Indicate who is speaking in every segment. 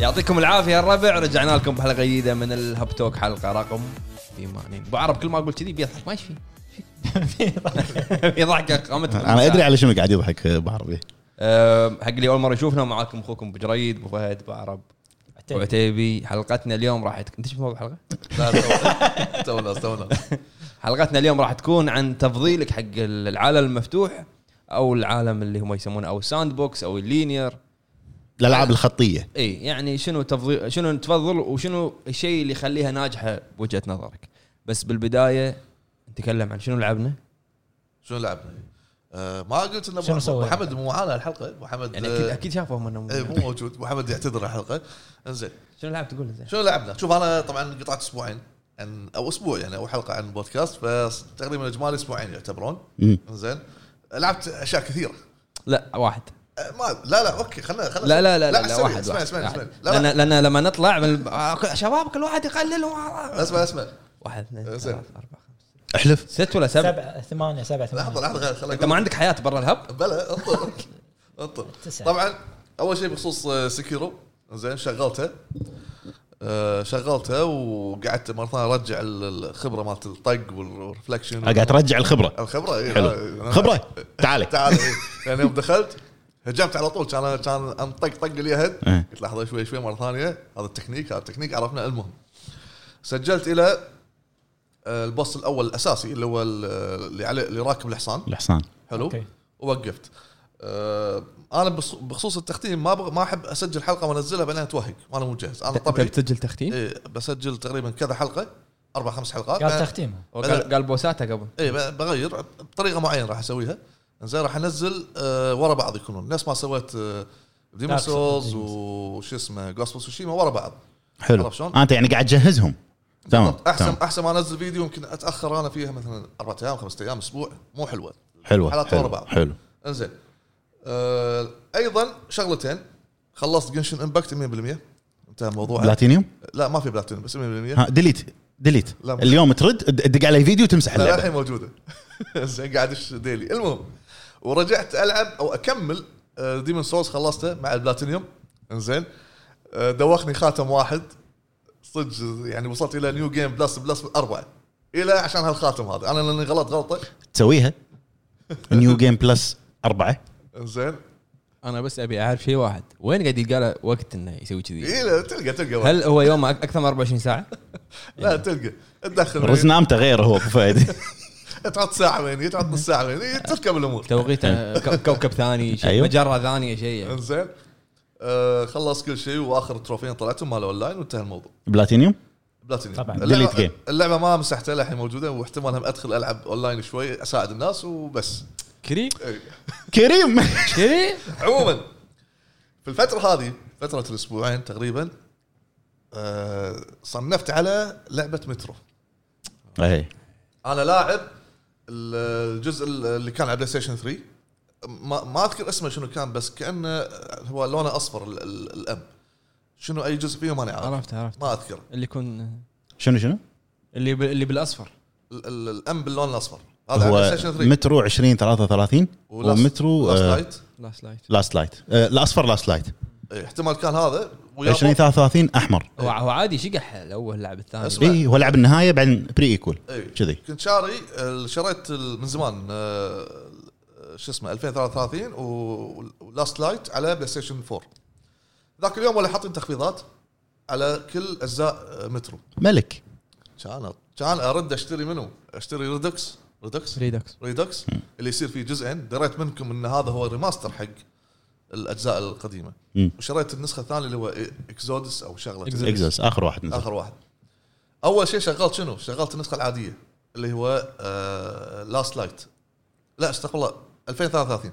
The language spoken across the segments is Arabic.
Speaker 1: يعطيكم العافيه الربع رجعنا لكم بحلقه جديده من الهب توك حلقه رقم 80 ابو عرب كل ما اقول كذي بيضحك ما ايش في في ضحكه قامت
Speaker 2: انا ادري على شنو قاعد يضحك ابو عربي
Speaker 1: أم، حق اللي اول مره يشوفنا معاكم اخوكم ابو جريد ابو فهد ابو عرب ابو عتيبي حلقتنا اليوم راح تكون انت شفت موضوع الحلقه؟
Speaker 3: لا تونا تونا
Speaker 1: حلقتنا اليوم راح تكون عن تفضيلك حق العالم المفتوح او العالم اللي هم يسمونه او ساند بوكس او اللينير
Speaker 2: الالعاب الخطيه
Speaker 1: اي يعني شنو تفضيل شنو تفضل وشنو الشيء اللي يخليها ناجحه بوجهه نظرك بس بالبدايه نتكلم عن شنو لعبنا
Speaker 3: شنو لعبنا؟ آه، ما قلت ان
Speaker 4: شنو
Speaker 3: أبو-
Speaker 4: سوينا؟
Speaker 3: محمد مو معانا الحلقه محمد
Speaker 1: يعني اكيد
Speaker 3: آه،
Speaker 1: اكيد شافهم انهم
Speaker 3: إيه، مو موجود محمد يعتذر عن الحلقه انزين
Speaker 1: شنو لعبت تقول زين
Speaker 3: شنو لعبنا؟ شوف انا طبعا قطعت اسبوعين عن او اسبوع يعني او حلقه عن بودكاست فتقريبا اجمالي اسبوعين يعتبرون
Speaker 2: مم.
Speaker 3: انزين لعبت اشياء كثيره
Speaker 1: لا واحد
Speaker 3: آه، ما لا لا اوكي خلنا خلنا
Speaker 1: لا لا لا لا, لا
Speaker 3: أسوي.
Speaker 1: واحد
Speaker 3: اسمع
Speaker 1: واحد.
Speaker 3: اسمع اسمع
Speaker 1: واحد.
Speaker 3: لا لا
Speaker 1: لان لان لما نطلع من الب- آه، كل- شباب كل واحد يقلل
Speaker 3: اسمع اسمع
Speaker 1: واحد اثنين
Speaker 3: آه، زين.
Speaker 1: ثلاث اربع خمس
Speaker 2: احلف
Speaker 1: ست ولا سبع
Speaker 4: سبعة ثمانية سبعة
Speaker 3: لحظه
Speaker 4: ثمانية
Speaker 3: لحظه خلنا
Speaker 1: انت ما عندك حياه برا الهب
Speaker 3: بلا انطر انطر
Speaker 4: تسعة.
Speaker 3: طبعا اول شيء بخصوص آه، سكيرو زين شغلته آه، شغلته وقعدت مره ثانيه ارجع ال- الخبره مالت الطق والرفلكشن
Speaker 2: قاعد ترجع الخبره
Speaker 3: الخبره إيه،
Speaker 2: حلو
Speaker 3: أنا-
Speaker 2: خبره تعالي
Speaker 3: تعال إيه. يعني يوم دخلت هجمت على طول كان كان انطق طق اليهد
Speaker 2: إيه.
Speaker 3: قلت لحظه شوي شوي مره ثانيه هذا التكنيك هذا التكنيك عرفنا المهم سجلت الى آه، البوس الاول الاساسي اللي هو ال- اللي عليه اللي راكب الحصان
Speaker 2: الحصان
Speaker 3: حلو
Speaker 4: أوكي.
Speaker 3: ووقفت آه، انا بص- بخصوص التختيم ما بغ- ما احب اسجل حلقه وانزلها بعدين اتوهق وانا مو جاهز انا طبعي
Speaker 1: بتسجل تختيم
Speaker 3: إيه بسجل تقريبا كذا حلقه اربع خمس حلقات
Speaker 4: قال تختيم
Speaker 1: قال قال بوساته قبل
Speaker 3: اي بغير بطريقه معينه راح اسويها زين راح انزل آه، ورا بعض يكونون نفس ما سويت ديمون
Speaker 4: Dark Souls.
Speaker 3: سولز وش اسمه جوست وشيما ورا بعض
Speaker 2: حلو
Speaker 3: عرفت شلون؟
Speaker 2: انت يعني قاعد تجهزهم تمام
Speaker 3: احسن
Speaker 2: تمام.
Speaker 3: احسن ما انزل فيديو يمكن اتاخر انا فيها مثلا اربع ايام خمسة ايام اسبوع مو حلوه
Speaker 2: حلوه
Speaker 3: حلقات ورا
Speaker 2: حلو
Speaker 3: بعض.
Speaker 2: حلو
Speaker 3: انزين آه ايضا شغلتين خلصت جنشن امباكت 100% انتهى الموضوع لا,
Speaker 2: بلاتينيوم
Speaker 3: لا ما في بلاتينيوم بس 100% لا
Speaker 2: ها ديليت ديليت
Speaker 3: إيه. لا، مو-
Speaker 2: اليوم ترد تدق علي فيديو تمسح
Speaker 3: لا
Speaker 2: اللعبه
Speaker 3: الحين موجوده زين قاعد اش ديلي المهم ورجعت العب او اكمل ديمون سولز آه، خلصته مع البلاتينيوم انزين آه، دوخني خاتم واحد صدق يعني وصلت الى نيو جيم بلس بلس اربعه الى عشان هالخاتم هذا انا لاني غلط غلطه
Speaker 2: تسويها نيو جيم بلس أربعة
Speaker 3: انزين
Speaker 1: انا بس ابي اعرف شيء واحد وين قاعد يلقى له وقت انه يسوي كذي
Speaker 3: إيه، لا تلقى تلقى واحد.
Speaker 1: هل هو يومه أك- اكثر من 24 ساعه
Speaker 3: لا تلقى تدخل
Speaker 2: رز نامته غير هو ابو فهد
Speaker 3: تعط ساعه وين تعط نص ساعه وين تركب الامور
Speaker 1: توقيت ك- كوكب ثاني شيء
Speaker 2: أيوه.
Speaker 1: مجره ثانيه شيء
Speaker 3: انزين آه خلص كل شيء واخر تروفين طلعتهم مال اونلاين وانتهى الموضوع
Speaker 2: بلاتينيوم
Speaker 3: بلاتينيوم
Speaker 4: طبعاً.
Speaker 3: اللعبة-
Speaker 2: Delete game.
Speaker 3: اللعبه ما مسحتها للحين موجوده واحتمال هم ادخل العب اونلاين شوي اساعد الناس وبس
Speaker 1: كري
Speaker 3: إيه.
Speaker 2: كريم
Speaker 1: كري
Speaker 3: عموما في الفتره هذه فتره الاسبوعين تقريبا آه صنفت على لعبه مترو
Speaker 2: اي
Speaker 3: انا لاعب الجزء اللي كان على بلاي ستيشن 3 ما, ما اذكر اسمه شنو كان بس كانه هو لونه اصفر ال- ال- الاب شنو اي جزء فيه ماني عارف
Speaker 1: عرفت عرفت
Speaker 3: ما اذكر
Speaker 1: اللي يكون
Speaker 2: شنو شنو؟
Speaker 1: اللي ب... اللي بالاصفر
Speaker 3: ال- ال- الام باللون الاصفر هذا على بلاي
Speaker 2: هو
Speaker 3: ستيشن 3
Speaker 2: مترو 20 33
Speaker 3: ولاست-
Speaker 2: ومترو
Speaker 3: لاست
Speaker 2: آه،
Speaker 3: لايت
Speaker 1: لاست لايت
Speaker 2: لاست لايت آه، الاصفر لاست لايت
Speaker 3: إيه، احتمال كان هذا ويابان-
Speaker 2: 20 33 احمر
Speaker 1: هو هو عادي شقح الاول لعب الثاني
Speaker 3: أسمع.
Speaker 2: اي هو لعب النهايه بعدين بري ايكول
Speaker 3: إيه.
Speaker 2: كذي
Speaker 3: كنت شاري آه، شريت ال- من زمان آه، شو اسمه 2033 و- ولاست لايت على بلاي ستيشن 4 ذاك اليوم ولا حاطين تخفيضات على كل اجزاء آه، مترو
Speaker 2: ملك
Speaker 3: كان كان ارد اشتري منه اشتري ريدوكس ريدوكس
Speaker 1: ريدكس
Speaker 3: ريدوكس اللي يصير فيه جزئين دريت منكم ان هذا هو ريماستر حق الاجزاء القديمه
Speaker 2: مم.
Speaker 3: وشريت النسخه الثانيه اللي هو اكزودس او شغله كذا.
Speaker 2: اكزوس اخر واحد نزل
Speaker 1: نعم.
Speaker 3: اخر واحد اول شيء شغلت شنو؟ شغلت النسخه العاديه اللي هو لاست لايت لا استغفر الله 2033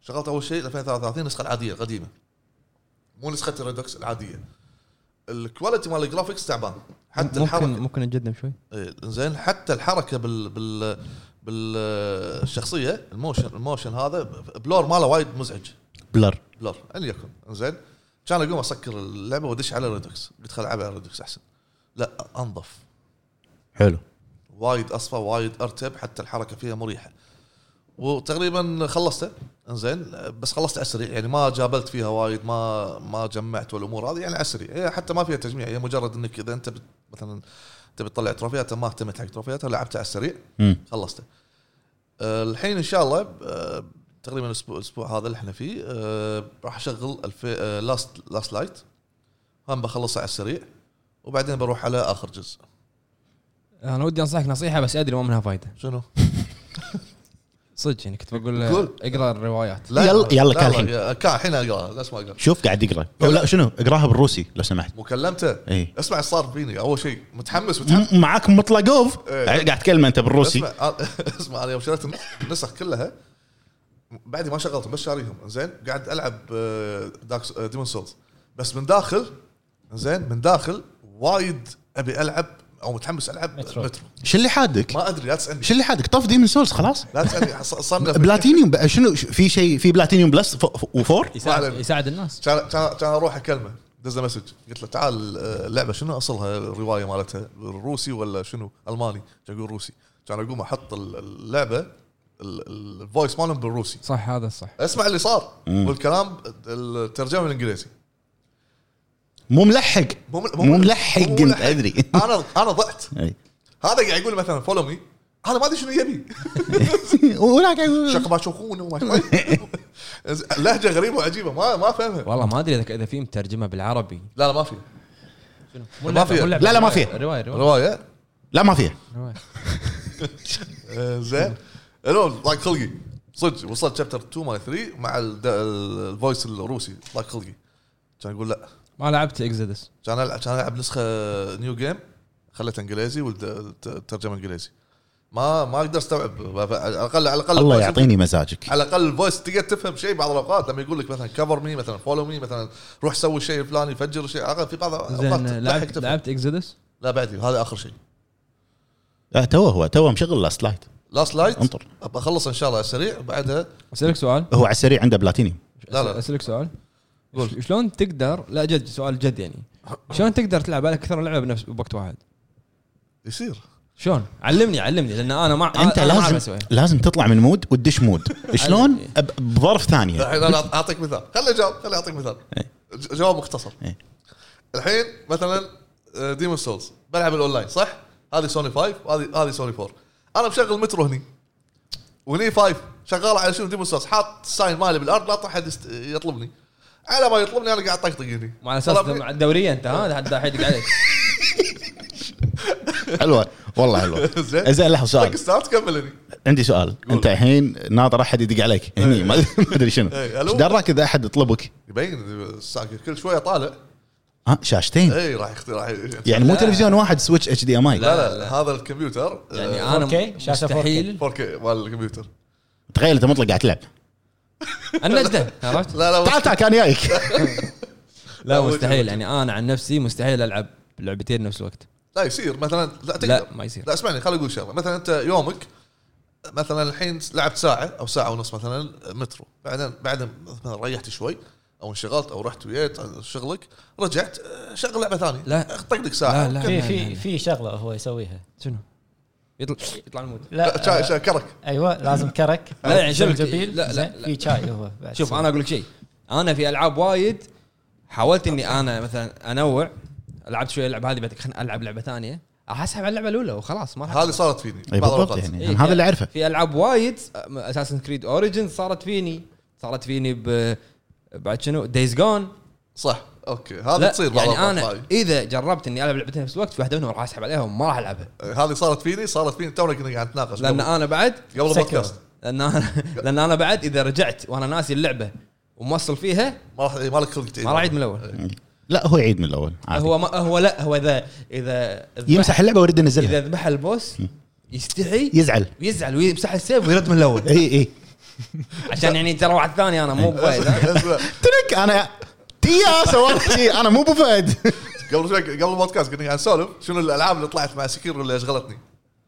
Speaker 3: شغلت اول شيء 2033 النسخه العاديه القديمه مو نسخه الريدوكس العاديه الكواليتي مال الجرافكس تعبان حتى
Speaker 1: ممكن
Speaker 3: الحركه
Speaker 1: ممكن نقدم شوي
Speaker 3: إيه، زين حتى الحركه بال بال بالشخصيه الموشن الموشن هذا بلور ماله وايد مزعج
Speaker 2: بلر
Speaker 3: بلور ان يكن زين كان اقوم اسكر اللعبه وادش على ريدوكس قلت خل العب على ريدوكس احسن لا انظف
Speaker 2: حلو
Speaker 3: وايد اصفى وايد ارتب حتى الحركه فيها مريحه وتقريبا خلصته انزين بس خلصت على السريع يعني ما جابلت فيها وايد ما ما جمعت والامور هذه يعني على السريع هي حتى ما فيها تجميع هي مجرد انك اذا انت بت مثلا تبي تطلع تروفيات ما اهتمت حق تروفياتها لعبتها على السريع
Speaker 2: مم.
Speaker 3: خلصته آه، الحين ان شاء الله آه، تقريبا الاسبوع الاسبوع هذا اللي احنا فيه آه، راح آه، اشغل لاست لاست لايت هم بخلصه على السريع وبعدين بروح على اخر جزء
Speaker 1: انا ودي انصحك نصيحه بس ادري ما منها فايده
Speaker 3: شنو؟
Speaker 1: صدق يعني كنت بقول
Speaker 3: قول.
Speaker 1: اقرا الروايات
Speaker 2: يلا- يلا
Speaker 3: لا،
Speaker 2: كان
Speaker 3: لا،
Speaker 2: الحين.
Speaker 3: يا- كان الحين اقرا لا اسمع اقرا
Speaker 2: شوف قاعد يقرا أو لا شنو اقراها بالروسي لو سمحت
Speaker 3: مكلمته
Speaker 2: إيه.
Speaker 3: اسمع ايش صار فيني اول شيء متحمس متحمس
Speaker 2: م- معاك مطلقوف
Speaker 3: إيه.
Speaker 2: قاعد تكلمه انت بالروسي
Speaker 3: اسمع آه، اسمع انا يوم شريت النسخ كلها بعدي ما شغلتهم بس شاريهم زين قاعد العب آه، دارك آه، ديمون سولز بس من داخل زين من داخل وايد ابي العب او متحمس العب
Speaker 4: مترو.
Speaker 3: مترو,
Speaker 2: شو اللي حادك؟
Speaker 3: ما ادري لا تسالني
Speaker 2: شو اللي حادك؟ طف ديمن سولز خلاص
Speaker 3: لا تسالني حص- صار لي-
Speaker 2: بلاتينيوم بقى شنو ش- في شيء في بلاتينيوم بلس ف- ف- وفور؟
Speaker 4: يساعد
Speaker 3: فعلاً.
Speaker 4: يساعد الناس
Speaker 3: كان كان كان اروح اكلمه دز له مسج قلت له تعال آه، اللعبه شنو اصلها الروايه مالتها روسي ولا شنو الماني كان يقول روسي كان اقوم احط ال- اللعبه ال- ال- الفويس مالهم بالروسي
Speaker 1: صح هذا الصح
Speaker 3: اسمع اللي صار
Speaker 2: مم.
Speaker 3: والكلام الترجمه بالانجليزي
Speaker 2: مو ملحق
Speaker 3: مو مل- مو
Speaker 2: مو
Speaker 3: مل-
Speaker 2: ملحق
Speaker 3: مو
Speaker 2: انت
Speaker 3: ملحق. آه.
Speaker 2: ادري
Speaker 3: انا انا ضعت
Speaker 2: إي.
Speaker 3: هذا قاعد يقول لي مثلا فولو مي انا ما ادري شنو يبي
Speaker 2: ولا قاعد يقول-
Speaker 3: شق ما شوفونه وما شوفونه. لهجه غريبه وعجيبه ما ما فاهمها
Speaker 1: والله ما ادري إذا- اذا في مترجمه بالعربي
Speaker 3: لا لا ما في
Speaker 1: مو
Speaker 3: ما
Speaker 1: اللعبة-
Speaker 3: فيها.
Speaker 1: مو اللعبة،
Speaker 2: لا، لا، ما
Speaker 1: الرواية-
Speaker 2: فيها.
Speaker 1: الروايه الروايه
Speaker 3: روايه
Speaker 2: لا ما فيها
Speaker 1: الرواية.
Speaker 3: آه، زين المهم ضاق خلقي صدق وصلت شابتر 2 مال 3 مع الد- ال- الفويس الروسي ضاق خلقي كان يقول لا
Speaker 1: ما لعبت اكزيدس
Speaker 3: كان العب كان العب نسخه نيو جيم خليتها انجليزي والترجمه انجليزي ما ما اقدر استوعب على الاقل على الاقل
Speaker 2: الله يعطيني مزاجك
Speaker 3: على الاقل الفويس تقدر تفهم شيء بعض الاوقات لما يقول لك مثلا كفر مي مثلا فولو مي مثلا روح سوي الشيء الفلاني فجر شيء على الأقل في بعض الاوقات
Speaker 1: زين
Speaker 3: تلحق
Speaker 1: لعبت
Speaker 3: تفهم.
Speaker 1: لعبت اكزيدس
Speaker 3: لا بعدي هذا اخر شيء
Speaker 2: آه، توه هو توه مشغل لاست لايت
Speaker 3: لاست لايت
Speaker 2: انطر
Speaker 3: ابى اخلص ان شاء الله على السريع بعدها
Speaker 1: اسالك سؤال
Speaker 2: هو على السريع عنده بلاتينيوم
Speaker 1: آه،
Speaker 3: لا، لا.
Speaker 1: اسالك سؤال
Speaker 3: قول.
Speaker 1: شلون تقدر لا جد سؤال جد يعني شلون تقدر تلعب على اكثر من لعبه بنفس بوقت واحد
Speaker 3: يصير
Speaker 1: شلون علمني علمني لان انا ما
Speaker 2: انت
Speaker 1: أنا ما أعرف
Speaker 2: لازم
Speaker 1: أسويها.
Speaker 2: لازم تطلع من مود وتدش مود شلون
Speaker 1: إيه.
Speaker 2: ب- بظرف ثانيه
Speaker 3: الحين انا اعطيك مثال خليني اجاوب خليني اعطيك مثال
Speaker 2: يعني. إيه.
Speaker 3: ج- جواب مختصر
Speaker 2: إيه.
Speaker 3: الحين مثلا ديمون سولز بلعب الاونلاين صح؟ هذه سوني 5 وهذه هذه سوني 4 انا مشغل مترو هني وهني 5 شغال على شنو ديمون سولز حاط ساين مالي بالارض لا طاح حد يست- يطلبني على ما يطلبني انا قاعد طقطق هني
Speaker 1: وعلى اساس
Speaker 3: طلبني-
Speaker 1: مع الدوريه انت ها حد حيدق عليك
Speaker 2: حلوه والله حلوه
Speaker 3: زين.
Speaker 2: زين لحظه
Speaker 3: طق
Speaker 2: سؤال
Speaker 3: ستارت كمل هني
Speaker 2: عندي سؤال انت الحين ناطر احد يدق عليك
Speaker 1: إيه.
Speaker 2: هني ما ما ادري شنو
Speaker 3: إيه، ألو.
Speaker 2: ايش دراك اذا احد يطلبك
Speaker 3: يبين الساكر كل شويه طالع
Speaker 2: ها
Speaker 1: إيه.
Speaker 2: شاشتين
Speaker 3: اي راح يخت- راح ي-
Speaker 2: يعني مو تلفزيون واحد سويتش اتش دي ام اي
Speaker 3: لا لا, لا هذا الكمبيوتر
Speaker 1: يعني
Speaker 3: يعني
Speaker 1: انا
Speaker 4: 4K شاشة 4K.
Speaker 1: مستحيل
Speaker 3: 4K مال الكمبيوتر
Speaker 2: تخيل انت مطلق قاعد تلعب
Speaker 1: النجده عرفت
Speaker 3: لا لا
Speaker 2: تعال تعال كان جايك
Speaker 1: لا
Speaker 3: لا،
Speaker 1: مستحيل يعني انا عن نفسي مستحيل العب لعبتين بنفس الوقت
Speaker 3: لا يصير مثلا لا تقدر
Speaker 1: لا ما يصير
Speaker 3: لا اسمعني خليني اقول شغله مثلا انت يومك مثلا الحين لعبت ساعه او ساعه ونص مثلا مترو بعدين بعدين مثلا ريحت شوي او انشغلت او رحت ويت عن شغلك رجعت آه، شغل لعبه ثانيه
Speaker 1: لا.
Speaker 3: اخطق لك ساعه
Speaker 1: لا، لا.
Speaker 4: في في في شغله هو يسويها
Speaker 1: شنو؟ يطلع يطلع المود
Speaker 3: لا شا-
Speaker 4: لا
Speaker 3: شا- كرك
Speaker 4: ايوه لازم كرك
Speaker 1: لا، يعني شبك.
Speaker 4: زنجبيل،
Speaker 1: لا، لا،
Speaker 4: زين،
Speaker 1: لا.
Speaker 4: في شاي هو بعد
Speaker 1: شوف
Speaker 4: سوي.
Speaker 1: انا اقول لك شيء انا في العاب وايد حاولت اني انا مثلا انوع لعبت شويه اللعبه هذه بعد خليني العب لعبه ثانيه راح اسحب على اللعبه الاولى وخلاص ما راح
Speaker 3: هذه صارت فيني
Speaker 2: اي
Speaker 3: بعض
Speaker 2: بالضبط
Speaker 3: الأوقات.
Speaker 2: يعني
Speaker 1: إيه،
Speaker 2: أنا هذا اللي اعرفه
Speaker 1: في العاب وايد اساسن كريد اوريجن صارت فيني صارت فيني ب بعد شنو دايز جون
Speaker 3: صح اوكي هذه
Speaker 1: لا
Speaker 3: تصير بعض
Speaker 1: يعني
Speaker 3: الأوقات
Speaker 1: انا
Speaker 3: هذه.
Speaker 1: اذا جربت اني العب لعبتين في نفس الوقت في واحده منهم راح اسحب عليها وما راح العبها
Speaker 3: هذه صارت فيني صارت فيني تونا كنا قاعد نتناقش
Speaker 1: لان
Speaker 3: قبل-
Speaker 1: انا بعد
Speaker 3: قبل
Speaker 4: سكر.
Speaker 3: البودكاست
Speaker 1: لان انا لان انا بعد اذا رجعت وانا ناسي اللعبه وموصل فيها
Speaker 3: ما راح إيه، ما لك خلق تعيد
Speaker 1: ما راح اعيد من الاول
Speaker 2: لا هو يعيد من الاول عادي.
Speaker 1: هو ما هو لا هو اذا اذا ذبح-
Speaker 2: يمسح اللعبه ويرد
Speaker 1: اذا
Speaker 2: ينزلها
Speaker 1: ذبح البوس يستحي
Speaker 2: يزعل إيه،
Speaker 1: ويزعل ويمسح السيف ويرد من الاول
Speaker 2: اي اي
Speaker 1: عشان يعني ترى واحد ثاني انا
Speaker 2: إيه.
Speaker 1: مو بوايد
Speaker 3: اسمع،
Speaker 2: ترك انا تيا سوالف شيء انا مو ابو فهد
Speaker 3: قبل شوي قبل البودكاست كنا قاعد نسولف شنو الالعاب اللي طلعت مع سكير اللي اشغلتني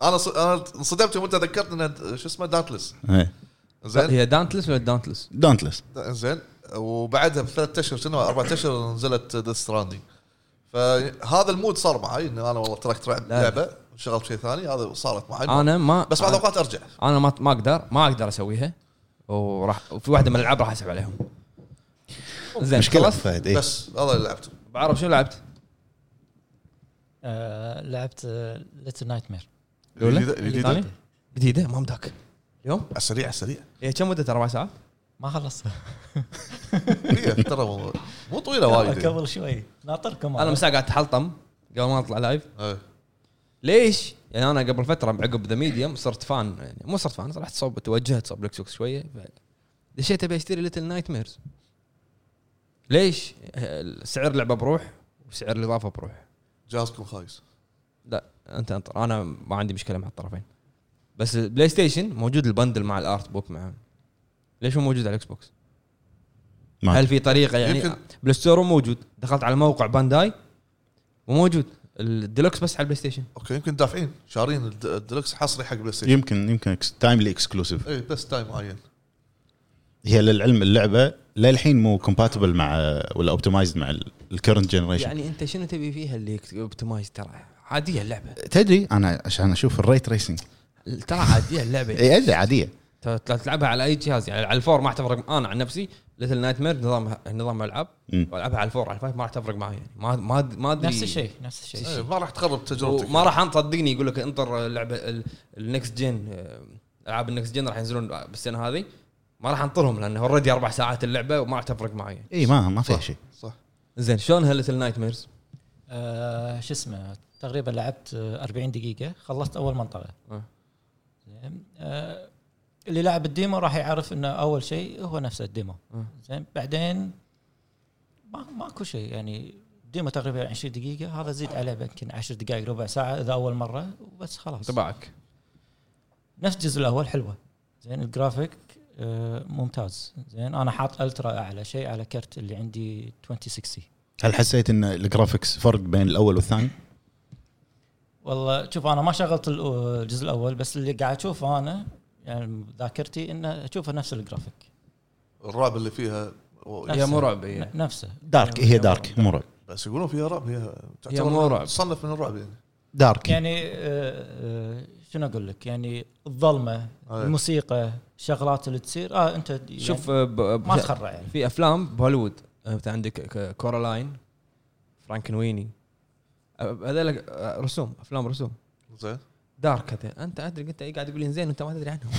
Speaker 3: انا ص... انا انصدمت يوم انت ذكرت ان شو اسمه دانتلس
Speaker 2: إيه.
Speaker 3: زين
Speaker 1: هي دانتلس ولا دانتلس؟
Speaker 2: دونتلس
Speaker 3: زين وبعدها بثلاث اشهر شنو اربع اشهر نزلت ذا ستراندي فهذا المود صار معي ان انا والله تركت لعب-
Speaker 1: لا.
Speaker 3: لعبه شغلت شيء ثاني هذا صارت معي
Speaker 1: انا ما
Speaker 3: بس بعض الاوقات ارجع
Speaker 1: انا ما ما اقدر ما اقدر اسويها وراح وفي واحده من الالعاب راح اسحب عليهم زين
Speaker 2: مشكله
Speaker 1: خلاص
Speaker 2: فهد إيه.
Speaker 3: بس هذا اللي لعبته
Speaker 1: بعرف شنو لعبت؟
Speaker 4: آه، لعبت ليتل نايت مير
Speaker 1: الأولى؟
Speaker 3: الجديدة- الجديدة.
Speaker 1: الثانية؟ جديده ما مداك اليوم
Speaker 3: على السريع على السريع
Speaker 1: هي كم مدتها اربع ساعات؟
Speaker 4: ما خلصت
Speaker 3: هي ترى مو- مو طويله وايد
Speaker 4: قبل شوي ناطركم
Speaker 1: انا مساء قاعد اتحلطم قبل ما اطلع لايف
Speaker 3: إيه.
Speaker 1: ليش؟ يعني انا قبل فتره عقب ذا ميديوم صرت فان يعني مو صرت فان رحت صوب توجهت صوب الاكس بوكس شويه ف- دشيت ابي اشتري ليتل نايت ميرز ليش؟ ه- سعر لعبه بروح وسعر الاضافه بروح
Speaker 3: جهازكم خايس
Speaker 1: لا انت انطر انا ما عندي مشكله مع الطرفين بس البلاي ستيشن موجود البندل مع الارت بوك معه ليش مو موجود على الاكس بوكس؟
Speaker 2: ما
Speaker 1: هل في طريقه يعني
Speaker 3: يمكن-
Speaker 1: بالستور مو موجود دخلت على موقع بانداي وموجود الديلوكس بس على البلاي ستيشن
Speaker 3: اوكي يمكن دافعين شارين الد- الديلوكس حصري حق إيه، بلاي ستيشن
Speaker 2: يمكن يمكن تايملي اكسكلوسيف
Speaker 3: اي بس تايم معين
Speaker 2: هي للعلم اللعبه للحين مو كومباتبل مع ولا اوبتمايزد مع الكرنت جنريشن
Speaker 1: يعني انت شنو تبي فيها اللي اوبتمايز ترى عاديه اللعبه
Speaker 2: تدري انا عشان اشوف الري تريسنج
Speaker 1: ترى عاديه اللعبه
Speaker 2: اي ادري عاديه
Speaker 1: ترى تلعبها على اي جهاز يعني على الفور ما راح تفرق انا عن نفسي ليتل نايت مير نظام نظام العاب
Speaker 2: مم.
Speaker 1: والعبها على الفور على الفايف ما راح تفرق معي يعني ما ما ما ادري
Speaker 4: نفس الشيء نفس الشيء
Speaker 3: إيه، ما راح تخرب تجربتك
Speaker 1: ما راح انصدقني يقول لك انطر اللعبه النكست جن العاب النكست جن راح ينزلون بالسنه هذه ما راح انطرهم لانه اوريدي اربع ساعات اللعبه وما راح تفرق معي يعني.
Speaker 2: اي إيه، ما ما فيها شيء
Speaker 3: صح
Speaker 1: زين شلون هالليتل نايت ميرز؟
Speaker 4: آه، شو اسمه تقريبا لعبت آه، 40 دقيقه خلصت اول منطقه
Speaker 1: آه.
Speaker 4: زين آه، اللي لعب الديمو راح يعرف انه اول شيء هو نفسه الديمو
Speaker 1: آه.
Speaker 4: زين بعدين ما ماكو شيء يعني الديمو تقريبا 20 دقيقه هذا زيد عليه يمكن 10 دقائق ربع ساعه اذا اول مره وبس خلاص
Speaker 1: انطباعك
Speaker 4: نفس الجزء الاول حلوه زين الجرافيك آه، ممتاز زين انا حاط الترا اعلى شيء على كرت اللي عندي 2060
Speaker 2: هل حسيت ان الجرافكس فرق بين الاول والثاني؟
Speaker 4: والله شوف انا ما شغلت ال- الجزء الاول بس اللي قاعد اشوفه انا يعني ذاكرتي انه اشوفه نفس الجرافيك
Speaker 3: الرعب اللي فيها و-
Speaker 1: هي مو رعب هي
Speaker 4: ن- نفسه يعني
Speaker 2: دارك إيه. هي دارك مو رعب
Speaker 3: بس يقولون فيها رعب هي
Speaker 1: هي مو رعب.
Speaker 3: تصنف من الرعب يعني
Speaker 2: دارك
Speaker 4: يعني آه، آه، شنو اقول لك يعني الظلمه
Speaker 2: إيه.
Speaker 3: أي.
Speaker 4: الموسيقى الشغلات اللي تصير اه انت يعني
Speaker 1: شوف آه، ب- ب-
Speaker 4: ما تخرع يعني
Speaker 1: في افلام بهوليوود آه، مثلا عندك ك- كورالاين فرانكنويني آه، هذول رسوم افلام رسوم
Speaker 3: زين
Speaker 1: دارك هذا انت ادري انت إيه قاعد تقول لي زين وانت ما تدري عنهم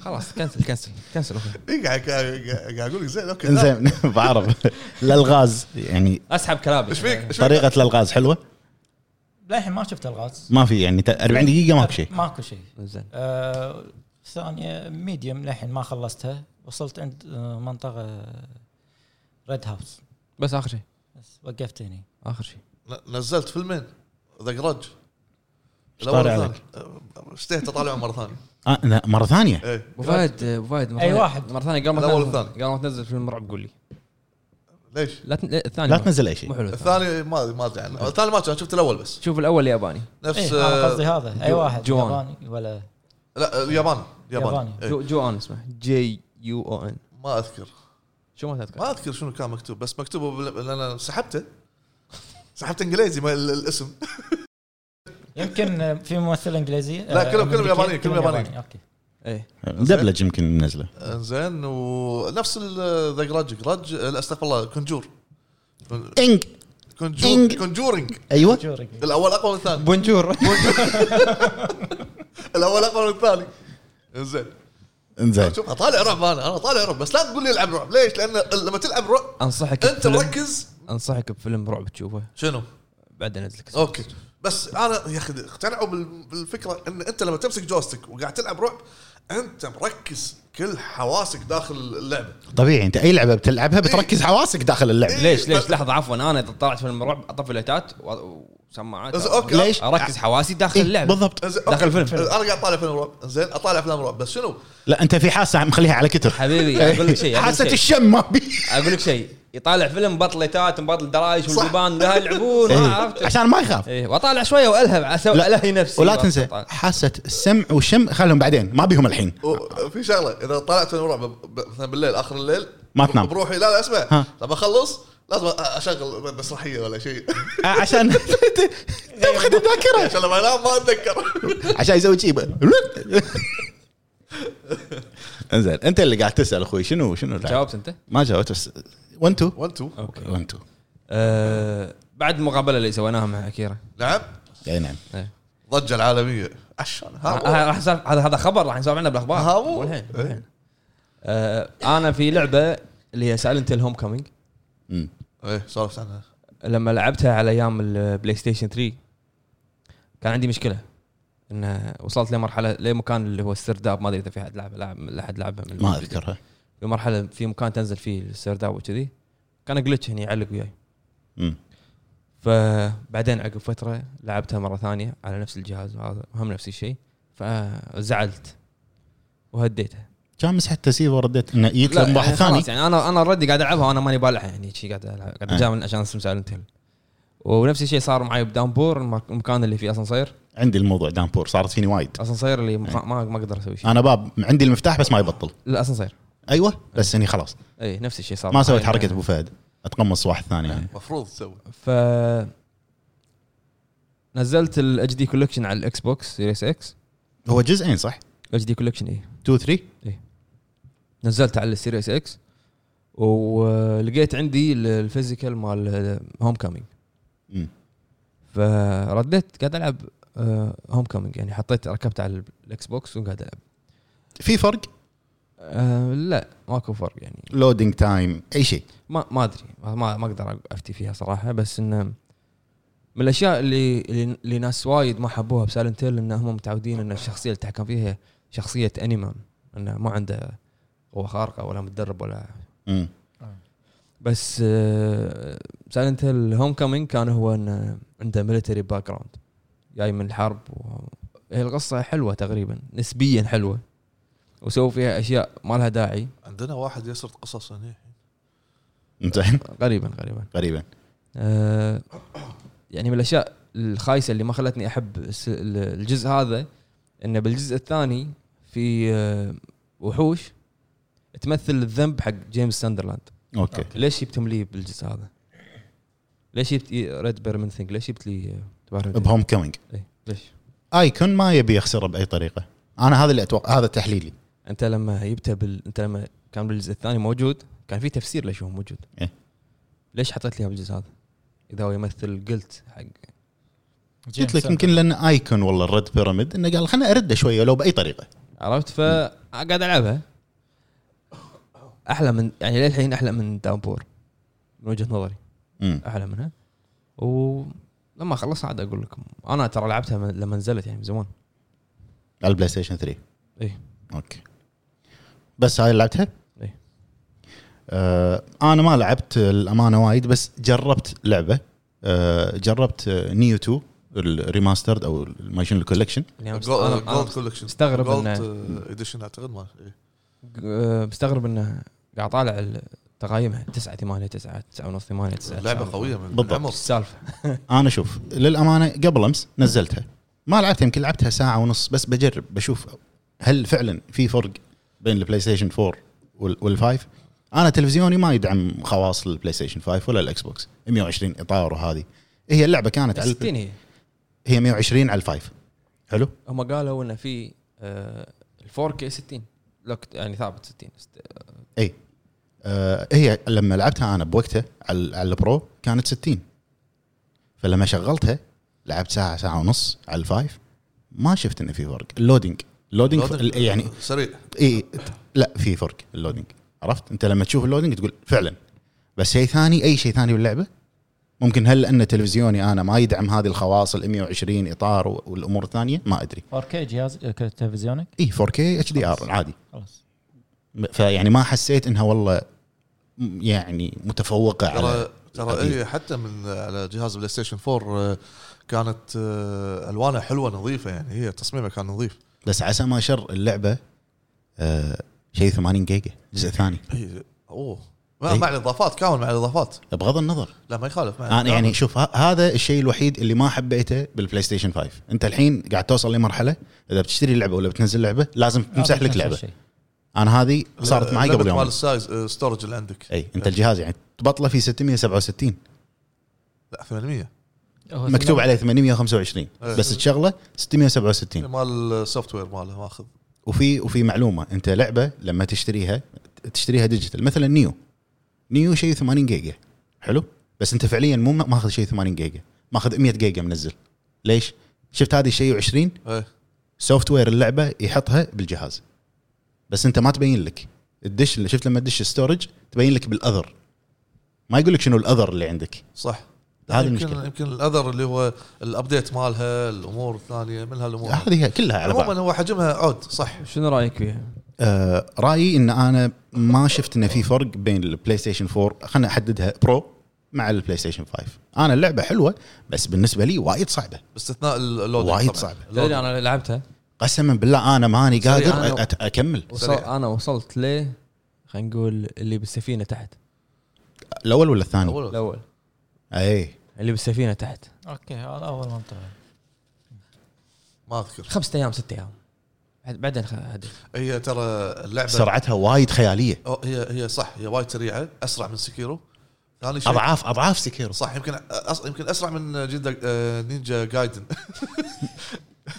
Speaker 1: خلاص كنسل كنسل كنسل
Speaker 3: اي إيه، قاعد قاعد قاعد اقول لك زين نعم. اوكي لا.
Speaker 2: زين بعرف الالغاز يعني
Speaker 1: اسحب كلامي
Speaker 3: ايش فيك؟ ايش فيك؟
Speaker 2: طريقه الالغاز حلوه
Speaker 4: للحين ما شفت الغاز
Speaker 2: ما في يعني ت- 40 دقيقه ماكو شيء
Speaker 4: ماكو شيء
Speaker 1: زين
Speaker 4: آه، ثانيه ميديوم للحين ما خلصتها وصلت عند آه، منطقه ريد هاوس
Speaker 1: بس اخر شيء
Speaker 4: بس وقفت هني
Speaker 1: اخر شيء
Speaker 3: ن- نزلت فيلمين ذا جراج أه،
Speaker 2: إيش طالع
Speaker 3: اشتهيت اطالعه مره ثانيه
Speaker 2: آه لا مره ثانيه
Speaker 3: ايه
Speaker 1: ابو فهد ابو فهد آه، مرة
Speaker 4: أي
Speaker 1: ثانية-
Speaker 4: واحد.
Speaker 1: مره ثانيه قبل ما
Speaker 3: الأول
Speaker 1: تنزل-
Speaker 3: والثاني.
Speaker 1: قبل ما تنزل فيلم رعب قول لي
Speaker 3: ليش؟
Speaker 1: لا تن- لا، الثاني
Speaker 2: لا
Speaker 1: ما-
Speaker 2: تنزل اي
Speaker 1: مو
Speaker 2: شيء
Speaker 1: حلو الثاني
Speaker 3: الثاني ما ما ادري عنه الثاني ما كان شفت الاول بس
Speaker 1: شوف الاول ياباني
Speaker 3: نفس
Speaker 4: إيه انا
Speaker 3: آه،
Speaker 4: قصدي هذا اي
Speaker 1: جو-
Speaker 4: واحد
Speaker 1: جوان.
Speaker 4: ياباني ولا
Speaker 3: لا الياباني الياباني
Speaker 4: ياباني.
Speaker 3: إيه.
Speaker 1: جو, جو ان اسمه جي يو او ان
Speaker 3: ما اذكر
Speaker 1: شو ما تذكر
Speaker 3: ما اذكر شنو كان مكتوب بس مكتوب بال- لان انا سحبته سحبت انجليزي ما ال- الاسم
Speaker 4: يمكن في آه، ممثله انجليزيه
Speaker 3: لا، كلهم- كلهم يابانيين، كلهم يابانيين.
Speaker 4: اوكي
Speaker 1: ايه
Speaker 2: دبلج يمكن منزله
Speaker 3: زين ونفس ذا جراج جراج لا، استغفر الله كونجور كون-
Speaker 2: انج
Speaker 3: كونجور كونجورنج
Speaker 2: ايوه
Speaker 4: جوري.
Speaker 3: الاول اقوى من الثاني
Speaker 1: بونجور
Speaker 3: الاول اقوى من الثاني زين
Speaker 2: انزين
Speaker 3: شوف اطالع رعب انا انا اطالع رعب بس لا تقول لي العب رعب ليش؟ لان لما تلعب رعب
Speaker 1: انصحك
Speaker 3: انت
Speaker 1: بفيلم-
Speaker 3: مركز
Speaker 1: انصحك بفيلم رعب تشوفه
Speaker 3: شنو؟
Speaker 1: بعدين انزل لك
Speaker 3: اوكي بس انا يا اخي اقتنعوا بال- بالفكره ان انت لما تمسك جوستيك وقاعد تلعب رعب انت مركز كل حواسك داخل اللعبه
Speaker 2: طبيعي انت اي لعبه بتلعبها بتركز حواسك داخل اللعبه
Speaker 1: ليش ليش لحظه عفوا انا اذا طلعت فيلم رعب اطفي لايتات و- وسماعات
Speaker 3: إز- اوكي
Speaker 2: ليش؟
Speaker 1: اركز حواسي داخل
Speaker 2: إيه،
Speaker 1: اللعبه
Speaker 2: بالضبط
Speaker 3: إز-
Speaker 1: داخل
Speaker 3: أوكي.
Speaker 1: فيلم.
Speaker 3: انا قاعد اطالع فيلم رعب زين اطالع افلام رعب بس شنو؟
Speaker 2: لا انت في حاسه مخليها على كتر إيه،
Speaker 1: حبيبي اقول لك شيء أقول لك
Speaker 2: حاسه
Speaker 1: شيء.
Speaker 2: الشم ما بي
Speaker 1: اقول لك شيء يطالع فيلم بطل لايتات وبطل درايش
Speaker 3: صح.
Speaker 1: والجبان لا يلعبون
Speaker 2: إيه،
Speaker 1: ما عرفت
Speaker 2: عشان ما يخاف
Speaker 1: ايه واطالع شويه والهب اسوي الهي نفسي
Speaker 2: ولا تنسى
Speaker 1: أطالع.
Speaker 2: حاسه السمع والشم خلهم بعدين ما بيهم الحين
Speaker 3: وفي شغله اذا طلعت فيلم رعب ب- ب- مثلا بالليل اخر الليل
Speaker 2: ما تنام.
Speaker 3: بروحي لا لا اسمع
Speaker 2: ها.
Speaker 3: لما اخلص لازم اشغل مسرحيه ولا شيء
Speaker 2: آه، عشان
Speaker 1: إيه.
Speaker 2: تفقد الذاكره
Speaker 3: عشان لما انام ما اتذكر
Speaker 2: عشان يسوي شيء انزين انت اللي قاعد تسال اخوي شنو شنو اللعبة؟
Speaker 1: جاوبت انت؟
Speaker 2: ما جاوبت بس 1 2
Speaker 3: 1 2
Speaker 1: اوكي
Speaker 2: 1 2
Speaker 1: أه بعد المقابله اللي سويناها مع اكيرا
Speaker 3: نعم
Speaker 2: اي نعم
Speaker 3: ضجه العالميه عشان ها
Speaker 1: ه- راح نسولف- هذا هذا خبر راح نسولف عنه بالاخبار
Speaker 3: ها هو.
Speaker 1: مو الحين مو
Speaker 3: إيه.
Speaker 1: الحين. أه انا في لعبه اللي هي سايلنت الهوم كومينج
Speaker 2: مم.
Speaker 3: ايه سولفت عنها
Speaker 1: لما لعبتها على ايام البلاي ستيشن 3 كان عندي مشكله ان وصلت لمرحله لمكان اللي هو السرداب ما ادري اذا في احد لعب لعب احد لعبه من
Speaker 2: ما اذكرها
Speaker 1: في مرحله في مكان تنزل فيه السرداب وكذي كان جلتش هني يعلق وياي
Speaker 2: مم.
Speaker 1: فبعدين عقب فتره لعبتها مره ثانيه على نفس الجهاز وهذا هم نفس الشيء فزعلت وهديتها
Speaker 2: كان مسحت تسيب ورديت انه جيت
Speaker 1: لا،
Speaker 2: لمباح
Speaker 1: يعني
Speaker 2: ثاني
Speaker 1: خلاص يعني انا انا اوريدي قاعد العبها وانا ماني بالعها يعني شي قاعد ألعب- قاعد
Speaker 2: أي.
Speaker 1: اجامل عشان اسم سايلنت هيل ونفس الشيء صار معي بدامبور المك- المكان اللي فيه اسانسير
Speaker 2: عندي الموضوع دامبور صارت فيني وايد
Speaker 1: اسانسير اللي
Speaker 2: إيه.
Speaker 1: ما ما ما اقدر اسوي شيء
Speaker 2: انا باب عندي المفتاح بس ما يبطل
Speaker 1: الاسانسير
Speaker 2: ايوه بس اني خلاص
Speaker 1: اي إيه، نفس الشيء صار
Speaker 2: ما سويت
Speaker 1: معي.
Speaker 2: حركه ابو فهد اتقمص واحد ثاني يعني
Speaker 3: المفروض تسوي
Speaker 1: ف نزلت الاتش دي كولكشن على الاكس بوكس سيريس اكس
Speaker 2: هو جزئين صح؟
Speaker 1: الاتش دي كولكشن اي
Speaker 2: 2 3
Speaker 1: إيه. نزلت على السيريس اكس ولقيت عندي ال- الفيزيكال مال هوم كامينج
Speaker 2: مم.
Speaker 1: فرديت قاعد العب هوم كامينج يعني حطيت ركبت على ال- الاكس بوكس وقاعد العب
Speaker 2: في فرق
Speaker 1: أه لا ماكو فرق يعني
Speaker 2: لودينج تايم اي شيء
Speaker 1: ما ما ادري ما ما اقدر افتي فيها صراحه بس انه من الاشياء اللي اللي- اللي ناس وايد ما حبوها بسايلنت هيل ان هم متعودين ان الشخصيه اللي تحكم فيها هي شخصيه انيمان انه ما عنده قوه خارقه ولا متدرب ولا
Speaker 2: مم.
Speaker 1: بس آه، سايلنت هيل هوم كومينج كان هو انه عنده ميلتري باك جراوند جاي من الحرب و... هي القصه حلوه تقريبا نسبيا حلوه وسووا فيها اشياء ما لها داعي
Speaker 3: عندنا واحد يسرد قصص هنا
Speaker 2: زين
Speaker 1: قريبا قريبا
Speaker 2: غريبا
Speaker 1: آه، يعني من الاشياء الخايسه اللي ما خلتني احب الس- ال- الجزء هذا انه بالجزء الثاني في آه، وحوش تمثل الذنب حق جيمس ساندرلاند
Speaker 2: اوكي
Speaker 1: ليش جبتم لي بالجزء هذا؟ ليش جبت ريد بيرمنثينج؟ ليش جبت لي آه، تبارك الله؟
Speaker 2: بهوم كومينج
Speaker 1: إيه، ليش؟
Speaker 2: ايكون ما يبي يخسره باي طريقه انا هذا اللي اتوقع هذا تحليلي
Speaker 1: انت لما جبته بال... انت لما كان بالجزء الثاني موجود كان في تفسير ليش هو موجود
Speaker 2: إيه.
Speaker 1: ليش حطيت لي بالجزء هذا؟ اذا هو يمثل قلت حق
Speaker 2: قلت لك يمكن لان ايكون والله الريد بيراميد انه قال خلنا ارده شويه لو باي طريقه
Speaker 1: عرفت فقاعد العبها احلى من يعني للحين احلى من دامبور من وجهه نظري
Speaker 2: مم.
Speaker 1: احلى منها ولما خلصها عاد اقول لكم انا ترى لعبتها من- لما نزلت يعني من زمان يعني
Speaker 2: على البلاي ستيشن 3
Speaker 1: اي
Speaker 2: اوكي بس هاي لعبتها؟
Speaker 1: إيه.
Speaker 2: آه انا ما لعبت الامانه وايد بس جربت لعبه آه جربت آه، نيو 2 الريماسترد او ما شنو الكولكشن
Speaker 1: يعني مست- أنا- أنا
Speaker 3: جولد كولكشن
Speaker 1: مستغرب
Speaker 3: جولد
Speaker 1: إنه-
Speaker 3: اديشن اعتقد آه، ما إيه.
Speaker 1: آه، مستغرب انه قاعد طالع ال- تقايمها 9 8 9 9 ونص 8 9
Speaker 3: لعبه قويه من
Speaker 2: بالضبط.
Speaker 3: العمر
Speaker 1: السالفه
Speaker 2: انا شوف للامانه قبل امس نزلتها ما لعبتها يمكن لعبتها ساعه ونص بس بجرب بشوف هل فعلا في فرق بين البلاي ستيشن 4 وال- والفايف انا تلفزيوني ما يدعم خواص البلاي ستيشن 5 ولا الاكس بوكس 120 اطار وهذه هي اللعبه كانت على
Speaker 1: 60 هي
Speaker 2: هي 120 على الفايف حلو
Speaker 1: هم قالوا انه في آه، ال 4 كي 60 لوك يعني ثابت 60
Speaker 2: آه هي لما لعبتها انا بوقتها على على البرو كانت 60 فلما شغلتها لعبت ساعه ساعه ونص على الفايف ما شفت انه في فرق اللودينج اللودينج ف-
Speaker 3: لودينج.
Speaker 2: يعني
Speaker 3: سريع
Speaker 2: اي لا في فرق اللودينج عرفت انت لما تشوف اللودينج تقول فعلا بس شيء ثاني اي شيء ثاني باللعبه ممكن هل ان تلفزيوني انا ما يدعم هذه الخواص ال 120 اطار و- والامور الثانيه ما إيه، ادري
Speaker 4: 4K جهاز آه، تلفزيونك
Speaker 2: اي 4K اتش دي ار عادي
Speaker 4: خلاص
Speaker 2: فيعني ما حسيت انها والله م- يعني متفوقه على
Speaker 3: ترى ترى
Speaker 2: قديم.
Speaker 3: هي حتى من على جهاز بلاي ستيشن 4 آه، كانت آه، الوانها حلوه نظيفه يعني هي تصميمها كان نظيف
Speaker 2: بس عسى ما شر اللعبه آه شيء 80 جيجا الجزء الثاني
Speaker 3: هي اوه مع,
Speaker 2: إيه.
Speaker 3: مع الاضافات كامل مع الاضافات
Speaker 2: بغض النظر
Speaker 3: لا ما يخالف مع
Speaker 2: انا يعني شوف ه- هذا الشيء الوحيد اللي ما حبيته بالبلاي ستيشن 5 انت الحين قاعد توصل لمرحله اذا بتشتري لعبه ولا بتنزل لعبه لازم
Speaker 4: آه،
Speaker 2: تمسح لك لعبه انا هذه صارت معي قبل
Speaker 3: مال
Speaker 2: يوم
Speaker 3: السايز آه، ستورج اللي عندك
Speaker 2: اي انت الجهاز يعني تبطله في 667
Speaker 3: لا 800
Speaker 2: مكتوب عليه 825
Speaker 3: إيه.
Speaker 2: بس تشغله 667 إيه.
Speaker 3: مال السوفت وير ماله ماخذ
Speaker 2: وفي وفي معلومه انت لعبه لما تشتريها تشتريها ديجيتال مثلا نيو نيو شيء 80 جيجا حلو بس انت فعليا مو ما- ماخذ شيء 80 جيجا ماخذ 100 جيجا منزل ليش؟ شفت هذه الشيء 20
Speaker 3: إيه.
Speaker 2: سوفت وير اللعبه يحطها بالجهاز بس انت ما تبين لك الدش اللي شفت لما تدش ستورج تبين لك بالاذر ما يقول لك شنو الاذر اللي عندك
Speaker 3: صح يعني
Speaker 2: هذه
Speaker 3: يمكن-
Speaker 2: المشكلة.
Speaker 3: يمكن الاذر اللي هو الابديت مالها الامور الثانيه من هالامور
Speaker 2: هذه كلها على بعض
Speaker 3: عموما هو حجمها عود صح
Speaker 1: شنو رايك فيها؟
Speaker 2: آه، رايي ان انا ما شفت انه في فرق بين البلاي ستيشن 4 خلينا احددها برو مع البلاي ستيشن 5 انا اللعبه حلوه بس بالنسبه لي وايد صعبه
Speaker 3: باستثناء اللود
Speaker 2: وايد صعبة.
Speaker 1: تدري انا لعبتها
Speaker 2: قسما بالله انا ماني
Speaker 1: سريع،
Speaker 2: قادر
Speaker 1: أنا-
Speaker 2: أت- اكمل
Speaker 1: وصل
Speaker 3: سريع.
Speaker 1: انا وصلت ل خلينا نقول اللي بالسفينه تحت
Speaker 2: الاول ولا الثاني؟ إيه.
Speaker 3: الاول
Speaker 1: الاول
Speaker 2: اي
Speaker 1: اللي بالسفينه تحت
Speaker 4: اوكي هذا اول منطقه
Speaker 3: ما اذكر
Speaker 1: خمسة ايام ست ايام بعد- بعدين خ- هدف
Speaker 3: هي ترى اللعبه
Speaker 2: سرعتها وايد خياليه
Speaker 3: أو هي هي صح هي وايد سريعه اسرع من سكيرو ثاني شيء
Speaker 2: اضعاف اضعاف سكيرو
Speaker 3: صح يمكن أص... يمكن اسرع من جدا آه، نينجا جايدن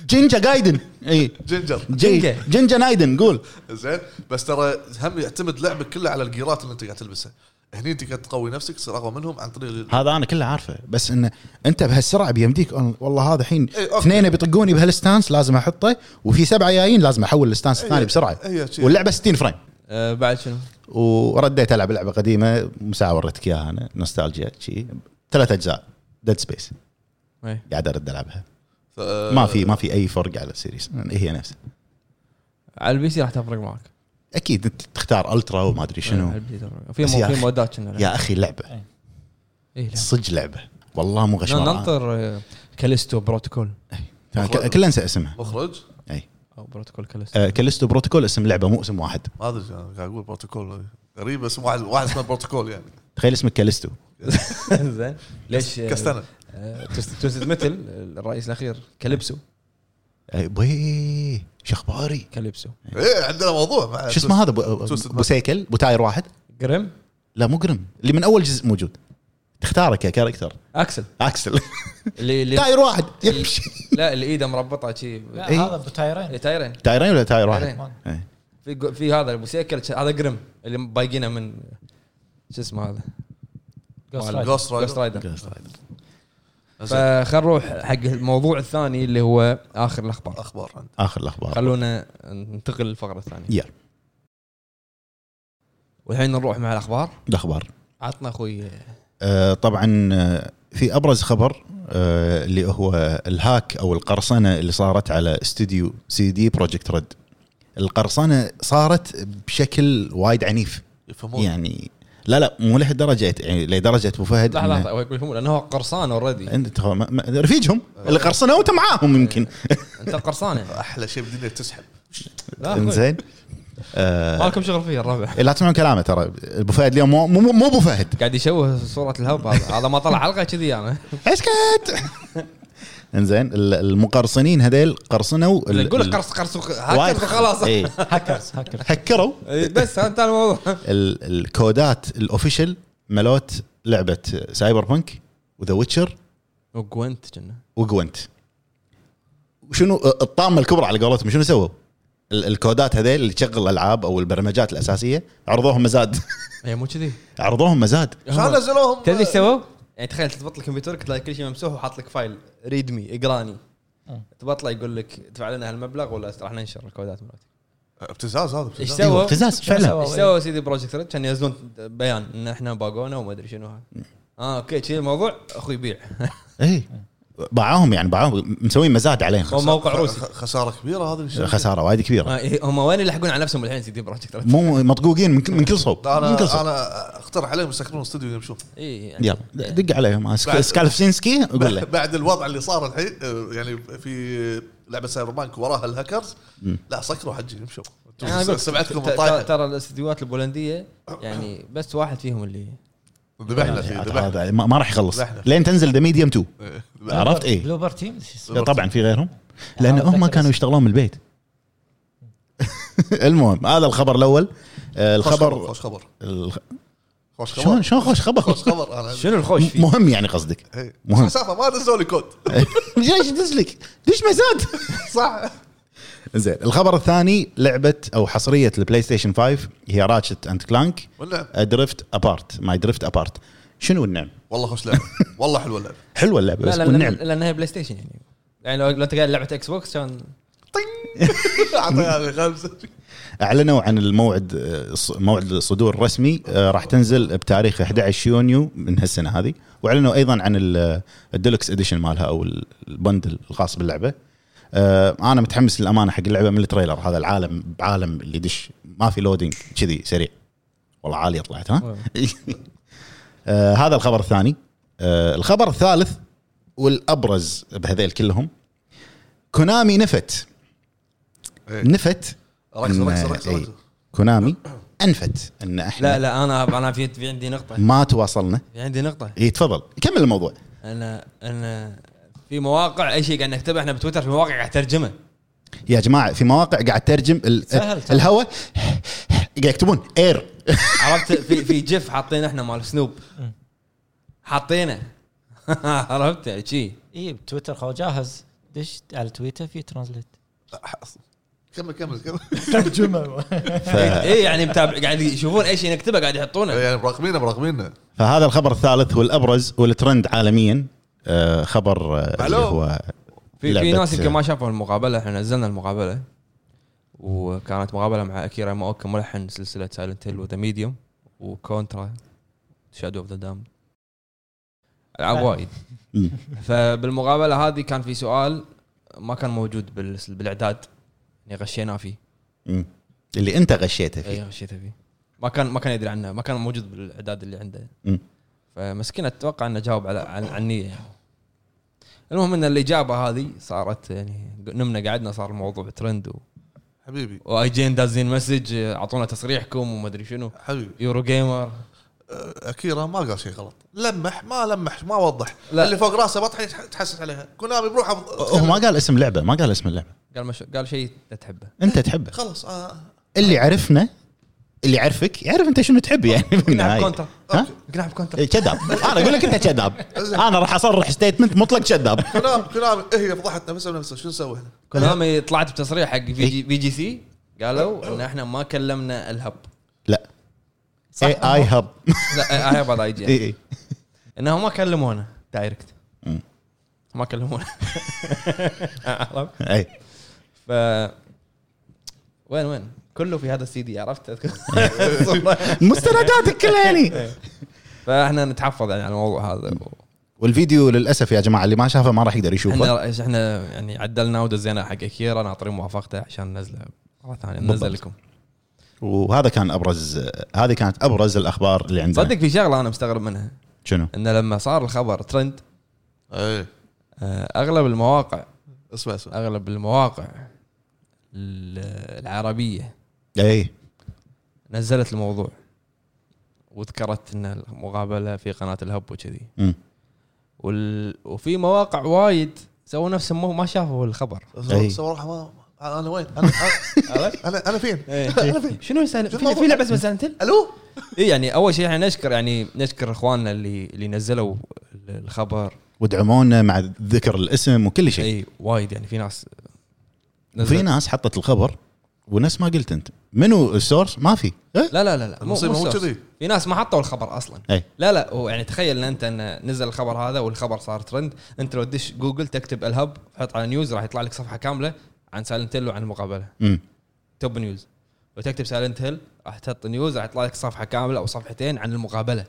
Speaker 2: جينجا جايدن اي
Speaker 3: جينجر
Speaker 2: إيه. جي-
Speaker 1: جينجا.
Speaker 2: جينجا نايدن قول
Speaker 3: زين بس ترى هم يعتمد لعبك كله على الجيرات اللي انت قاعد تلبسها هني انت قاعد تقوي نفسك تصير اقوى منهم عن طريق ال-
Speaker 2: هذا انا كله عارفه بس انه انت بهالسرعه بيمديك أنا- والله هذا الحين
Speaker 3: إي، أوكي.
Speaker 2: اثنين بيطقوني بهالستانس لازم احطه وفي سبعه جايين لازم احول الستانس الثاني
Speaker 3: هي-
Speaker 2: بسرعه
Speaker 3: هي شي.
Speaker 2: واللعبه 60 فريم آه،
Speaker 1: أه بعد شنو؟
Speaker 2: ورديت العب لعبه قديمه مساء وريتك اياها انا نوستالجيا شي ثلاث اجزاء ديد سبيس
Speaker 1: إيه.
Speaker 2: قاعد ارد العبها
Speaker 3: ف- آه،
Speaker 2: ما في ما في اي فرق على السيريس هي نفسها
Speaker 1: على البي سي راح تفرق معك
Speaker 2: اكيد انت تختار الترا وما ادري
Speaker 1: على
Speaker 2: شنو
Speaker 1: البي سي تفرق. في
Speaker 2: بس
Speaker 1: مو-
Speaker 2: يا
Speaker 1: في
Speaker 2: أخي-
Speaker 1: مودات شنو
Speaker 2: يا اخي لعبه
Speaker 1: إيه لا.
Speaker 2: صدق لعبه والله مو غشمر أنا-
Speaker 1: ننطر آه، كاليستو بروتوكول
Speaker 2: أنا ك- كله انسى اسمها
Speaker 3: مخرج
Speaker 1: او بروتوكول كاليستو
Speaker 2: آه، كاليستو بروتوكول اسم لعبه مو اسم واحد
Speaker 3: ما ادري أنا قاعد اقول بروتوكول غريب بس واحد واحد اسمه بروتوكول يعني
Speaker 2: تخيل اسمك كاليستو
Speaker 1: زين ليش آه،
Speaker 3: كستنة
Speaker 1: آه، توست- توستد متل الرئيس الاخير كاليبسو
Speaker 2: آه، بوي شو اخباري
Speaker 1: كاليبسو
Speaker 3: ايه عندنا موضوع مع
Speaker 2: شو اسمه هذا بو-
Speaker 3: توستد
Speaker 2: بو سيكل بو تاير واحد
Speaker 1: جريم
Speaker 2: لا مو قرم اللي من اول جزء موجود تختاره ككاركتر
Speaker 1: اكسل
Speaker 2: اكسل
Speaker 1: اللي اللي
Speaker 2: تاير واحد يمشي
Speaker 1: لا اللي ايده مربطه شي
Speaker 4: لا
Speaker 2: إيه.
Speaker 4: هذا بتايرين
Speaker 1: تايرين
Speaker 2: تايرين ولا تاير واحد؟
Speaker 1: تايرين.
Speaker 4: ما-
Speaker 2: إيه.
Speaker 1: في جو- في هذا ابو سيكل ش- هذا جريم اللي بايقينه من شو اسمه هذا
Speaker 4: Ghost
Speaker 1: مال-
Speaker 4: Rider.
Speaker 3: Ghost Rider.
Speaker 1: Ghost Rider.
Speaker 2: Ghost Rider.
Speaker 3: زين،
Speaker 1: فخل نروح حق الموضوع الثاني اللي هو اخر الاخبار
Speaker 3: اخبار عندنا
Speaker 2: اخر الاخبار
Speaker 1: خلونا ننتقل للفقره الثانيه
Speaker 2: آه. يلا
Speaker 1: والحين نروح مع الاخبار
Speaker 2: الاخبار
Speaker 1: عطنا اخوي
Speaker 2: آه، طبعا آه، في ابرز خبر آه، اللي هو الهاك او القرصنه اللي صارت على استوديو سي دي بروجكت ريد القرصنه صارت بشكل وايد عنيف
Speaker 3: يفهمون
Speaker 2: يعني لا لا مو لهالدرجه يعني لدرجه ابو فهد
Speaker 1: لحظه
Speaker 2: إنه-
Speaker 1: لحظه هو يقول هم لانه هو قرصان اوريدي
Speaker 2: انت هو- ما- ما- رفيجهم اللي قرصنه وانت معاهم يمكن
Speaker 1: انت قرصانه
Speaker 3: احلى شيء بالدنيا تسحب
Speaker 1: يعني. لا أخوي،
Speaker 2: انزين آه،
Speaker 1: ما لكم شغل فيه الربع
Speaker 2: لا تسمعون كلامه ترى ابو فهد اليوم مو مو مو ابو فهد
Speaker 1: قاعد يشوه صوره الهب هذا هذا ما طلع حلقه كذي انا
Speaker 2: اسكت انزين ال- المقرصنين هذيل قرصنوا ال-
Speaker 1: نقول
Speaker 2: ال-
Speaker 1: لك قرص قرص
Speaker 2: وايد
Speaker 1: هكذا خلاص
Speaker 2: إيه.
Speaker 4: هاكرز هاكرز
Speaker 2: هكروا
Speaker 1: إيه، بس انت الموضوع
Speaker 2: ال- الكودات الاوفيشل ملوت لعبه سايبر بانك وذا ويتشر
Speaker 1: وجوانت كنا
Speaker 2: وجوينت وشنو الطامه الكبرى على قولتهم شنو سووا؟ ال- الكودات هذيل اللي تشغل الالعاب او البرمجات الاساسيه عرضوهم مزاد
Speaker 1: هي مو كذي
Speaker 2: عرضوهم مزاد
Speaker 3: شلون نزلوهم
Speaker 1: تدري ايش سووا؟ يعني تخيل تضبط الكمبيوتر تلاقي كل شيء ممسوح وحاط لك فايل ريد مي اقراني
Speaker 4: مم.
Speaker 1: تبطله يقول لك ادفع لنا هالمبلغ ولا راح ننشر الكودات مالتك
Speaker 3: ابتزاز هذا
Speaker 1: ايش
Speaker 3: ابتزاز
Speaker 1: سووا؟
Speaker 2: أيوة، ابتزاز
Speaker 4: شنو
Speaker 2: فعلا
Speaker 4: سووا؟
Speaker 1: ايش سووا سيدي بروجكت ريد كان ينزلون بيان ان احنا باقونا وما ادري شنو هذا اه اوكي شي الموضوع اخوي بيع
Speaker 2: اي إيه. باعوهم يعني باعوهم مسوين مزاد عليهم
Speaker 1: هو موقع روسي
Speaker 3: خ- خساره كبيره هذه الشركة.
Speaker 2: خساره وايد كبيره
Speaker 1: ما- إيه، هم وين يلحقون على نفسهم الحين سيدي بروجكت ريد
Speaker 2: مو مطقوقين من كل- من كل صوب من كل
Speaker 3: انا
Speaker 2: صوب
Speaker 3: انا اقترح عليهم يسكرون استوديو يمشون
Speaker 1: اي يعني
Speaker 2: يلا دق عليهم
Speaker 3: بعد-
Speaker 2: سكالفسينسكي قول له
Speaker 3: بعد الوضع اللي صار الحين آه، يعني في لعبه سايبر بانك وراها الهاكرز لا سكروا حجي يمشوا
Speaker 1: أنا أقول لك،
Speaker 3: سمعتكم
Speaker 1: ت- ت-
Speaker 3: الطايحه
Speaker 1: ترى الاستديوهات البولنديه يعني بس واحد فيهم اللي
Speaker 3: ذبحنا فيه
Speaker 2: عاد
Speaker 3: ذبحنا
Speaker 2: هذا ما ما راح يخلص
Speaker 3: ذبحنا.
Speaker 2: لين تنزل ذا ميديوم 2
Speaker 3: إيه، ذبحنا.
Speaker 2: عرفت اي
Speaker 4: بلوبر تيم شو اسمه؟
Speaker 2: طبعا في غيرهم لان
Speaker 4: هذا
Speaker 2: هم
Speaker 4: ذكر
Speaker 2: كانوا
Speaker 4: اسمه.
Speaker 2: يشتغلون من البيت المهم هذا الخبر الاول آه،
Speaker 3: خوش خبر
Speaker 2: الخبر
Speaker 3: خوش خبر
Speaker 2: الخ-
Speaker 3: خوش خبر
Speaker 2: شلون شلون خوش خبر
Speaker 3: خوش خبر انا
Speaker 1: شنو الخوش فيه؟
Speaker 2: مهم يعني قصدك
Speaker 3: إيه.
Speaker 2: مهم.
Speaker 3: مسافه ما دزوا لي كود
Speaker 2: ليش دز لك دش مزاد
Speaker 3: صح
Speaker 2: زين الخبر الثاني لعبه او حصريه البلاي ستيشن 5 هي راتشت اند كلانك
Speaker 3: والنعم
Speaker 2: درفت ابارت ماي درفت ابارت شنو النعم؟
Speaker 3: والله خوش لعبه والله حلوه اللعبه
Speaker 2: حلوه اللعبه
Speaker 1: لا
Speaker 2: بس
Speaker 1: لا لأن-
Speaker 2: والنعم
Speaker 1: لانها بلاي ستيشن يعني يعني لو لو انت قاعد لعبه اكس بوكس كان
Speaker 3: اعطيها لي خمسه
Speaker 2: اعلنوا عن الموعد آه، ص- موعد الصدور الرسمي آه، راح تنزل بتاريخ 11 يونيو من هالسنه هذه واعلنوا ايضا عن ال- الديلوكس اديشن مالها او ال- البندل الخاص باللعبه آه، انا متحمس للامانه حق اللعبه من التريلر هذا العالم بعالم اللي دش ما في لودينج كذي سريع والله عاليه طلعت ها آه، هذا الخبر الثاني آه، الخبر الثالث والابرز بهذيل كلهم كونامي نفت
Speaker 3: إيه.
Speaker 2: نفت
Speaker 3: ركز
Speaker 2: إن-
Speaker 3: ركز ركز
Speaker 2: إيه.
Speaker 3: ركز
Speaker 2: كونامي انفت ان احنا
Speaker 1: لا لا انا انا في في عندي نقطه
Speaker 2: ما تواصلنا
Speaker 1: في عندي نقطه
Speaker 2: اي تفضل كمل الموضوع
Speaker 1: انا انا في مواقع اي شيء قاعد نكتبه احنا بتويتر في مواقع قاعد ترجمه
Speaker 2: يا جماعه في مواقع قاعد ترجم ال-
Speaker 4: سهل، سهل.
Speaker 2: الهواء قاعد يكتبون اير
Speaker 1: عرفت في في جيف حاطين احنا مال سنوب حاطينه عرفت يعني شي
Speaker 4: اي بتويتر خو إيه، جاهز دش على تويتر في ترانزليت
Speaker 3: كمل كمل كمل
Speaker 4: ترجمه
Speaker 1: اي يعني متابع قاعد يشوفون اي شيء نكتبه قاعد يحطونه
Speaker 3: يعني مراقبينه مراقبينه
Speaker 2: فهذا الخبر الثالث والابرز والترند عالميا آه، خبر آه، اللي
Speaker 3: معلوم.
Speaker 2: هو
Speaker 1: في في
Speaker 2: لعبة-
Speaker 1: ناس يمكن ما شافوا المقابله احنا نزلنا المقابله وكانت مقابله مع اكيرا ماوكا ملحن سلسله سايلنت هيل وذا ميديوم وكونترا شادو اوف ذا دام العاب
Speaker 4: نعم.
Speaker 1: وايد
Speaker 2: مم.
Speaker 1: فبالمقابله هذه كان في سؤال ما كان موجود بال- بالاعداد يعني غشيناه فيه
Speaker 2: مم. اللي انت غشيته
Speaker 1: اي
Speaker 4: أيوه.
Speaker 2: فيه
Speaker 1: غشيته فيه ما كان ما كان يدري عنه ما كان موجود بالاعداد اللي عنده
Speaker 2: مم.
Speaker 1: فمسكين اتوقع انه جاوب على عن عني يعني المهم ان الاجابه هذه صارت يعني نمنا قعدنا صار الموضوع ترند و...
Speaker 3: حبيبي
Speaker 1: واي جين دازين مسج اعطونا تصريحكم وما ادري شنو
Speaker 3: حبيبي
Speaker 1: يورو جيمر
Speaker 3: آه، اكيرا ما قال شيء غلط لمح ما لمح ما وضح
Speaker 1: لا.
Speaker 3: اللي فوق راسه ما تح- تحسس عليها كونامي بروحه
Speaker 2: هو ما قال اسم لعبه ما قال اسم اللعبه
Speaker 1: قال مش... قال شيء لا تحبه
Speaker 2: انت تحبه
Speaker 3: خلص آه.
Speaker 2: اللي عرفنا اللي يعرفك يعرف انت شنو تحب يعني
Speaker 1: نلعب نعم،
Speaker 2: بالنهايه
Speaker 1: كونتر
Speaker 2: ها؟
Speaker 1: نلعب كونتر
Speaker 2: إيه، كذاب انا اقول لك انت كذاب انا راح اصرح ستيتمنت مطلق كذاب
Speaker 3: كونامي كونامي إيه، هي فضحت نفسها بنفسها شو نسوي احنا؟
Speaker 1: كونامي طلعت بتصريح حق في
Speaker 2: إيه.
Speaker 1: جي, في جي سي قالوا ان احنا ما كلمنا الهب
Speaker 2: لا إيه، اي اي هب
Speaker 1: لا آه، اي بعد اي
Speaker 2: اي
Speaker 1: جي
Speaker 2: اي
Speaker 1: انهم ما كلمونا دايركت
Speaker 2: مم.
Speaker 1: ما كلمونا عرفت؟
Speaker 2: اي
Speaker 1: ف وين وين كله في هذا السي دي عرفت أذكر.
Speaker 2: مستنداتك كلها هني
Speaker 1: إيه. فاحنا نتحفظ يعني على الموضوع هذا و-
Speaker 2: والفيديو للاسف يا جماعه اللي ما شافه ما راح يقدر يشوفه
Speaker 1: احنا احنا يعني عدلناه ودزيناه حق اكيرا ناطرين موافقته عشان ننزله مره ثانيه
Speaker 2: بالضبط.
Speaker 1: ننزل لكم
Speaker 2: وهذا كان ابرز هذه كانت ابرز الاخبار اللي عندنا
Speaker 1: صدق في شغله انا مستغرب منها
Speaker 2: شنو؟
Speaker 1: انه لما صار الخبر ترند
Speaker 3: ايه
Speaker 1: آه، اغلب المواقع
Speaker 3: اسمع اسمع
Speaker 1: اغلب المواقع ال- العربيه
Speaker 2: اي
Speaker 1: نزلت الموضوع وذكرت ان المقابله في قناه الهب وكذي
Speaker 2: أمم.
Speaker 1: وال... وفي مواقع وايد سووا نفسهم ما- ما شافوا الخبر
Speaker 2: إيه.
Speaker 3: سوى روحه ما انا وين؟ انا أنا- انا انا فين؟
Speaker 1: إيه.
Speaker 3: انا فين؟
Speaker 1: شنو يسأل
Speaker 3: شو
Speaker 1: في
Speaker 3: الموضوع؟
Speaker 1: في لعبه اسمها سالنت هيل؟
Speaker 3: الو؟
Speaker 1: اي يعني اول شيء احنا نشكر يعني نشكر اخواننا اللي اللي نزلوا الخبر
Speaker 2: ودعمونا مع ذكر الاسم وكل شيء
Speaker 1: اي وايد يعني في ناس
Speaker 2: في ناس حطت الخبر ونفس ما قلت انت منو السورس ما في إيه؟
Speaker 1: لا لا لا لا مو
Speaker 3: المصيبة مو
Speaker 1: مو
Speaker 3: كذي.
Speaker 1: كذي في ناس ما حطوا الخبر اصلا
Speaker 2: اي
Speaker 1: لا لا هو يعني تخيل ان انت ان نزل الخبر هذا والخبر صار ترند انت لو تدش جوجل تكتب الهب حط على نيوز راح يطلع لك صفحه كامله عن سايلنت هيل وعن المقابله
Speaker 2: أمم.
Speaker 1: توب نيوز وتكتب سايلنت هيل راح تحط نيوز راح يطلع لك صفحه كامله او صفحتين عن المقابله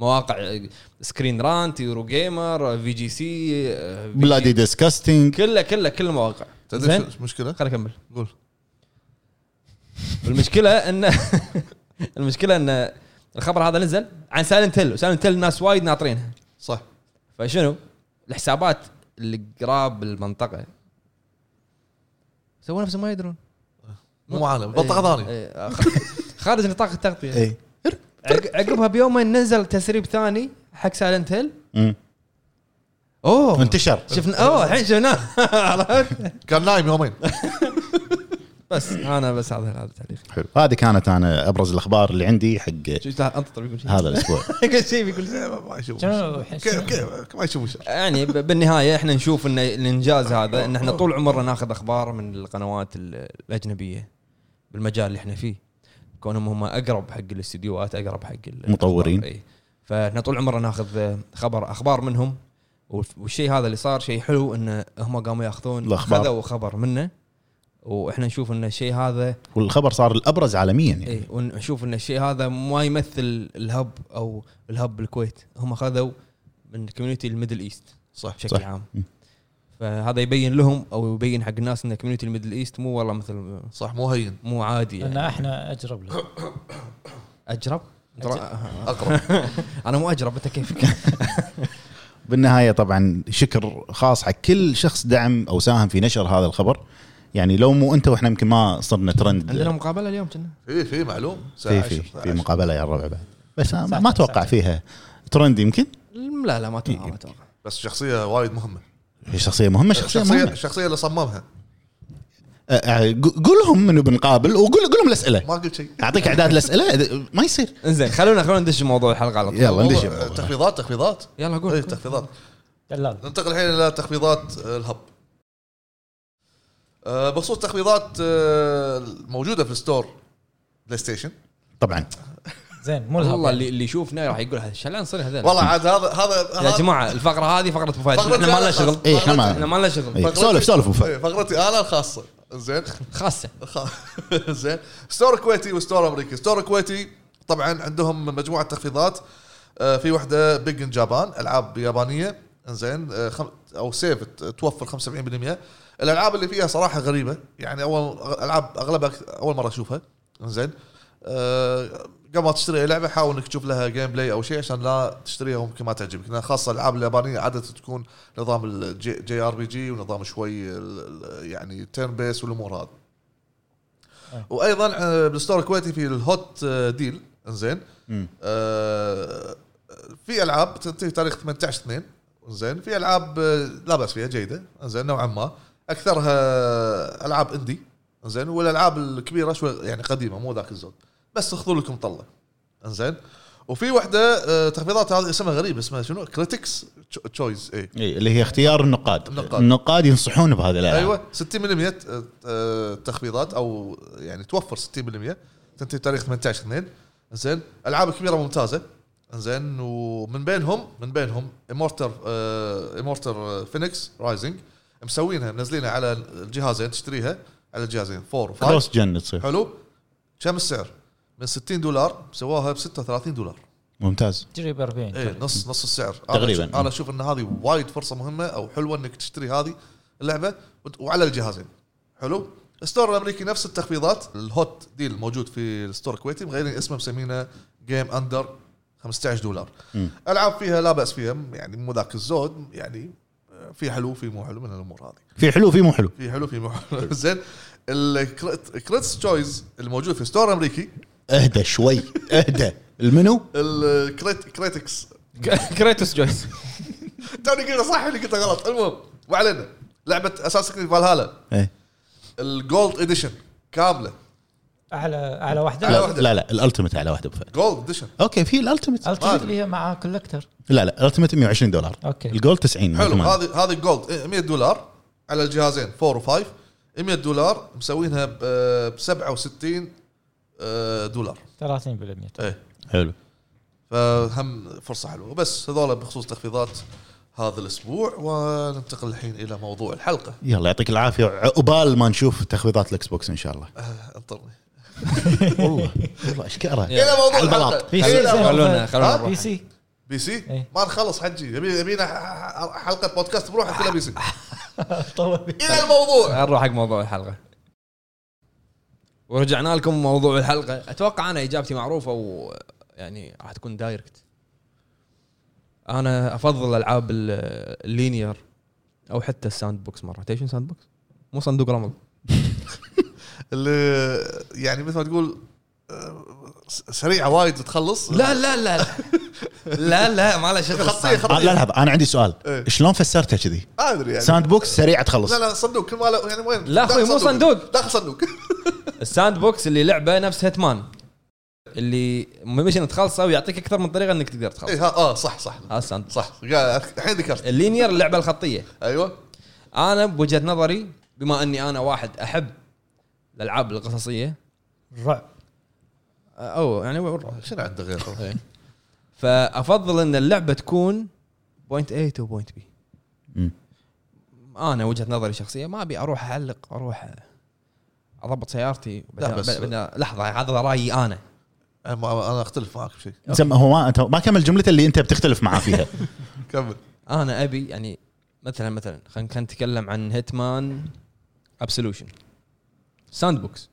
Speaker 1: مواقع سكرين رانت يورو جيمر في جي سي آه، في
Speaker 2: بلادي
Speaker 1: جي-
Speaker 2: ديسكاستنج
Speaker 1: كله كله كل المواقع
Speaker 3: تدري
Speaker 1: زين
Speaker 3: شو المشكله؟
Speaker 1: خليني اكمل
Speaker 3: قول
Speaker 1: المشكله ان المشكله ان الخبر هذا نزل عن سايلنت هيل وسايلنت هيل الناس وايد ناطرينها
Speaker 3: صح
Speaker 1: فشنو؟ الحسابات اللي قراب المنطقه سووا نفسهم ما يدرون
Speaker 3: مو معانا بطل غضاني
Speaker 1: إيه، خ- خارج نطاق إيه. التغطيه
Speaker 2: اي
Speaker 1: عق- عقبها بيومين نزل تسريب ثاني حق سايلنت هيل
Speaker 2: أمم.
Speaker 1: اوه
Speaker 2: انتشر
Speaker 1: شفنا اوه الحين شفناه عرفت؟ إيه،
Speaker 3: كان نايم يومين
Speaker 1: بس انا بس هذا هذا تعليقي
Speaker 2: حلو هذه كانت انا ابرز الاخبار اللي عندي حق
Speaker 1: شو- لا، انت طبيب يقول شيء
Speaker 2: هذا الاسبوع
Speaker 1: كل شيء بيقول شيء.
Speaker 3: ما يشوف
Speaker 4: شنو حس-
Speaker 3: كيف كيف ما يشوف وش-
Speaker 1: يعني ب- بالنهايه احنا نشوف ان الانجاز هذا ان احنا طول عمرنا ناخذ اخبار من القنوات ال- الاجنبيه بالمجال اللي احنا فيه كونهم هم اقرب حق الاستديوهات اقرب حق ال-
Speaker 2: مطورين.
Speaker 1: الأخبار، إي. فاحنا طول عمرنا ناخذ خبر اخبار منهم والف- والشيء هذا اللي صار شيء حلو ان هم قاموا ياخذون
Speaker 2: الأخبار.
Speaker 1: خذوا خبر منه واحنا نشوف ان الشيء هذا
Speaker 2: والخبر صار الابرز عالميا يعني
Speaker 1: اي ونشوف ان الشيء هذا ما يمثل الهب او الهب بالكويت هم خذوا من كوميونتي الميدل ايست
Speaker 3: صح
Speaker 1: بشكل
Speaker 2: صح.
Speaker 1: صح. عام
Speaker 2: م.
Speaker 1: فهذا يبين لهم او يبين حق الناس ان كوميونتي الميدل ايست مو والله مثل
Speaker 3: صح مو هين
Speaker 1: مو عادي
Speaker 4: لان
Speaker 1: يعني
Speaker 4: احنا اجرب له
Speaker 1: اجرب ترى-
Speaker 3: اقرب
Speaker 1: انا مو اجرب انت كيفك
Speaker 2: بالنهايه طبعا شكر خاص حق كل شخص دعم او ساهم في نشر هذا الخبر يعني لو مو انت واحنا يمكن ما صرنا ترند
Speaker 1: عندنا مقابله اليوم كنا
Speaker 3: في في معلوم ساعة
Speaker 2: في في
Speaker 3: 10.
Speaker 2: في مقابله يا الربع بعد بس ما- ما
Speaker 4: ساعتين-
Speaker 2: اتوقع
Speaker 4: ساعتين.
Speaker 2: فيها ترند يمكن
Speaker 1: لا لا ما اتوقع ما اتوقع
Speaker 3: بس شخصيه وايد مهمه
Speaker 2: هي شخصيه مهمه شخصيه
Speaker 3: الشخصيه
Speaker 2: مهمه
Speaker 3: الشخصيه اللي صممها
Speaker 2: أه، أه، قو- قول لهم منو بنقابل وقول قول لهم الاسئله
Speaker 3: ما قلت شيء
Speaker 2: اعطيك اعداد الاسئله إذا- ما يصير
Speaker 1: انزين خلونا خلونا ندش موضوع الحلقه على طول
Speaker 2: يلا. والله ليش؟
Speaker 3: والله، تخفيضات تخفيضات
Speaker 1: يلا
Speaker 3: اي
Speaker 1: قول
Speaker 3: تخفيضات
Speaker 4: دلال
Speaker 3: ننتقل الحين الى تخفيضات آه، الهب آه، بخصوص تخفيضات آه، موجوده في الستور بلاي ستيشن
Speaker 2: طبعا
Speaker 4: زين مو الهب
Speaker 1: والله
Speaker 4: يعني.
Speaker 1: اللي اللي يشوفنا راح يقول هذا شلان صار هذول
Speaker 3: والله عاد هذا هذا
Speaker 1: يا
Speaker 3: هذا-
Speaker 1: جماعه الفقره هذه فقره ابو فهد
Speaker 3: فقرة
Speaker 1: احنا ما لنا
Speaker 3: أنا
Speaker 1: شغل
Speaker 3: خاصة.
Speaker 2: اي احنا
Speaker 1: احنا
Speaker 2: ما
Speaker 1: ما لنا شغل
Speaker 2: إيه، سولف سولف أبو فهد.
Speaker 3: إيه، فقرتي انا الخاصه زين
Speaker 1: خاصه
Speaker 3: خ- زين ستور كويتي وستور امريكي ستور كويتي طبعا عندهم مجموعه تخفيضات آه، في واحده بيج ان جابان العاب يابانيه زين آه، خم- او سيف ت- توفر 75% الالعاب اللي فيها صراحه غريبه يعني اول أغ- العاب اغلبها ك- اول مره اشوفها زين آه، قبل ما تشتري أي لعبه حاول انك تشوف لها جيم بلاي او شيء عشان لا تشتريها وممكن ما تعجبك لأن خاصه الالعاب اليابانيه عاده تكون نظام الجي جي ار بي جي ونظام شوي ال- ال- يعني تيرن بيس والامور هذه وايضا آه، بالستور الكويتي في الهوت آه، ديل انزين
Speaker 2: مم.
Speaker 3: آه، في العاب تنتهي تاريخ 18 2 زين في العاب آه، لا باس فيها جيده زين نوعا ما آه، اكثرها العاب اندي زين والالعاب الكبيره شوي يعني قديمه مو ذاك الزود بس خذوا لكم طله انزين وفي واحده آه، تخفيضات هذه اسمها غريب اسمها شنو كريتكس تشويز اي
Speaker 2: إيه، اللي هي اختيار النقاد
Speaker 3: النقاد.
Speaker 2: النقاد ينصحون بهذه الالعاب
Speaker 3: ايوه 60% آه، آه، تخفيضات او يعني توفر 60% تنتهي بتاريخ 18 2 زين العاب كبيره ممتازه زين ومن بينهم من بينهم آه، امورتر امورتر فينيكس رايزنج مسوينها منزلينها على الجهازين تشتريها على الجهازين 4 و5
Speaker 2: كروس جن تصير
Speaker 3: حلو كم السعر؟ من 60 دولار سواها ب 36 دولار
Speaker 2: ممتاز
Speaker 4: تجري ب 40
Speaker 3: ايه نص نص السعر
Speaker 2: تقريباً.
Speaker 3: انا اشوف ان هذه وايد فرصه مهمه او حلوه انك تشتري هذه اللعبه وت- وعلى الجهازين حلو الستور الامريكي نفس التخفيضات الهوت ديل موجود في الستور الكويتي مغيرين اسمه مسمينه جيم اندر 15 دولار
Speaker 2: مم.
Speaker 3: العاب فيها لا باس فيها يعني مو ذاك الزود يعني آه، في حلو في مو حلو من الامور هذه
Speaker 2: في حلو في مو حلو
Speaker 3: في حلو في مو حلو زين الكريتس تشويز الموجود في ستور امريكي
Speaker 2: اهدى شوي اهدى المنو
Speaker 3: الكريت كريتكس
Speaker 1: كريتوس جويس
Speaker 3: توني قلت صح اللي قلته غلط المهم ما علينا لعبه اساس كريد فالهالا
Speaker 2: إيه.
Speaker 3: الجولد اديشن كامله
Speaker 4: اعلى اعلى
Speaker 3: أعلى
Speaker 4: واحده
Speaker 3: واحدة.
Speaker 2: لا لا, لا الالتيميت على واحده بفعل
Speaker 3: جولد اديشن
Speaker 2: اوكي في الالتيميت
Speaker 4: التمت فيها مع كولكتر
Speaker 2: لا لا الالتيميت 120 دولار
Speaker 4: أوكي.
Speaker 2: الجولد 90
Speaker 3: حلو
Speaker 2: مثل ما-
Speaker 3: هذه هذه جولد 100 دولار على الجهازين 4 و5 100 دولار مسوينها ب 67 آه، دولار
Speaker 4: 30%
Speaker 3: ايه
Speaker 2: حلو
Speaker 3: فهم فرصه حلوه بس هذول بخصوص تخفيضات هذا الاسبوع وننتقل الحين الى موضوع الحلقه
Speaker 2: يلا يعطيك العافيه عقبال ما نشوف تخفيضات الاكس بوكس ان شاء الله
Speaker 3: آه، انطرني
Speaker 2: والله والله اشكاره
Speaker 3: الى موضوع
Speaker 2: على البلاط.
Speaker 3: الحلقه
Speaker 4: بي
Speaker 3: إلى
Speaker 4: سي
Speaker 3: موضوع-
Speaker 1: خلونا- خلونا
Speaker 4: بي سي
Speaker 3: بي سي
Speaker 4: إيه.
Speaker 3: ما نخلص حجي يبي يبينا ح- ح- حلقه بودكاست بروحها كلها بي سي
Speaker 4: طول
Speaker 3: الى الموضوع
Speaker 1: نروح حق موضوع الحلقه ورجعنا لكم موضوع الحلقه اتوقع انا اجابتي معروفه و يعني راح تكون دايركت انا افضل العاب ال- اللينير او حتى الساند بوكس مره تدري شنو ساند بوكس مو صندوق رمل
Speaker 3: اللي يعني مثل ما تقول آه، س- سريعه وايد تخلص
Speaker 1: لا لا لا لا لا ما له شغل
Speaker 3: خطيه
Speaker 2: آه،
Speaker 3: خطيه
Speaker 2: لحظه انا عندي سؤال
Speaker 3: إيه.
Speaker 2: شلون فسرتها كذي؟
Speaker 3: ما ادري يعني
Speaker 2: ساند بوكس سريع تخلص
Speaker 3: لا لا صندوق كل ماله يعني وين
Speaker 1: لا أخوي،
Speaker 3: داخل
Speaker 1: مو صندوق.
Speaker 3: داخل صندوق
Speaker 1: الساند بوكس اللي لعبه نفس هيتمان اللي ميشن تخلصه ويعطيك اكثر من طريقه انك تقدر تخلص
Speaker 3: اي ها اه صح صح
Speaker 1: هذا الساند بوكس.
Speaker 3: صح قاعد- الحين ذكرت
Speaker 1: اللينير اللعبه الخطيه
Speaker 3: ايوه
Speaker 1: انا بوجهه نظري بما اني انا واحد احب الالعاب القصصيه
Speaker 4: الرعب
Speaker 1: او يعني والرعب.
Speaker 3: شنو عنده غير
Speaker 1: إيه. فافضل ان اللعبه تكون بوينت A تو بوينت بي
Speaker 2: مم.
Speaker 1: انا وجهه نظري شخصيه ما ابي اروح اعلق اروح اضبط سيارتي
Speaker 3: لا، بس-
Speaker 1: بعدين- لحظه هذا رايي انا
Speaker 3: أما- انا اختلف معك بشيء
Speaker 2: زم- هو ما أنت- ما كمل جملته اللي انت بتختلف معاه فيها
Speaker 3: كمل
Speaker 1: انا ابي يعني مثلا مثلا خلينا نتكلم عن هيتمان ابسولوشن ساند بوكس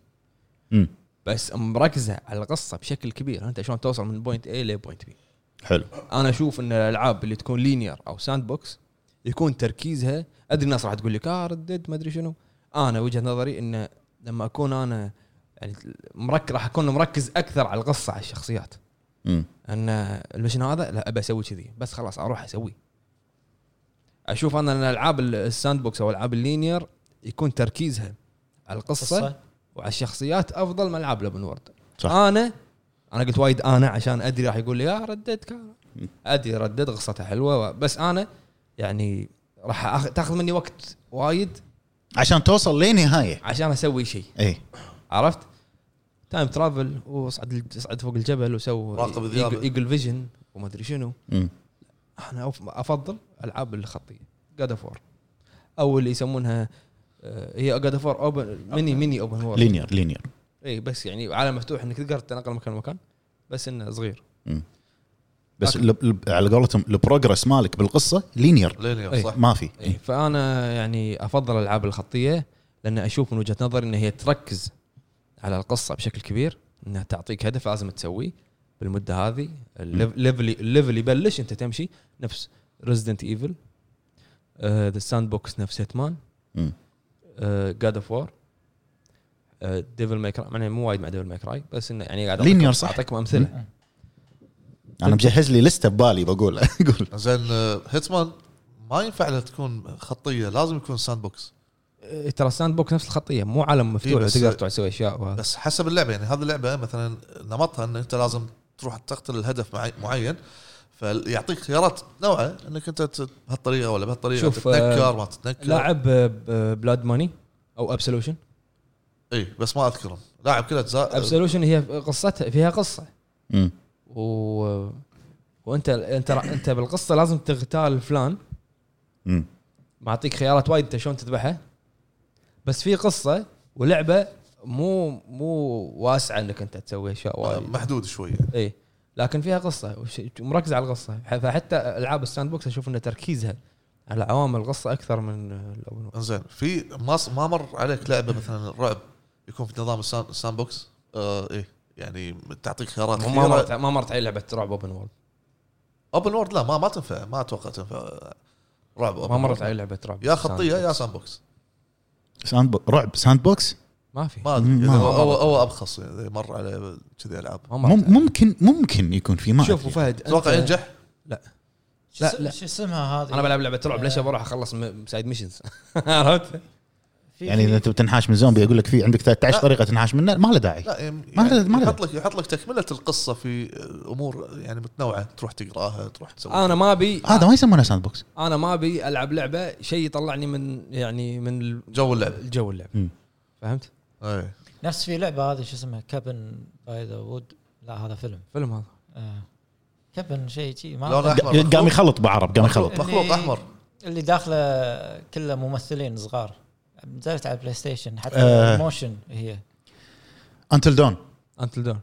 Speaker 2: مم.
Speaker 1: بس مركزه على القصه بشكل كبير انت شلون توصل من بوينت A لبوينت بي
Speaker 2: حلو
Speaker 1: انا اشوف ان الالعاب اللي تكون لينير او ساند بوكس يكون تركيزها ادري الناس راح تقول لك اه ردد ما ادري شنو انا وجهه نظري انه لما اكون انا يعني مركز راح اكون مركز اكثر على القصه على الشخصيات
Speaker 2: مم.
Speaker 1: ان المشن هذا لا ابى اسوي كذي بس خلاص اروح اسوي اشوف انا ان الالعاب ال- الساند بوكس او العاب اللينير يكون تركيزها على القصه
Speaker 4: قصة.
Speaker 1: وعلى الشخصيات افضل من العاب الأوبن وورد
Speaker 2: صح.
Speaker 1: انا انا قلت وايد انا عشان ادري راح يقول لي يا رددت كا- ادري ردد قصتها حلوه و- بس انا يعني راح أخ- تاخذ مني وقت وايد
Speaker 2: عشان توصل إيه. لنهايه
Speaker 1: عشان اسوي شيء
Speaker 2: اي
Speaker 1: عرفت؟ تايم ترافل واصعد اصعد فوق الجبل وسو
Speaker 3: راقب الذئاب.
Speaker 1: ايجل فيجن وما ادري شنو
Speaker 2: مم.
Speaker 1: انا أف- افضل العاب الخطيه جاد اوف وور او اللي يسمونها آه، هي جاد اوف وور اوبن ميني ميني اوبن وور
Speaker 2: لينير لينير
Speaker 1: اي بس يعني عالم مفتوح انك تقدر تتنقل مكان لمكان بس انه صغير
Speaker 2: بس ال- ال- على قولتهم البروجرس مالك بالقصه لينير
Speaker 3: لينير
Speaker 1: إيه.
Speaker 3: صح
Speaker 2: ما في
Speaker 1: إيه. فانا يعني افضل الالعاب الخطيه لان اشوف من وجهه نظري ان هي تركز على القصه بشكل كبير انها تعطيك هدف لازم تسويه بالمده هذه الليف- الليفل الليفل يبلش انت تمشي نفس ريزدنت ايفل ذا ساند بوكس نفس آه، هيتمان
Speaker 2: مم.
Speaker 1: جاد اوف وور ديفل ماي كراي يعني مو وايد مع ديفل ماي كراي بس انه يعني قاعد
Speaker 2: Linear
Speaker 1: أعطيكم-
Speaker 2: صح.
Speaker 1: اعطيكم امثله
Speaker 2: انا مجهز لي لسته ببالي بقول قول
Speaker 3: زين آه، هيتمان ما ينفع لها تكون خطيه لازم يكون ساند بوكس
Speaker 1: آه، ترى الساند بوكس نفس الخطيه مو عالم مفتوح
Speaker 3: بس-
Speaker 1: تقدر تسوي اشياء وهذا.
Speaker 3: بس حسب اللعبه يعني هذه اللعبه مثلا نمطها ان انت لازم تروح تقتل الهدف معي- معين فيعطيك خيارات نوعه انك انت ت- بهالطريقه ولا بهالطريقه
Speaker 1: شوف،
Speaker 3: تتنكر
Speaker 1: آه،
Speaker 3: ما تتنكر
Speaker 1: لاعب بلاد ماني او ابسولوشن
Speaker 3: اي بس ما اذكرهم لاعب كل اجزاء
Speaker 1: ابسولوشن هي قصتها فيها قصه
Speaker 2: مم.
Speaker 1: و وانت انت انت بالقصه لازم تغتال فلان
Speaker 2: مم.
Speaker 1: معطيك خيارات وايد انت شلون تذبحه بس في قصه ولعبه مو مو واسعه انك انت تسوي اشياء
Speaker 3: آه،
Speaker 1: وايد
Speaker 3: محدود شويه
Speaker 1: اي لكن فيها قصه وش- مركزه على القصه ح- فحتى العاب الساند بوكس اشوف ان تركيزها على عوامل القصه اكثر من الاوبن وورلد.
Speaker 3: زين في ما ص- ما مر عليك لعبه مثلا رعب يكون في نظام السان- الساند بوكس آه ايه يعني تعطيك خيارات
Speaker 1: ما مرت
Speaker 3: كثيره
Speaker 1: ما مرت علي لعبه رعب اوبن وورلد
Speaker 3: اوبن وورد لا ما ما تنفع ما اتوقع تنفع آه، رعب
Speaker 1: ما
Speaker 3: open
Speaker 1: مرت
Speaker 3: world.
Speaker 1: علي لعبه رعب
Speaker 3: يا خطيه
Speaker 1: ساند بوكس.
Speaker 3: يا ساند بوكس
Speaker 2: ساند بو... رعب ساند بوكس
Speaker 1: ما في
Speaker 3: ما ادري
Speaker 2: ما-
Speaker 3: يعني
Speaker 2: ما-
Speaker 3: هو هو هو ابخص يعني مر على كذي العاب
Speaker 1: ما مرت
Speaker 2: مم... ممكن ممكن يكون في ما
Speaker 1: شوف
Speaker 2: أدري.
Speaker 1: أبو فهد آه،
Speaker 3: اتوقع
Speaker 1: أنت-
Speaker 3: ينجح
Speaker 4: شو
Speaker 1: لا،
Speaker 4: اسم-
Speaker 1: لا.
Speaker 4: شو اسمها هذه
Speaker 1: انا بلعب لعبه رعب ليش بروح اخلص م- سايد ميشنز عرفت؟
Speaker 4: في-
Speaker 2: يعني اذا
Speaker 4: في-
Speaker 2: انت بتنحاش من زومبي اقول لك في عندك 13
Speaker 3: لا.
Speaker 2: طريقه تنحاش منه ما له داعي
Speaker 3: لا يعني
Speaker 2: ما له- ما له.
Speaker 3: يحط لك يحط لك تكمله القصه في امور يعني متنوعه تروح تقراها تروح تسوي
Speaker 1: انا ما ابي
Speaker 2: هذا ما يسمونه ساند بوكس
Speaker 1: انا ما ابي العب لعبه شيء يطلعني من يعني من ال-
Speaker 3: جو اللعبه
Speaker 1: الجو اللعبه
Speaker 2: مم.
Speaker 1: فهمت؟
Speaker 3: ايه
Speaker 4: نفس في لعبه هذه شو اسمها كابن باي ذا وود لا هذا فيلم
Speaker 1: فيلم هذا
Speaker 4: آه. كابن شيء شيء ما
Speaker 3: لون
Speaker 4: أدري.
Speaker 3: أحمر. مخلوط.
Speaker 2: قام يخلط بعرب قام يخلط
Speaker 4: مخلوط.
Speaker 3: مخلوق
Speaker 4: اللي-
Speaker 3: احمر
Speaker 4: اللي داخله كله ممثلين صغار نزلت على البلاي ستيشن حتى
Speaker 2: آه.
Speaker 4: موشن هي
Speaker 2: انتل دون
Speaker 1: انتل دون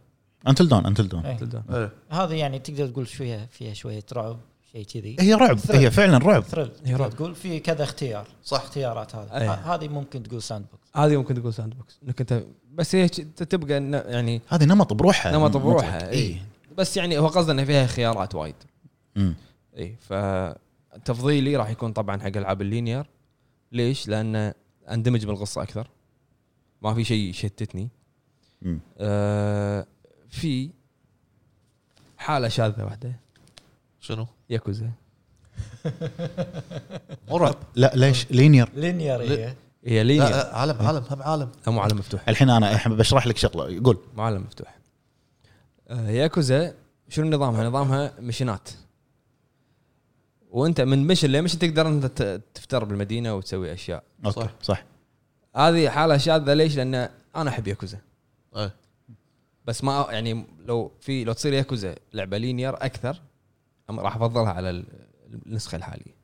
Speaker 2: انتل دون انتل دون
Speaker 4: إيه.
Speaker 1: انتل دون
Speaker 3: ايه
Speaker 4: هذه يعني تقدر تقول شويه فيها شويه رعب شيء كذي
Speaker 2: هي رعب
Speaker 4: ثريل.
Speaker 2: إيه. هي فعلا رعب
Speaker 4: ثريل
Speaker 1: هي رعب.
Speaker 4: تقدر تقول في كذا اختيار
Speaker 3: صح
Speaker 4: اختيارات هذه
Speaker 1: أيه.
Speaker 4: ه- هذه ممكن تقول ساند بوكس
Speaker 1: هذه ممكن تقول ساند بوكس انك انت بس هي ش- تبقى إنه يعني
Speaker 2: هذه نمط بروحها
Speaker 1: نمط
Speaker 2: مطلق.
Speaker 1: بروحها
Speaker 2: اي
Speaker 1: اي بس يعني هو قصده ان فيها خيارات وايد
Speaker 2: إيه. مم.
Speaker 1: اي فتفضيلي راح يكون طبعا حق العاب اللينير ليش؟ لان اندمج بالقصه اكثر ما في شيء يشتتني
Speaker 2: مم.
Speaker 1: آه في حاله شاذه واحده
Speaker 3: شنو؟
Speaker 1: ياكوزا
Speaker 3: مو رعب
Speaker 2: لا ليش لينير
Speaker 4: لينير هي
Speaker 1: هي
Speaker 2: إيه.
Speaker 3: لا،
Speaker 1: لينير
Speaker 3: لا عالم عالم هم عالم
Speaker 1: لا مو عالم مفتوح
Speaker 2: الحين انا أحب بشرح لك شغله قول
Speaker 1: مو عالم مفتوح آه، ياكوزا شنو نظامها؟ نظامها مشنات وانت من مشن لمشن تقدر انت ت- تفتر بالمدينه وتسوي اشياء
Speaker 2: اوكي صح,
Speaker 3: صح.
Speaker 2: صح.
Speaker 1: هذه حاله شاذه ليش؟ لان انا احب ياكوزا
Speaker 3: إيه.
Speaker 1: بس ما يعني لو في لو تصير ياكوزا لعبه لينير اكثر أم- راح افضلها على ال- النسخه الحاليه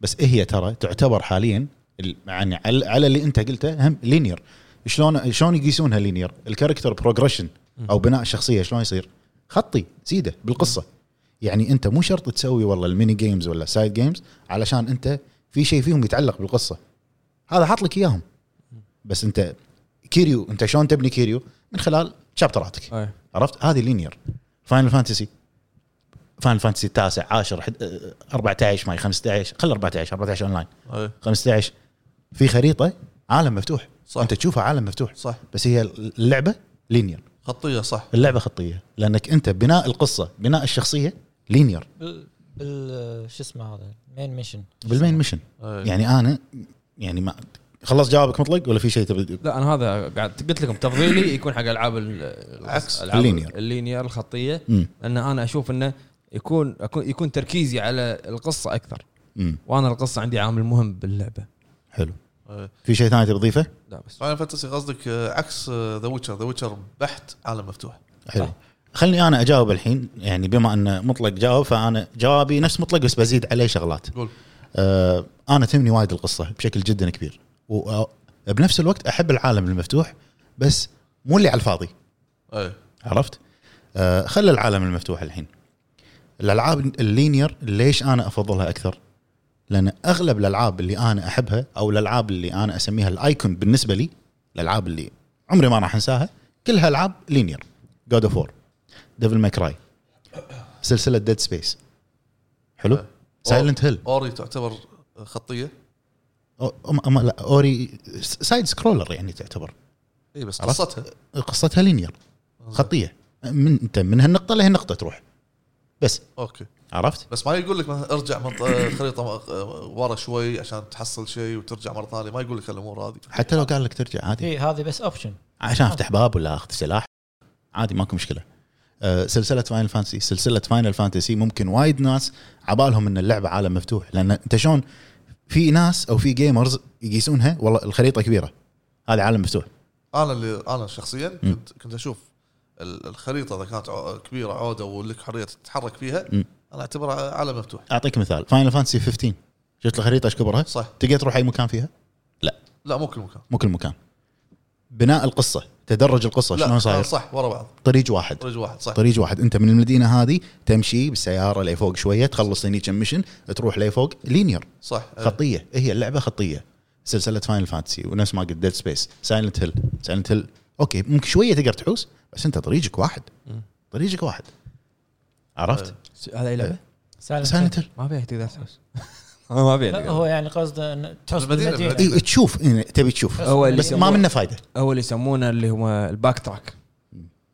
Speaker 2: بس إيه هي ترى تعتبر حاليا ال- يعني على على اللي انت قلته هم لينير شلون شلون يقيسونها لينير الكاركتر بروجريشن او بناء شخصيه شلون يصير خطي سيده بالقصه يعني انت مو شرط تسوي والله الميني جيمز ولا سايد جيمز علشان انت في شيء فيهم يتعلق بالقصه هذا حاط لك اياهم بس انت كيريو انت شلون تبني كيريو من خلال شابتراتك
Speaker 1: أيه.
Speaker 2: عرفت هذه لينير فاينل فانتسي فاينل فانتسي التاسع 10 حد- آه، 14 ماي 15 خل 14 14 اونلاين
Speaker 3: إيه.
Speaker 2: 15 في خريطه عالم مفتوح
Speaker 3: صح.
Speaker 2: انت تشوفها عالم مفتوح
Speaker 3: صح
Speaker 2: بس هي اللعبه لينير
Speaker 3: خطيه صح
Speaker 2: اللعبه خطيه لانك انت بناء القصه بناء الشخصيه لينير
Speaker 4: بال بال- شو اسمه هذا مين ميشن
Speaker 2: بالمين ميشن
Speaker 3: إيه.
Speaker 2: يعني انا يعني ما خلص جوابك مطلق ولا في شيء تبي
Speaker 1: لا انا هذا قاعد قلت لكم تفضيلي يكون حق العاب ال-
Speaker 3: عكس
Speaker 1: ألعاب
Speaker 2: اللينير.
Speaker 1: اللينير الخطيه
Speaker 2: مم.
Speaker 1: لان انا اشوف انه يكون أكون يكون تركيزي على القصه اكثر
Speaker 2: مم.
Speaker 1: وانا القصه عندي عامل مهم باللعبه
Speaker 2: حلو
Speaker 3: إيه.
Speaker 2: في شيء ثاني تبي تضيفه؟
Speaker 1: لا بس
Speaker 3: فاينل فانتسي قصدك آه، عكس ذا ويتشر ذا ويتشر بحت عالم مفتوح
Speaker 2: حلو إيه. خلني انا اجاوب الحين يعني بما ان مطلق جاوب فانا جوابي نفس مطلق بس بزيد عليه شغلات
Speaker 3: قول
Speaker 2: آه، انا تهمني وايد القصه بشكل جدا كبير وبنفس الوقت احب العالم المفتوح بس مو اللي على الفاضي
Speaker 3: ايه
Speaker 2: عرفت آه، خلي العالم المفتوح الحين الالعاب اللينير ليش انا افضلها اكثر لان اغلب الالعاب اللي انا احبها او الالعاب اللي انا اسميها الايكون بالنسبه لي الالعاب اللي عمري ما راح انساها كلها العاب لينير جود اوف وور ديفل ماي كراي سلسله ديد سبيس حلو
Speaker 3: آه.
Speaker 2: سايلنت هيل
Speaker 3: اوري تعتبر خطيه
Speaker 2: لا اوري سايد سكرولر يعني تعتبر
Speaker 3: اي إيه، بس
Speaker 2: عرفت؟
Speaker 3: قصتها
Speaker 2: قصتها لينير خطيه من انت من هالنقطه لهالنقطه تروح بس
Speaker 3: اوكي
Speaker 2: عرفت
Speaker 3: بس ما يقول لك مثلا ارجع منطقه خريطه م- آه، ورا شوي عشان تحصل شيء وترجع مره ثانيه ما يقول لك الامور هذه
Speaker 2: حتى لو قال لك ترجع عادي
Speaker 4: هي إيه، هذه بس اوبشن
Speaker 2: عشان افتح باب ولا اخذ سلاح عادي ماكو مشكله أه، سلسله فاينل فانتسي سلسله فاينل فانتسي ممكن وايد ناس عبالهم ان اللعبه عالم مفتوح لان انت شلون في ناس او في جيمرز يقيسونها والله الخريطه كبيره هذا عالم مفتوح
Speaker 3: انا اللي انا شخصيا
Speaker 2: مم.
Speaker 3: كنت كنت اشوف ال- الخريطه اذا كانت عو- كبيره عوده ولك حريه تتحرك فيها
Speaker 2: مم.
Speaker 3: انا اعتبرها عالم مفتوح
Speaker 2: اعطيك مثال فاينل فانتسي 15 شفت الخريطه ايش كبرها
Speaker 3: صح
Speaker 2: تقدر تروح اي مكان فيها
Speaker 3: لا مو كل مكان
Speaker 2: مو كل مكان بناء القصه تدرج القصه شلون
Speaker 3: لا آه،
Speaker 2: طيب، صاير طيب.
Speaker 3: صح ورا بعض
Speaker 2: طريق واحد
Speaker 3: طريق واحد صح
Speaker 2: طريق واحد انت من المدينه هذه تمشي بالسياره لفوق شويه تخلص هني كم ميشن تروح لفوق لينير
Speaker 3: صح
Speaker 1: آه.
Speaker 3: إيه.
Speaker 2: خطيه هي اللعبه خطيه سلسله فاينل فانتسي ونفس ما قلت ديد سبيس سايلنت هيل سايلنت هيل اوكي ممكن شويه تقدر تحوس بس انت طريقك واحد طريقك واحد عرفت؟
Speaker 1: هذا اي لعبه؟ آه.
Speaker 2: سايلنت هيل
Speaker 1: ما فيها تقدر تحوس ما فيها
Speaker 4: لا
Speaker 1: تقدر.
Speaker 4: هو يعني قصده ان تحس
Speaker 3: المدينة-
Speaker 4: بالمدينه
Speaker 2: إيه، تشوف يعني تبي تشوف
Speaker 1: هو اللي
Speaker 2: بس ما منه فايده
Speaker 1: هو اللي يسمونه اللي هو الباك تراك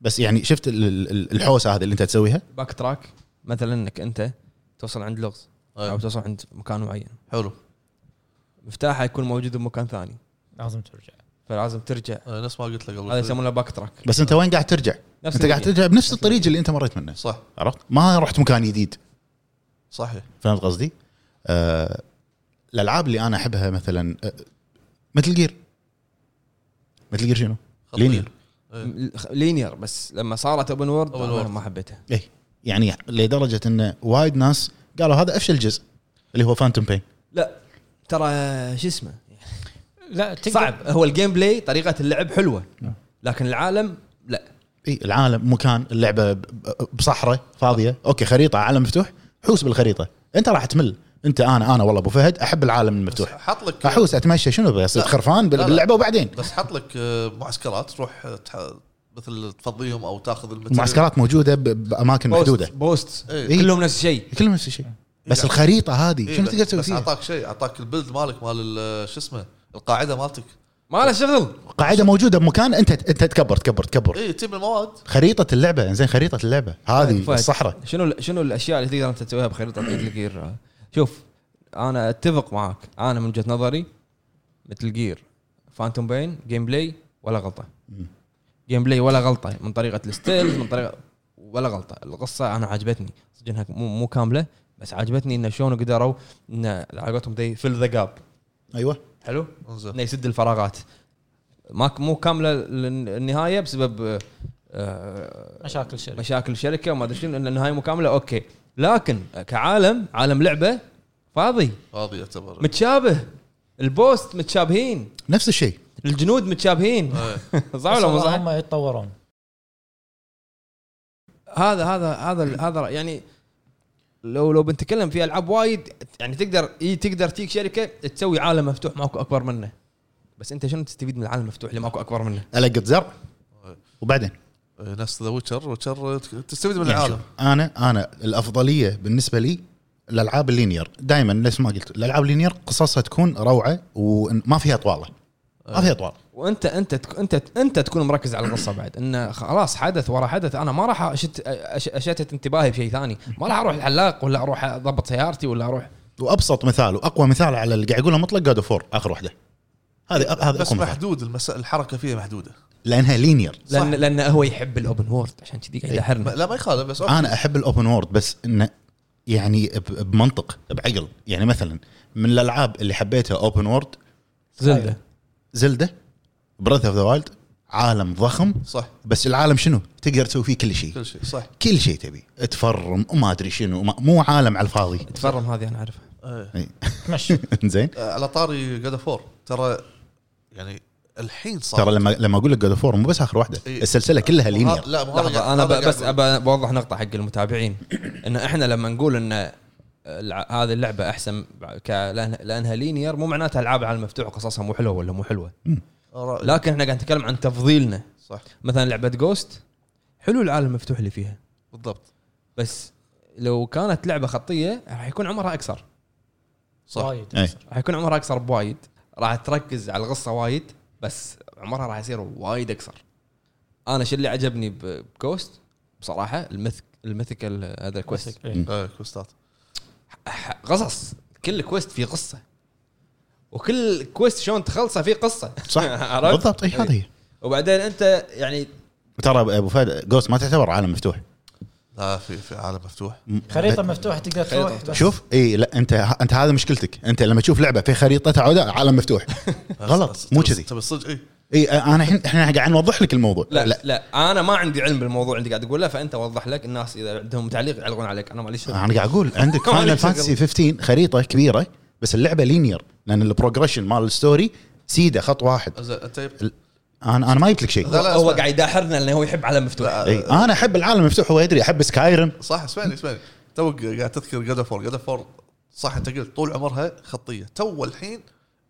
Speaker 2: بس يعني شفت ال- ال- الحوسه هذه اللي انت تسويها
Speaker 1: باك تراك مثلا انك انت توصل عند لغز
Speaker 2: طيب،
Speaker 3: إيه.
Speaker 1: او توصل عند مكان معين
Speaker 3: طيب، حلو
Speaker 1: مفتاحه يكون موجود بمكان ثاني
Speaker 4: لازم ترجع
Speaker 1: فلازم ترجع
Speaker 3: إيه، نفس ما قلت لك قبل
Speaker 1: هذا
Speaker 3: شوي.
Speaker 1: يسمونه باك تراك
Speaker 2: بس انت وين قاعد ترجع؟
Speaker 1: نفس
Speaker 2: انت قاعد
Speaker 1: الفكرة.
Speaker 2: ترجع بنفس الطريق اللي انت مريت منه
Speaker 3: صح
Speaker 2: عرفت؟ ما رحت مكان جديد
Speaker 3: صحيح
Speaker 2: فهمت قصدي؟ آه الالعاب اللي انا احبها مثلا آه مثل جير مثل جير شنو؟
Speaker 3: خطية.
Speaker 2: لينير
Speaker 1: م- لينير بس لما صارت اوبن وورد
Speaker 3: أوبن
Speaker 1: أنا
Speaker 3: وورد.
Speaker 1: ما حبيتها
Speaker 2: اي
Speaker 3: إيه.
Speaker 2: يعني لدرجه ان وايد ناس قالوا هذا افشل جزء اللي هو فانتوم بين
Speaker 1: لا ترى شو اسمه
Speaker 4: لا تقدر
Speaker 1: صعب هو الجيم بلاي طريقه اللعب حلوه لكن العالم لا
Speaker 2: اي إيه، العالم مكان اللعبه ب- ب- بصحراء فاضيه اوكي خريطه عالم مفتوح حوس بالخريطه انت راح تمل انت انا انا والله ابو فهد احب العالم
Speaker 3: بس
Speaker 2: المفتوح
Speaker 3: حط لك
Speaker 2: احوس اتمشى شنو بصير
Speaker 3: لا.
Speaker 2: خرفان بال-
Speaker 3: لا، لا.
Speaker 2: باللعبه وبعدين
Speaker 3: بس حط لك آه، معسكرات تروح آه، تح- مثل تفضيهم او تاخذ المتل-
Speaker 2: المعسكرات موجوده ب- باماكن محدوده
Speaker 1: بوست بوست
Speaker 3: إيه.
Speaker 2: إيه.
Speaker 1: كلهم نفس الشيء
Speaker 2: كلهم نفس الشيء بس
Speaker 3: لا.
Speaker 2: الخريطه هذه
Speaker 3: إيه،
Speaker 2: شنو
Speaker 3: بس-
Speaker 2: تقدر تسوي
Speaker 3: بس
Speaker 2: فيها؟
Speaker 3: اعطاك شيء اعطاك البلد مالك مال ال- شو اسمه القاعده مالتك
Speaker 1: ما له شغل
Speaker 2: قاعده موجوده بمكان انت انت تكبر تكبر تكبر
Speaker 3: اي إيه، تجيب المواد
Speaker 2: خريطه اللعبه زين خريطه اللعبه هذه
Speaker 1: فهد،
Speaker 2: الصحراء
Speaker 1: شنو ال- شنو الاشياء اللي تقدر انت تسويها بخريطه مثل جير شوف انا اتفق معك انا من وجهه نظري مثل جير فانتوم بين جيم بلاي ولا غلطه جيم بلاي ولا غلطه من طريقه الستيلز من طريقه ولا غلطه القصه انا عجبتني صدق انها مو, مو كامله بس عجبتني انه شلون قدروا انه على قولتهم دي فيل ذا جاب
Speaker 2: ايوه
Speaker 1: حلو
Speaker 3: انزين
Speaker 1: انه يسد الفراغات ما مو كامله للن- النهايه بسبب آه، آه،
Speaker 4: مشاكل شركه
Speaker 1: مشاكل الشركه وما ادري شنو ان النهايه مو كامله اوكي لكن كعالم عالم لعبه فاضي
Speaker 3: هذه يعتبر
Speaker 1: متشابه البوست متشابهين
Speaker 2: نفس الشيء
Speaker 1: الجنود متشابهين
Speaker 3: إيه.
Speaker 1: صح ولا مو
Speaker 4: والله
Speaker 1: صح؟
Speaker 4: هم يتطورون
Speaker 1: هذا هذا هذا هذا يعني لو لو بنتكلم في العاب وايد يعني تقدر اي تقدر تيك شركه تسوي عالم مفتوح ماكو اكبر منه بس انت شنو تستفيد من العالم المفتوح اللي ماكو اكبر منه؟
Speaker 2: القط زر وبعدين
Speaker 3: إيه، نفس ذا ويتشر ويتشر تستفيد من
Speaker 2: يعني
Speaker 3: العالم
Speaker 2: شوف، انا انا الافضليه بالنسبه لي الالعاب اللينير دائما نفس ما قلت الالعاب اللينير قصصها تكون روعه وما فيها طواله ما فيها طوال
Speaker 1: وانت انت تك- انت انت تكون مركز على القصه بعد انه خلاص حدث ورا حدث انا ما راح أشت أش- اشتت انتباهي بشيء ثاني ما راح اروح الحلاق ولا اروح اضبط سيارتي ولا اروح
Speaker 2: وابسط مثال واقوى مثال على اللي قاعد يقوله مطلق جاد فور اخر واحده هذه هذا
Speaker 3: بس
Speaker 2: اقوى مثال
Speaker 3: محدود المسا... الحركه فيها محدوده
Speaker 2: لانها لينير
Speaker 3: صح. إيه.
Speaker 1: لان لان هو يحب الاوبن وورد عشان كذي قاعد
Speaker 3: ما-
Speaker 1: يحرنا
Speaker 3: لا ما يخالف بس أوكي.
Speaker 2: انا احب الاوبن وورد بس انه يعني ب- بمنطق بعقل يعني مثلا من الالعاب اللي حبيتها اوبن وورد
Speaker 1: زلده
Speaker 2: زلده بريث اوف ذا وايلد عالم ضخم
Speaker 3: صح
Speaker 2: بس العالم شنو؟ تقدر تسوي فيه كل شيء
Speaker 3: كل شيء صح
Speaker 2: كل شيء تبي تفرم وما ادري شنو وما- مو عالم على الفاضي
Speaker 1: تفرم هذه انا اعرفها
Speaker 3: إيه.
Speaker 4: تمشي
Speaker 2: زين
Speaker 3: آه، على طاري جاد فور ترى يعني الحين صار
Speaker 2: ترى لما لما اقول لك جود فور مو بس اخر واحده
Speaker 3: إيه.
Speaker 2: السلسله كلها لينير
Speaker 3: لا مو هذا
Speaker 1: لحظه
Speaker 3: قاعد-
Speaker 1: انا
Speaker 3: هذا
Speaker 1: ب-
Speaker 3: قاعد
Speaker 1: بس
Speaker 3: أقول.
Speaker 1: ابى بوضح نقطه حق المتابعين ان احنا لما نقول ان الع- هذه اللعبه احسن ك- لأن- لانها لينير مو معناتها العاب على المفتوح قصصها مو حلوه ولا مو حلوه
Speaker 3: آراء.
Speaker 1: لكن احنا قاعد نتكلم عن تفضيلنا
Speaker 3: آه، صح
Speaker 1: مثلا لعبه جوست حلو العالم المفتوح اللي فيها
Speaker 3: بالضبط
Speaker 1: بس لو كانت لعبه خطيه راح يكون عمرها اقصر
Speaker 3: صح
Speaker 4: وايد
Speaker 2: إيه.
Speaker 1: راح يكون عمرها اقصر بوايد راح تركز على القصه وايد بس عمرها راح يصير وايد اقصر انا شو اللي عجبني ب- بكوست بصراحه المث الميثيكال هذا الكويست
Speaker 4: إيه.
Speaker 3: إيه، كوستات
Speaker 1: ح- قصص كل كويست فيه قصه وكل كويست شلون تخلصه فيه قصه
Speaker 2: صح
Speaker 1: عرفت؟
Speaker 2: بالضبط
Speaker 3: إيه.
Speaker 2: اي هذه هي
Speaker 1: وبعدين انت يعني
Speaker 2: ترى ابو فهد جوست ما تعتبر عالم مفتوح
Speaker 3: لا في في عالم مفتوح
Speaker 4: خريطه مفتوحه تقدر تروح بس
Speaker 2: شوف اي لا انت انت هذا مشكلتك انت لما تشوف لعبه في خريطه تعودها عالم مفتوح غلط مو كذي
Speaker 3: تبي صدق إيه. اي
Speaker 2: اي انا الحين احنا قاعد نوضح لك الموضوع
Speaker 1: لا, لا لا انا ما عندي علم بالموضوع اللي قاعد اقوله فانت وضح لك الناس اذا عندهم تعليق يعلقون عليك انا ماليش شغل
Speaker 2: انا قاعد اقول عندك
Speaker 1: ما عليك
Speaker 2: فاينل فانتسي
Speaker 1: شغل.
Speaker 2: 15 خريطه كبيره بس اللعبه لينير لان البروجريشن مال الستوري سيده خط واحد
Speaker 3: زين انت يب-
Speaker 2: ال- انا انا ما جبت لك شيء
Speaker 3: لا، لا،
Speaker 1: هو
Speaker 3: اسمع.
Speaker 1: قاعد يداحرنا لانه هو يحب عالم مفتوح
Speaker 3: لا،
Speaker 2: اي انا احب العالم المفتوح هو يدري احب سكايرم
Speaker 3: صح اسمعني اسمعني توك قاعد تذكر جاد فور جاد فور صح انت قلت طول عمرها خطيه تو الحين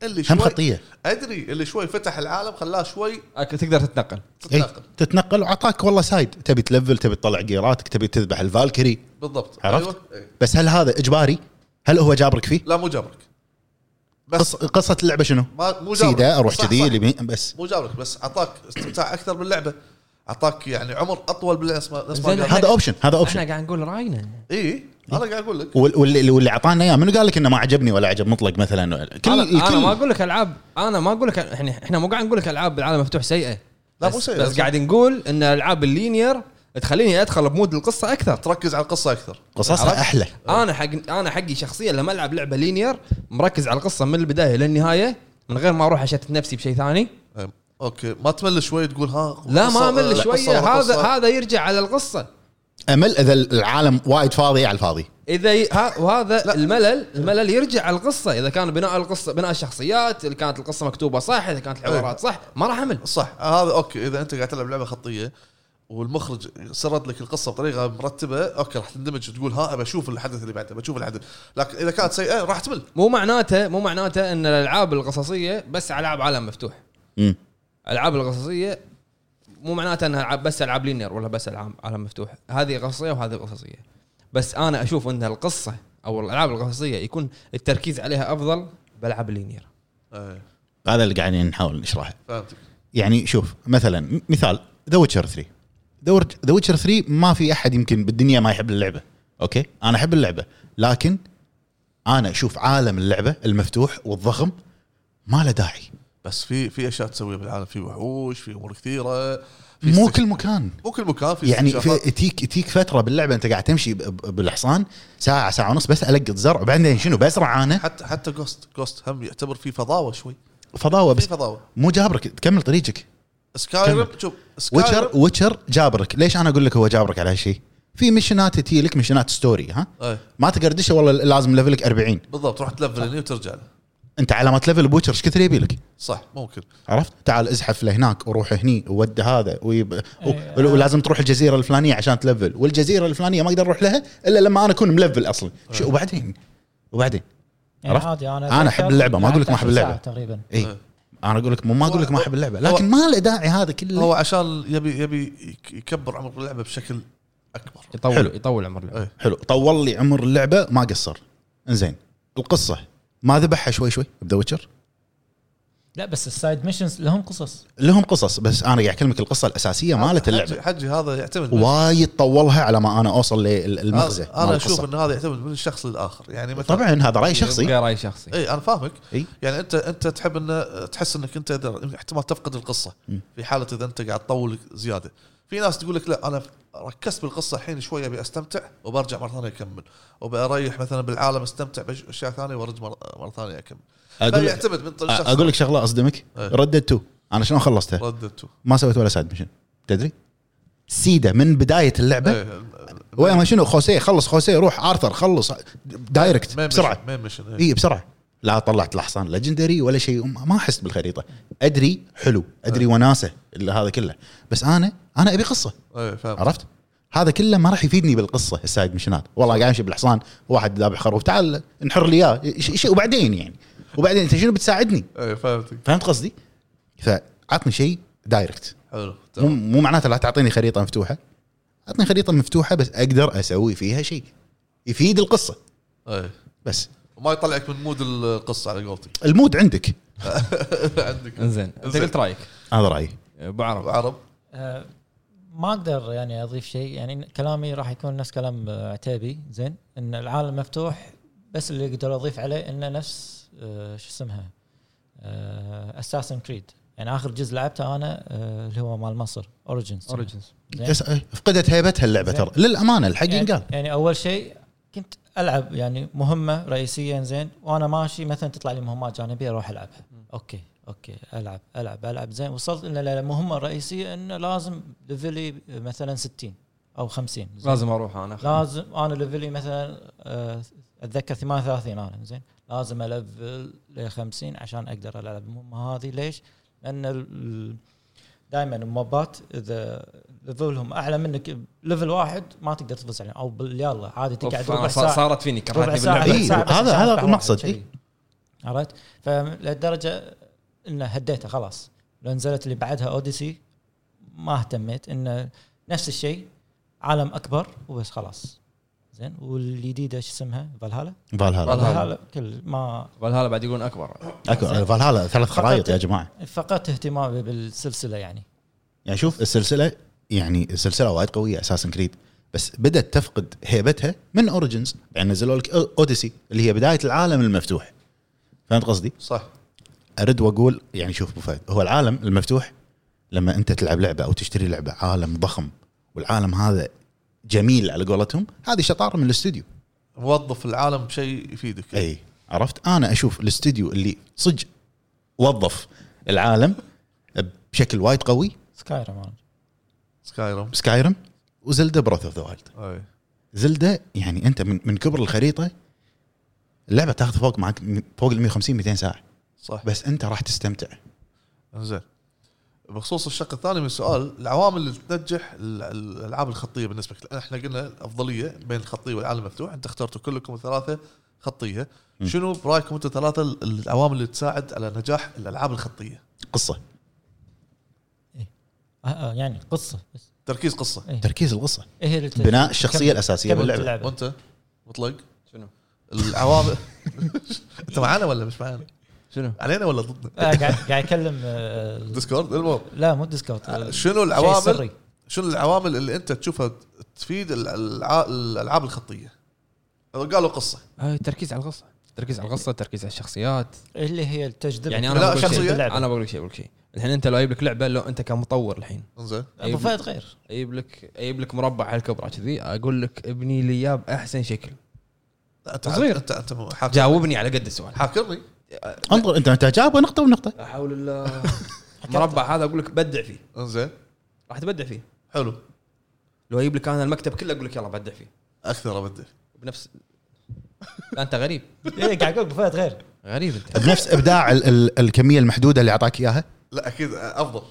Speaker 3: اللي شوي
Speaker 2: هم إيه. خطيه
Speaker 3: ادري اللي شوي فتح العالم خلاه شوي
Speaker 1: أك- تقدر تتنقل
Speaker 2: إي،
Speaker 3: تتناقل
Speaker 2: تتنقل وعطاك والله سايد تبي تلفل تبي تطلع جيراتك تبي تذبح الفالكري
Speaker 3: بالضبط
Speaker 2: عرفت؟
Speaker 3: إي.
Speaker 2: بس هل هذا اجباري؟ هل هو جابرك فيه؟
Speaker 3: لا مو جابرك
Speaker 2: قص-
Speaker 3: بس
Speaker 2: قصه اللعبه شنو؟
Speaker 3: ما مو جابرك
Speaker 2: سيده اروح
Speaker 3: صح،
Speaker 2: كذي
Speaker 3: صح.
Speaker 2: اليمين بس
Speaker 3: مو جابرك بس اعطاك استمتاع اكثر باللعبه اعطاك يعني عمر اطول بالناس ما نفس ما
Speaker 1: زين،
Speaker 3: قال.
Speaker 2: هذا اوبشن هذا اوبشن
Speaker 1: احنا قاعد نقول راينا
Speaker 3: اي انا إيه، قاعد اقول لك
Speaker 2: وال- واللي واللي اعطانا اياه منو قال لك انه ما عجبني ولا عجب مطلق مثلا كل
Speaker 1: انا, أنا ما
Speaker 2: الكل
Speaker 1: اقول لك العاب انا ما اقول لك احنا احنا مو قاعد نقول لك العاب بالعالم مفتوح سيئه
Speaker 3: لا،
Speaker 1: بس-
Speaker 3: مو سيئة.
Speaker 1: بس قاعد نقول ان العاب اللينير تخليني ادخل بمود القصه اكثر
Speaker 3: تركز على القصه اكثر
Speaker 2: قصصها
Speaker 1: عرفت؟
Speaker 2: احلى
Speaker 1: انا حق انا حقي شخصيا لما العب لعبه لينير مركز على القصه من البدايه للنهايه من غير ما اروح اشتت نفسي بشيء ثاني
Speaker 3: أم. اوكي ما تمل شوي تقول ها
Speaker 1: لا ما
Speaker 3: قصة-
Speaker 1: امل
Speaker 3: قصة-
Speaker 1: شويه هذا
Speaker 3: قصة.
Speaker 1: هذا يرجع على القصه
Speaker 2: امل اذا العالم وايد فاضي على الفاضي
Speaker 1: اذا ي... ها... وهذا
Speaker 3: لا.
Speaker 1: لا. الملل الملل يرجع على القصه اذا كان بناء القصه بناء الشخصيات اذا كانت القصه مكتوبه صح اذا كانت العبارات صح ما راح امل
Speaker 3: صح آه، هذا اوكي اذا انت قاعد تلعب لعبه خطيه والمخرج سرد لك القصه بطريقه مرتبه اوكي راح تندمج وتقول ها ابى اشوف الحدث اللي بعده بشوف الحدث لكن اذا كانت سيئه راح تمل
Speaker 1: مو معناته مو معناته ان الالعاب القصصيه بس العاب عالم مفتوح
Speaker 2: مم.
Speaker 1: الالعاب القصصيه مو معناته انها العاب بس العاب لينير ولا بس العاب عالم مفتوح هذه قصصيه وهذه قصصيه بس انا اشوف ان القصه او الالعاب القصصيه يكون التركيز عليها افضل بالعاب لينير
Speaker 3: إيه.
Speaker 2: هذا اللي قاعدين نحاول نشرحه
Speaker 3: فهمتك
Speaker 2: يعني شوف مثلا م- مثال ذا ويتشر 3 ذا ويتشر 3 ما في احد يمكن بالدنيا ما يحب اللعبه اوكي انا احب اللعبه لكن انا اشوف عالم اللعبه المفتوح والضخم ما له داعي
Speaker 3: بس في في اشياء تسويها بالعالم في وحوش في امور كثيره في
Speaker 2: مو
Speaker 3: استك-
Speaker 2: كل مكان
Speaker 3: مو كل مكان في
Speaker 2: يعني
Speaker 3: استكشافات.
Speaker 2: في تيك تيك فتره باللعبه انت قاعد تمشي ب- ب- بالحصان ساعه ساعه ونص بس القط زر وبعدين شنو بزرع انا
Speaker 3: حتى حتى جوست جوست هم يعتبر في فضاوه شوي
Speaker 2: فضاوه
Speaker 3: في
Speaker 2: بس
Speaker 3: فضاوه
Speaker 2: مو جابرك تكمل طريقك
Speaker 3: سكايرم
Speaker 2: ويتشر
Speaker 3: شوف سكايرم
Speaker 2: ويتشر جابرك ليش انا اقول لك هو جابرك على هالشيء في مشنات تي لك مشنات ستوري ها
Speaker 3: ايه
Speaker 2: ما تقدر تدش والله لازم ليفلك 40
Speaker 3: بالضبط تروح تلفل هني وترجع له
Speaker 2: انت على ما تلفل بوتشر ايش كثر يبي لك
Speaker 3: صح ممكن
Speaker 2: عرفت تعال ازحف لهناك وروح هني وود هذا ويب... و...
Speaker 4: إيه.
Speaker 2: ولازم تروح الجزيره الفلانيه عشان تلفل والجزيره الفلانيه ما اقدر اروح لها الا لما انا اكون ملفل اصلا شو وبعدين وبعدين
Speaker 4: يعني
Speaker 2: عرفت؟
Speaker 4: عادي انا
Speaker 2: أنا أحب
Speaker 4: أتذكر
Speaker 2: اللعبة، ما أقول لك ما أحب
Speaker 4: لعبت
Speaker 2: اللعبة.
Speaker 4: ساعة تقريبا
Speaker 2: اي
Speaker 3: إيه.
Speaker 2: انا اقول لك مو- ما اقول لك ما احب اللعبه
Speaker 3: هو-
Speaker 2: لكن ما له داعي هذا كله
Speaker 3: هو عشان يبي يبي يك- يكبر عمر اللعبه بشكل اكبر
Speaker 1: يطول
Speaker 2: حلو.
Speaker 1: حلو. يطول عمر اللعبه
Speaker 3: إيه.
Speaker 2: حلو طول لي عمر اللعبه ما قصر انزين القصه ما ذبحها شوي شوي بذا ويتشر
Speaker 4: لا بس السايد ميشنز لهم قصص
Speaker 2: لهم قصص بس انا قاعد اكلمك القصه الاساسيه مالت اللعبه
Speaker 3: حجي, حجي هذا يعتمد من-
Speaker 2: وايد طولها على ما انا اوصل للمغزى
Speaker 3: أنا- انا اشوف ان هذا يعتمد من الشخص للاخر يعني مثلا
Speaker 2: طبعا هذا راي شخصي
Speaker 1: يبقى راي شخصي
Speaker 3: اي انا فاهمك
Speaker 2: إي.
Speaker 3: يعني انت انت تحب ان تحس انك انت إذا- احتمال تفقد القصه
Speaker 2: مم.
Speaker 3: في حاله اذا انت قاعد تطول زياده في ناس تقول لك لا انا ركزت بالقصه الحين شويه ابي استمتع وبرجع مره ثانيه اكمل وبريح مثلا بالعالم استمتع باشياء ثانيه وارجع مره, مرة ثانيه اكمل
Speaker 2: اقول لك
Speaker 3: فيعتمد من الشخص
Speaker 2: اقول لك شغله اصدمك
Speaker 3: إيه.
Speaker 2: ردد تو انا شلون خلصتها
Speaker 3: رددته
Speaker 2: ما سويت ولا سايد ميشن تدري سيده من بدايه اللعبه
Speaker 3: إيه،
Speaker 2: وين ما شنو خوسيه خلص خوسيه روح ارثر خلص دايركت
Speaker 3: مين
Speaker 2: بسرعه
Speaker 3: ميشن- مين ميشن إيه.
Speaker 2: اي بسرعه لا طلعت الحصان ليجندري ولا شيء ما ما احس بالخريطه ادري حلو ادري
Speaker 3: إيه.
Speaker 2: وناسه اللي هذا كله بس انا انا ابي قصه
Speaker 3: ايه فاهم
Speaker 2: عرفت هذا كله ما راح يفيدني بالقصه السايد مشنات والله قاعد امشي بالحصان واحد ذابح خروف تعال انحر لي اياه إيش- إيش- وبعدين يعني وبعدين انت شنو بتساعدني
Speaker 3: ايه فهمتك
Speaker 2: فهمت قصدي فعطني شيء دايركت
Speaker 3: حلو
Speaker 2: مو
Speaker 3: تمام
Speaker 2: مو معناته لا تعطيني خريطه مفتوحه اعطني خريطه مفتوحه بس اقدر اسوي فيها شيء يفيد القصه
Speaker 3: ايه
Speaker 2: بس
Speaker 3: وما يطلعك من مود القصه على قولتك
Speaker 2: المود عندك
Speaker 3: عندك
Speaker 1: انزين انت
Speaker 3: إنزين.
Speaker 1: قلت رايك
Speaker 2: هذا رايي
Speaker 1: ابو عرب
Speaker 3: عرب
Speaker 4: آه، ما اقدر يعني اضيف شيء يعني كلامي راح يكون نفس كلام آه، عتيبي زين ان العالم مفتوح بس اللي اقدر اضيف عليه انه نفس آه، شو اسمها اساسن كريد يعني اخر جزء لعبته انا آه، اللي هو مال مصر اوريجنز
Speaker 1: اوريجنز
Speaker 4: زين.
Speaker 2: يس- إيه، فقدت هيبتها اللعبه
Speaker 4: زين.
Speaker 2: ترى للامانه الحق
Speaker 4: يعني,
Speaker 2: ينقال
Speaker 4: يعني اول شيء كنت العب يعني مهمه رئيسيه زين وانا ماشي مثلا تطلع لي مهمات جانبيه اروح العبها اوكي اوكي العب العب العب زين وصلت الى المهمه الرئيسيه انه لازم ليفلي مثلا 60 او 50 زين.
Speaker 1: لازم اروح انا
Speaker 4: لازم انا ليفلي مثلا آه، اتذكر 38 انا زين لازم الفل ل 50 عشان اقدر العب المهمه هذه ليش؟ لان دائما الموبات اذا ليفلهم اعلى منك ليفل واحد ما تقدر تفوز عليهم او بال- يلا عادي
Speaker 1: أوف،
Speaker 4: تقعد
Speaker 1: أنا
Speaker 4: ربع
Speaker 1: صار-
Speaker 4: ساعه
Speaker 1: صارت فيني
Speaker 4: ربع
Speaker 1: كرهتني
Speaker 4: ساعه
Speaker 1: باللعبه
Speaker 4: ربع ساعة
Speaker 2: إيه،
Speaker 4: بس
Speaker 2: هذا-
Speaker 4: عشان
Speaker 2: هذا
Speaker 4: أفتح
Speaker 2: المقصد،
Speaker 4: واحد، شي.
Speaker 2: إيه.
Speaker 4: عرفت؟ فلدرجه انه هديته خلاص لو نزلت اللي بعدها اوديسي ما اهتميت انه نفس الشيء عالم اكبر وبس خلاص زين والجديده شو اسمها فالهالا
Speaker 2: فالهالا
Speaker 1: فالهالا.
Speaker 4: فالهالا كل ما
Speaker 1: فالهالا بعد يقولون اكبر
Speaker 2: أكو- فالهالا ثلاث خرائط يا جماعه
Speaker 4: فقدت اهتمامي بالسلسله يعني
Speaker 2: يعني شوف السلسله يعني السلسله وايد قويه اساسا كريد بس بدات تفقد هيبتها من اوريجنز بعدين نزلوا لك اوديسي اللي هي بدايه العالم المفتوح فهمت قصدي؟
Speaker 3: صح
Speaker 2: ارد واقول يعني شوف أبو فهد هو العالم المفتوح لما انت تلعب لعبه او تشتري لعبه عالم ضخم والعالم هذا جميل على قولتهم هذه شطاره من الاستوديو
Speaker 3: وظف العالم بشيء يفيدك
Speaker 2: اي عرفت انا اشوف الاستوديو اللي صدق وظف العالم بشكل وايد قوي
Speaker 4: سكاي رمان
Speaker 3: سكاي روم
Speaker 2: سكايرم وزلدا بروث اوف ذا وايلد
Speaker 3: اي
Speaker 2: زلدا يعني انت من من كبر الخريطه اللعبه تاخذ فوق معك فوق ال 150 200 ساعه
Speaker 3: صح
Speaker 2: بس انت راح تستمتع
Speaker 3: زين بخصوص الشق الثاني من السؤال العوامل اللي تنجح ال- ال- الالعاب الخطيه بالنسبه لك لأن احنا قلنا الافضليه بين الخطيه والعالم المفتوح انت اخترتوا كلكم ثلاثه خطيه
Speaker 2: مم.
Speaker 3: شنو برايكم انتم ثلاثه ال- العوامل اللي تساعد على نجاح الالعاب الخطيه
Speaker 2: قصه
Speaker 4: آه آه يعني قصه بس
Speaker 3: تركيز قصه
Speaker 4: إيه.
Speaker 2: تركيز القصه
Speaker 4: إيه هي اللي ت-
Speaker 2: بناء الشخصيه
Speaker 4: كمل-
Speaker 2: الاساسيه
Speaker 4: كمل
Speaker 2: باللعبه
Speaker 4: اللعبة.
Speaker 3: وانت مطلق
Speaker 1: شنو؟
Speaker 3: العوامل انت معانا ولا مش معانا
Speaker 1: شنو؟
Speaker 3: علينا ولا ضدنا؟
Speaker 4: آه، قاعد قاعد اكلم آه،
Speaker 3: ديسكورد المهم
Speaker 4: لا مو ديسكورد
Speaker 3: شنو
Speaker 4: آه، شيء
Speaker 3: العوامل
Speaker 4: سري
Speaker 3: شنو العوامل اللي انت تشوفها تفيد الألع- الالعاب الخطيه؟ قالوا قصه
Speaker 1: آه، التركيز على القصه التركيز على القصه التركيز على الشخصيات
Speaker 4: اللي هي التجذب
Speaker 1: يعني
Speaker 3: لا،
Speaker 1: انا بقول لك
Speaker 3: شخصية.
Speaker 1: شيء انا بقول لك شيء بقول لك شيء الحين انت لو جايب لك لعبه لو انت كمطور الحين
Speaker 3: انزين
Speaker 4: ابو فهد غير
Speaker 1: اجيب لك اجيب لك مربع على الكبرى كذي اقول لك ابني لي اياه باحسن شكل
Speaker 3: لا، انت
Speaker 1: صغير.
Speaker 3: انت انت حاكر-
Speaker 1: جاوبني على قد السؤال
Speaker 3: حاكرني
Speaker 2: انظر انت انت جاوبه نقطه ونقطه
Speaker 1: لا حول الله مربع هذا اقول لك بدع فيه
Speaker 3: انزين
Speaker 1: راح تبدع فيه
Speaker 3: حلو
Speaker 1: لو اجيب لك انا المكتب كله اقول لك يلا بدع فيه
Speaker 3: اكثر ابدع
Speaker 1: بنفس لا انت غريب
Speaker 4: إيه، قاعد اقول ابو فهد غير
Speaker 1: غريب انت
Speaker 2: بنفس ابداع ال- ال- الكميه المحدوده اللي اعطاك اياها
Speaker 3: لا اكيد افضل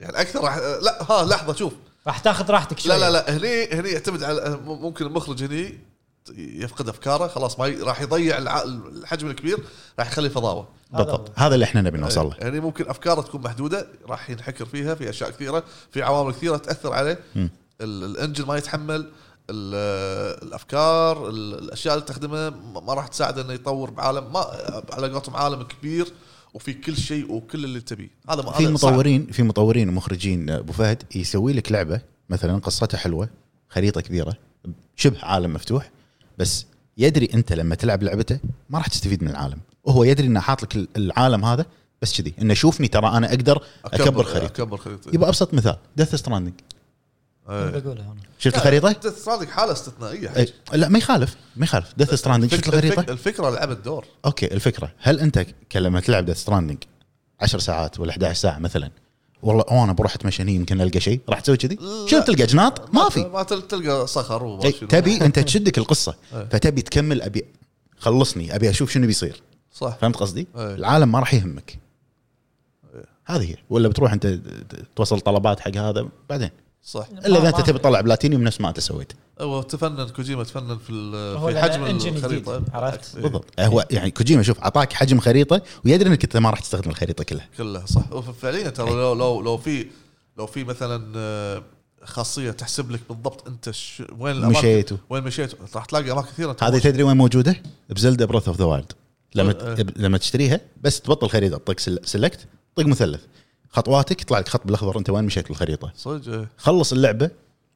Speaker 3: يعني اكثر راح لا ها لحظه شوف
Speaker 4: راح تاخذ راحتك شوي
Speaker 3: لا لا لا هني هني يعتمد على ممكن المخرج هني يفقد افكاره خلاص ما ي- راح يضيع الع- الحجم الكبير راح يخليه فضاوه
Speaker 4: هذا
Speaker 2: بالضبط هذا اللي احنا نبي نوصل له
Speaker 3: يعني ممكن افكاره تكون محدوده راح ينحكر فيها في اشياء كثيره في عوامل كثيره تاثر عليه
Speaker 2: مم.
Speaker 3: ال- الانجن ما يتحمل ال- الافكار ال- الاشياء اللي تخدمه ما ما راح تساعده انه يطور بعالم ما على قولتهم عالم كبير وفي كل شيء وكل اللي تبيه هذا ما
Speaker 2: في
Speaker 3: هذا صعب.
Speaker 2: مطورين في مطورين ومخرجين ابو فهد يسوي لك لعبه مثلا قصتها حلوه خريطه كبيره شبه عالم مفتوح بس يدري انت لما تلعب لعبته ما راح تستفيد من العالم وهو يدري انه حاط لك ال- العالم هذا بس كذي انه شوفني ترى انا اقدر اكبر خريطه
Speaker 3: اكبر خريطه
Speaker 2: يبقى ابسط مثال ديث ستراندنج
Speaker 3: إيه.
Speaker 4: بقولها انا
Speaker 2: شفت الخريطه؟
Speaker 3: انت صادق حاله استثنائيه حاج.
Speaker 2: إيه. لا ما يخالف ما يخالف ديث ستراندنج شفت
Speaker 3: الفك-
Speaker 2: الخريطه؟
Speaker 3: الفك- الفكره لعبت دور
Speaker 2: اوكي الفكره هل انت ك- لما تلعب ديث ستراندنج 10 ساعات ولا 11 ساعه مثلا والله أو انا بروح اتمشى هني يمكن القى شيء راح تسوي كذي
Speaker 3: لا.
Speaker 2: شنو تلقى جناط ما في
Speaker 3: ما تل- تلقى صخر وما
Speaker 2: إيه،
Speaker 3: شنو.
Speaker 2: تبي انت تشدك القصه
Speaker 3: إيه.
Speaker 2: فتبي تكمل ابي خلصني ابي اشوف شنو بيصير
Speaker 3: صح
Speaker 2: فهمت قصدي؟
Speaker 3: إيه.
Speaker 2: العالم ما راح يهمك هذه هي ولا بتروح انت ت- توصل طلبات حق هذا بعدين
Speaker 3: صح
Speaker 2: الا اذا
Speaker 4: ما-
Speaker 2: انت
Speaker 4: ما-
Speaker 2: تبي تطلع بلاتينيوم نفس ما انت سويت
Speaker 3: هو أيوة، تفنن كوجيما تفنن في ال-
Speaker 4: هو
Speaker 3: في
Speaker 4: لأنه
Speaker 3: حجم
Speaker 4: engine
Speaker 3: الخريطه
Speaker 4: جديد، عرفت؟
Speaker 3: إيه.
Speaker 2: بالضبط هو يعني كوجيما شوف اعطاك حجم خريطه ويدري انك انت ما راح تستخدم الخريطه كلها
Speaker 3: كلها صح وف- فعليا ترى لو لو لو في لو في مثلا آه، خاصيه تحسب لك بالضبط انت ش... وين الاماكن
Speaker 2: مشيت و-
Speaker 3: وين مشيت راح تلاقي اماكن كثيره أنت
Speaker 2: هذه
Speaker 3: مش-
Speaker 2: تدري وين موجوده؟ بزلدا بروث اوف ذا وايلد لما
Speaker 3: أه.
Speaker 2: ت- لما تشتريها بس تبطل الخريطه تطق سلكت طق مثلث خطواتك يطلع لك خط بالاخضر انت وين مشيت بالخريطه
Speaker 3: صدق إيه.
Speaker 2: خلص اللعبه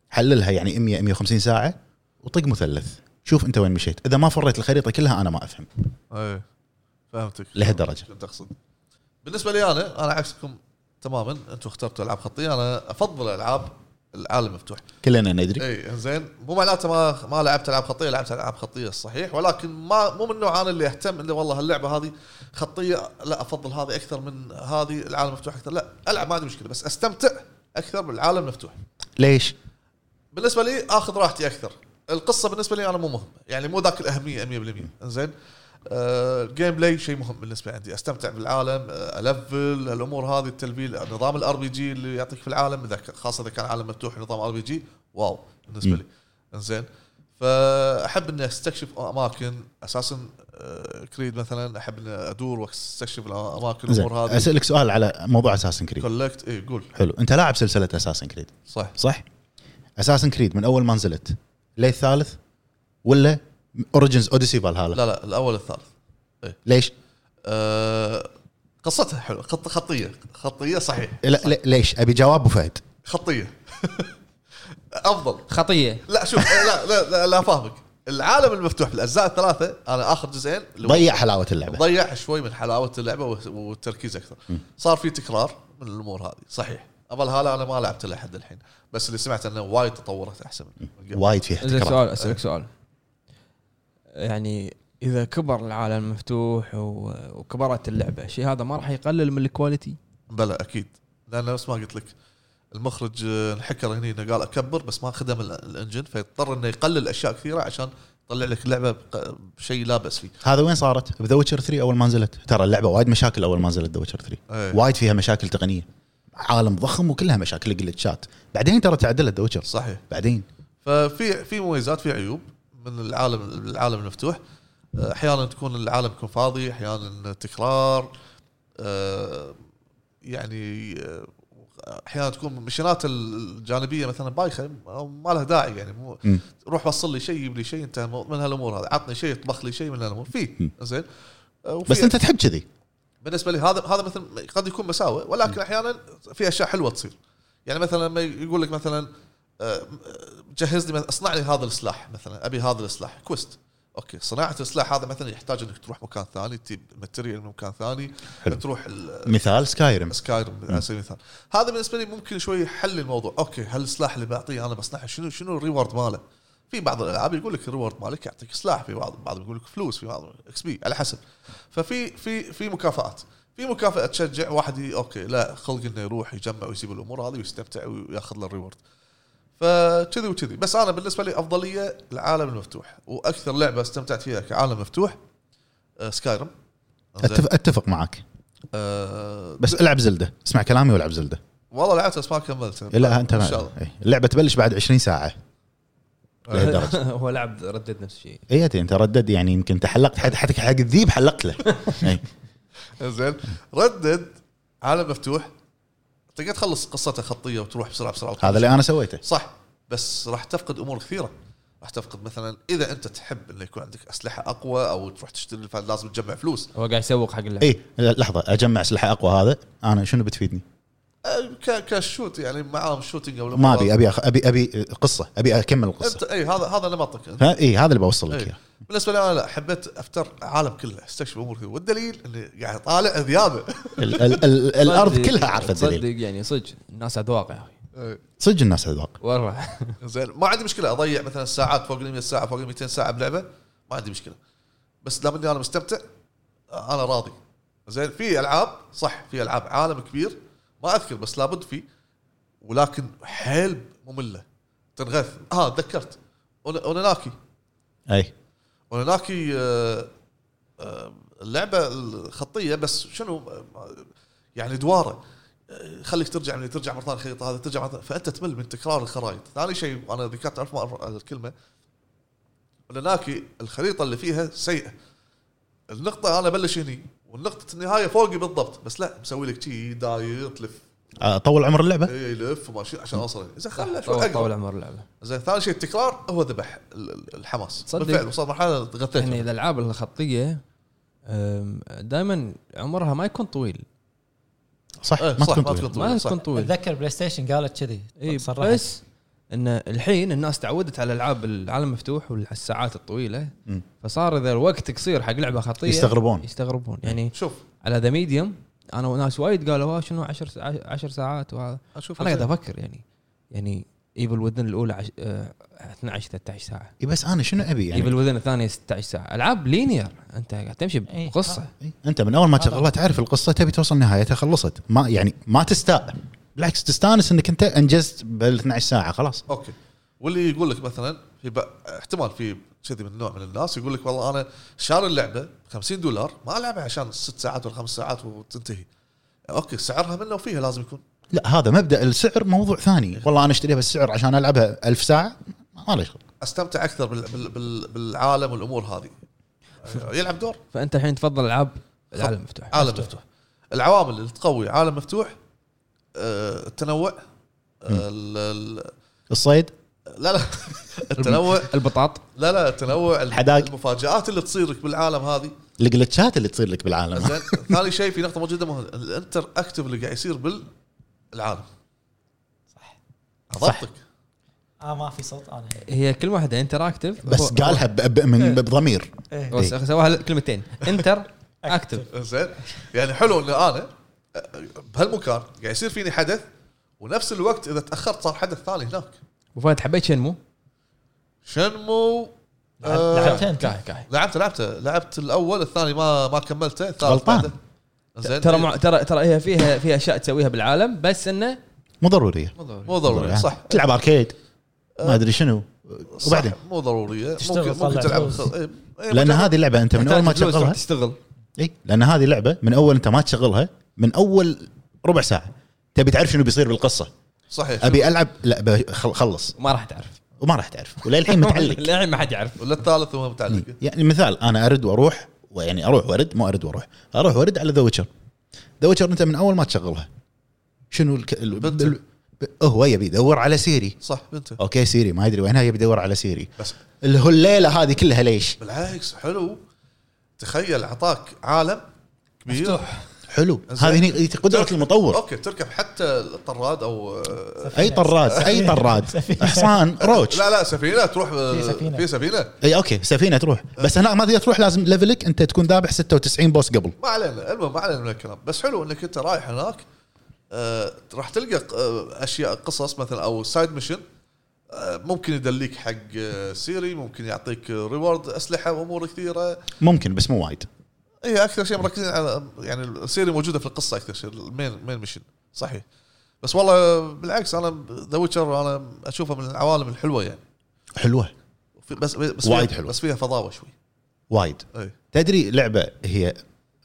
Speaker 2: حللها يعني 100 150 ساعه وطق مثلث شوف انت وين مشيت اذا ما فريت الخريطه كلها انا ما افهم
Speaker 3: ايه فهمتك
Speaker 2: لهالدرجة.
Speaker 3: شو تقصد بالنسبه لي انا انا عكسكم تماما انتم اخترتوا العاب خطيه انا افضل العاب العالم مفتوح
Speaker 2: كلنا ندري
Speaker 3: اي إيه، زين مو معناته ما ما لعبت العاب خطيه لعبت العاب خطيه صحيح ولكن ما مو من النوع انا اللي اهتم انه والله هاللعبه هذه خطيه لا افضل هذه اكثر من هذه العالم مفتوح اكثر لا العب ما عندي مشكله بس استمتع اكثر بالعالم المفتوح
Speaker 2: ليش؟
Speaker 3: بالنسبه لي اخذ راحتي اكثر القصه بالنسبه لي انا مو مهمه يعني مو ذاك الاهميه 100% زين آه، الجيم بلاي شيء مهم بالنسبه عندي استمتع بالعالم آه، الفل الامور هذه التلفيل نظام الار بي جي اللي يعطيك في العالم اذا ك- خاصه اذا كان عالم مفتوح نظام ار بي جي واو بالنسبه
Speaker 2: مم.
Speaker 3: لي زين فاحب اني استكشف اماكن اساسا آه، كريد مثلا احب اني ادور واستكشف الاماكن
Speaker 2: زين
Speaker 3: الامور هذه
Speaker 2: اسالك سؤال على موضوع اساسن كريد
Speaker 3: كولكت اي قول
Speaker 2: حلو انت لاعب سلسله اساسن كريد
Speaker 3: صح
Speaker 2: صح؟ اساسن كريد من اول ما نزلت للثالث ولا اوريجنز اوديسي فالهالا
Speaker 3: لا لا الاول الثالث
Speaker 2: ليش؟
Speaker 3: آه، قصتها حلوه خط خطيه خطيه صحيح
Speaker 2: لا لا ليش؟ ابي جواب ابو فهد
Speaker 3: خطيه افضل
Speaker 1: خطيه
Speaker 3: لا شوف آه، لا لا لا, لا فاهمك العالم المفتوح بالاجزاء الثلاثه انا اخر جزئين اللي هو
Speaker 2: ضيع حلاوه اللعبه
Speaker 3: ضيع شوي من حلاوه اللعبه وه- والتركيز اكثر صار في تكرار من الامور هذه صحيح ابل هالا انا ما لعبت لحد الحين بس اللي سمعت انه وايد تطورت احسن من قبل.
Speaker 2: وايد فيها
Speaker 1: زين
Speaker 2: تكرار
Speaker 1: سؤال اسالك سؤال يعني اذا كبر العالم مفتوح و- وكبرت اللعبه شيء هذا ما راح يقلل من الكواليتي
Speaker 3: بلى اكيد لان نفس ما قلت لك المخرج آه، انحكر هني انه قال اكبر بس ما خدم ال- الانجن فيضطر انه يقلل اشياء كثيره عشان يطلع لك لعبه بق- بشيء لا باس فيه
Speaker 2: هذا وين صارت؟ بذا ويتشر 3 اول ما نزلت ترى اللعبه وايد مشاكل اول ما نزلت ذا ويتشر 3
Speaker 3: أي.
Speaker 2: وايد فيها مشاكل تقنيه عالم ضخم وكلها مشاكل جلتشات بعدين ترى تعدلت ذا ويتشر
Speaker 3: صحيح
Speaker 2: بعدين
Speaker 3: ففي في مميزات في عيوب من العالم العالم المفتوح آه، احيانا تكون العالم يكون فاضي احيانا تكرار آه، يعني آه، احيانا تكون مشينات الجانبيه مثلا بايخه ما لها داعي يعني مو
Speaker 2: مم.
Speaker 3: روح وصل لي شيء يجيب لي شيء انت من هالامور هذه عطني شيء اطبخ لي شيء من هالامور في
Speaker 2: مم.
Speaker 3: زين آه، وفي-
Speaker 2: بس انت تحب كذي
Speaker 3: بالنسبه لي هذا هذا مثل قد يكون مساوئ ولكن احيانا في اشياء حلوه تصير يعني مثلا لما يقول لك مثلا آه، جهز لي مث- اصنع لي هذا السلاح مثلا ابي هذا السلاح كويست اوكي صناعه السلاح هذا مثلا يحتاج انك تروح مكان ثاني تجيب ماتيريال من مكان ثاني
Speaker 2: حلو.
Speaker 3: تروح ال-
Speaker 2: مثال سكايرم
Speaker 3: سكايرم على سبيل المثال هذا بالنسبه لي ممكن شوي يحل الموضوع اوكي هل السلاح اللي بعطيه انا بصنعه شنو شنو الريورد ماله في بعض الالعاب يقول لك الريورد مالك يعطيك سلاح في بعض بعض يقول لك فلوس في بعض اكس بي على حسب ففي في في مكافآت في مكافاه تشجع واحد ي- اوكي لا خلق انه يروح يجمع ويسيب الامور هذه ويستمتع وياخذ له الريورد فكذي وكذي بس انا بالنسبه لي افضليه العالم المفتوح واكثر لعبه استمتعت فيها كعالم مفتوح آه، سكايرم
Speaker 2: اتفق اتفق معك
Speaker 3: آه،
Speaker 2: بس العب زلده اسمع كلامي والعب زلده
Speaker 3: والله لعبت بس ما كملت
Speaker 2: لا انت
Speaker 3: ان
Speaker 2: ما
Speaker 3: طيب، شاء الله آه.
Speaker 2: إيه. اللعبه تبلش بعد 20 ساعه لهالدرجة.
Speaker 1: هو لعب ردد نفس الشيء
Speaker 2: اي أتي، انت ردد يعني يمكن تحلقت حد حتى حق الذيب حلقت له إيه.
Speaker 3: زين ردد عالم مفتوح تقدر تخلص قصته خطيه وتروح بسرعه بسرعه وتروح.
Speaker 2: هذا اللي انا سويته
Speaker 3: صح بس راح تفقد امور كثيره راح تفقد مثلا اذا انت تحب انه يكون عندك اسلحه اقوى او تروح تشتري لازم تجمع فلوس
Speaker 1: هو قاعد يسوق حق اللعبه
Speaker 2: اي لحظه اجمع سلاح اقوى هذا انا شنو بتفيدني؟
Speaker 3: أه، ك- كشوت يعني معاهم شوتنج او
Speaker 2: ما ابي ابي أخ... ابي ابي قصه ابي اكمل القصه
Speaker 3: انت اي هذا هذا نمطك انت
Speaker 2: ها اي هذا اللي بوصل لك
Speaker 3: إيه.
Speaker 2: اياه
Speaker 3: بالنسبه لي انا لا حبيت افتر العالم كله استكشف امور كثيره والدليل اني قاعد طالع ذيابه
Speaker 2: ال- ال- ال- الارض
Speaker 1: صدق-
Speaker 2: كلها عارفه الدليل
Speaker 1: صدق يعني صدق الناس اذواق يا اخي
Speaker 3: إيه.
Speaker 2: صدق الناس اذواق
Speaker 1: والله
Speaker 3: زين ما عندي مشكله اضيع مثلا ساعات فوق ال 100 ساعه فوق ال 200 ساعه بلعبه ما عندي مشكله بس دام اني انا مستمتع انا راضي زين في العاب صح في العاب عالم كبير ما اذكر بس لابد فيه ولكن حيل ممله تنغث اه تذكرت أون- اوناناكي
Speaker 2: اي
Speaker 3: اوناناكي آه، آه، اللعبه الخطيه بس شنو آه، يعني دواره آه، خليك ترجع من ترجع مره ثانيه الخريطه هذا ترجع مرة ثانية، فانت تمل من تكرار الخرائط، ثاني شيء انا ذكرت الف مره الكلمه اوناناكي الخريطه اللي فيها سيئه النقطه انا بلش هني والنقطه النهايه فوقي بالضبط بس لا مسوي لك شي داير تلف
Speaker 2: اطول عمر اللعبه
Speaker 3: إيه، يلف وماشي عشان اوصل زين خله شوي
Speaker 1: طول, طول
Speaker 3: اقرب
Speaker 1: عمر اللعبه
Speaker 3: زين ثاني شيء التكرار هو ذبح ال- ال- الحماس
Speaker 1: تصدق؟
Speaker 3: بالفعل وصل مرحله
Speaker 2: طيب،
Speaker 3: تغثيت
Speaker 1: يعني الالعاب الخطيه دائما عمرها ما يكون طويل
Speaker 2: صح
Speaker 3: إيه،
Speaker 2: ما
Speaker 3: صح،
Speaker 2: تكون
Speaker 3: ما
Speaker 2: طويل.
Speaker 3: تكون
Speaker 1: ما
Speaker 3: طويل، صح.
Speaker 1: يكون طويل
Speaker 4: اتذكر بلاي ستيشن قالت كذي
Speaker 1: اي
Speaker 4: صرحت.
Speaker 1: إيه، بس ان الحين الناس تعودت على العاب العالم مفتوح والساعات الطويله
Speaker 2: مم.
Speaker 1: فصار اذا الوقت قصير حق لعبه خطيه
Speaker 2: يستغربون إيه.
Speaker 1: يستغربون يعني
Speaker 3: شوف
Speaker 1: على ذا ميديوم انا وناس وايد قالوا "آه، شنو 10 10 ساعات وهذا
Speaker 3: اشوف
Speaker 1: انا قاعد افكر يعني يعني ايفل وذن الاولى عش... آه، 12 13 ساعه
Speaker 2: اي إيه، بس انا شنو ابي
Speaker 1: يعني
Speaker 2: يعني
Speaker 1: ايفل وذن الثانيه 16 ساعه العاب لينير انت قاعد تمشي
Speaker 4: إيه.
Speaker 1: بقصه
Speaker 2: إيه، انت من اول ما تشغلها تعرف القصه تبي توصل نهايتها خلصت ما يعني ما تستاء بالعكس تستانس انك انت انجزت بال 12 ساعه خلاص
Speaker 3: اوكي واللي يقول لك مثلا في بق... احتمال في كذي من نوع من الناس يقول لك والله انا شاري اللعبه 50 دولار ما العبها عشان ست ساعات ولا خمس ساعات وتنتهي اوكي سعرها منه وفيها لازم يكون
Speaker 2: لا هذا مبدا السعر موضوع
Speaker 3: إيه.
Speaker 2: ثاني والله انا اشتريها بالسعر عشان العبها ألف ساعه ما له شغل
Speaker 3: استمتع اكثر بال... بال... بال... بالعالم والامور هذه يلعب دور
Speaker 1: فانت الحين تفضل العاب العالم مفتوح
Speaker 2: آه،
Speaker 3: عالم مفتوح العوامل اللي تقوي عالم مفتوح آه، التنوع آه، ال- ال-
Speaker 2: الصيد
Speaker 3: لا لا التنوع
Speaker 1: البطاط
Speaker 3: لا لا التنوع
Speaker 2: الحدائق.
Speaker 3: المفاجات اللي تصير لك بالعالم هذه
Speaker 2: الجلتشات اللي تصير لك بالعالم
Speaker 3: زين ثاني شيء في نقطه موجوده مهمه الانتر اكتف اللي قاعد يصير بالعالم
Speaker 4: صح
Speaker 2: صح.
Speaker 3: ضبطك
Speaker 4: اه ما في صوت انا
Speaker 1: هي كل واحده انتراكتيف
Speaker 2: بس قالها ب- ب- من- بضمير
Speaker 4: إيه.
Speaker 1: بس سواها كلمتين انتر اكتف
Speaker 3: زين يعني حلو ان انا بهالمكان قاعد يصير فيني حدث ونفس الوقت اذا تاخرت صار حدث ثاني هناك
Speaker 1: وفهد حبيت شنمو
Speaker 3: شنمو آه،
Speaker 4: لعبتها انت
Speaker 1: كاي كاي
Speaker 3: لعبت لعبته لعبت الاول الثاني ما ما كملته الثالث
Speaker 2: غلطان.
Speaker 3: بعده. زين
Speaker 1: ترى مع... ترى ترى هي فيها فيها اشياء تسويها بالعالم بس انه
Speaker 2: مو ضروريه
Speaker 3: مو ضروري صح آه.
Speaker 2: تلعب اركيد ما ادري شنو
Speaker 3: صح، إيه،
Speaker 2: وبعدين
Speaker 3: مو ضروريه
Speaker 4: تشتغل
Speaker 3: ممكن ممكن
Speaker 4: تطلع
Speaker 3: تلعب
Speaker 4: فلوس.
Speaker 3: إيه، إيه،
Speaker 2: لان
Speaker 3: ممكن-
Speaker 2: هذه اللعبه انت من اول ما
Speaker 1: تحتاج فلوس راح
Speaker 2: تشغلها
Speaker 1: تشتغل
Speaker 2: اي لان هذه لعبه من اول انت ما تشغلها من اول ربع ساعه تبي تعرف شنو بيصير بالقصه
Speaker 3: صحيح
Speaker 2: ابي العب لا ب- خل- خلص
Speaker 1: ما راح تعرف
Speaker 2: وما راح تعرف وللحين متعلق
Speaker 1: للحين ما حد يعرف
Speaker 3: ولا الثالث وهو متعلقه
Speaker 2: يعني مثال انا ارد واروح ويعني اروح وارد ما ارد واروح اروح وارد على ذا ويتشر ذا ويتشر انت من اول ما تشغلها شنو الك... ال...
Speaker 3: بنت.
Speaker 2: ال... ب- هو يبي يدور على سيري
Speaker 3: صح بنته
Speaker 2: اوكي سيري ما يدري وينها يبي يدور على سيري
Speaker 3: بس
Speaker 2: اللي هو الليله هذه كلها ليش؟
Speaker 3: بالعكس حلو تخيل اعطاك عالم كبير مفتوح
Speaker 2: حلو
Speaker 3: زين.
Speaker 2: هذه هني قدره المطور
Speaker 3: اوكي تركب حتى الطراد او آه،
Speaker 2: اي طراد اي طراد حصان روج
Speaker 3: لا لا سفينه تروح آه،
Speaker 4: في سفينة.
Speaker 3: في سفينه
Speaker 2: اي اوكي سفينه تروح بس هناك ما تقدر تروح لازم ليفلك انت تكون ذابح 96 بوس قبل
Speaker 3: ما علينا المهم ما علينا من الكلام بس حلو انك انت رايح هناك آه راح تلقى آه اشياء قصص مثلا او سايد ميشن آه ممكن يدليك حق آه سيري ممكن يعطيك آه، ريورد اسلحه وامور كثيره
Speaker 2: ممكن بس مو وايد
Speaker 3: هي اكثر إيه، شيء مركزين على يعني سيري موجوده في القصه اكثر شيء المين مين ميشن صحيح بس والله بالعكس انا ذا ويتشر انا اشوفها من العوالم الحلوه يعني
Speaker 2: حلوه
Speaker 3: وفي- بس بس
Speaker 2: وايد
Speaker 3: فيها
Speaker 2: حلوة.
Speaker 3: بس فيها فضاوه شوي إيه،
Speaker 2: وايد
Speaker 3: اي
Speaker 2: تدري لعبه هي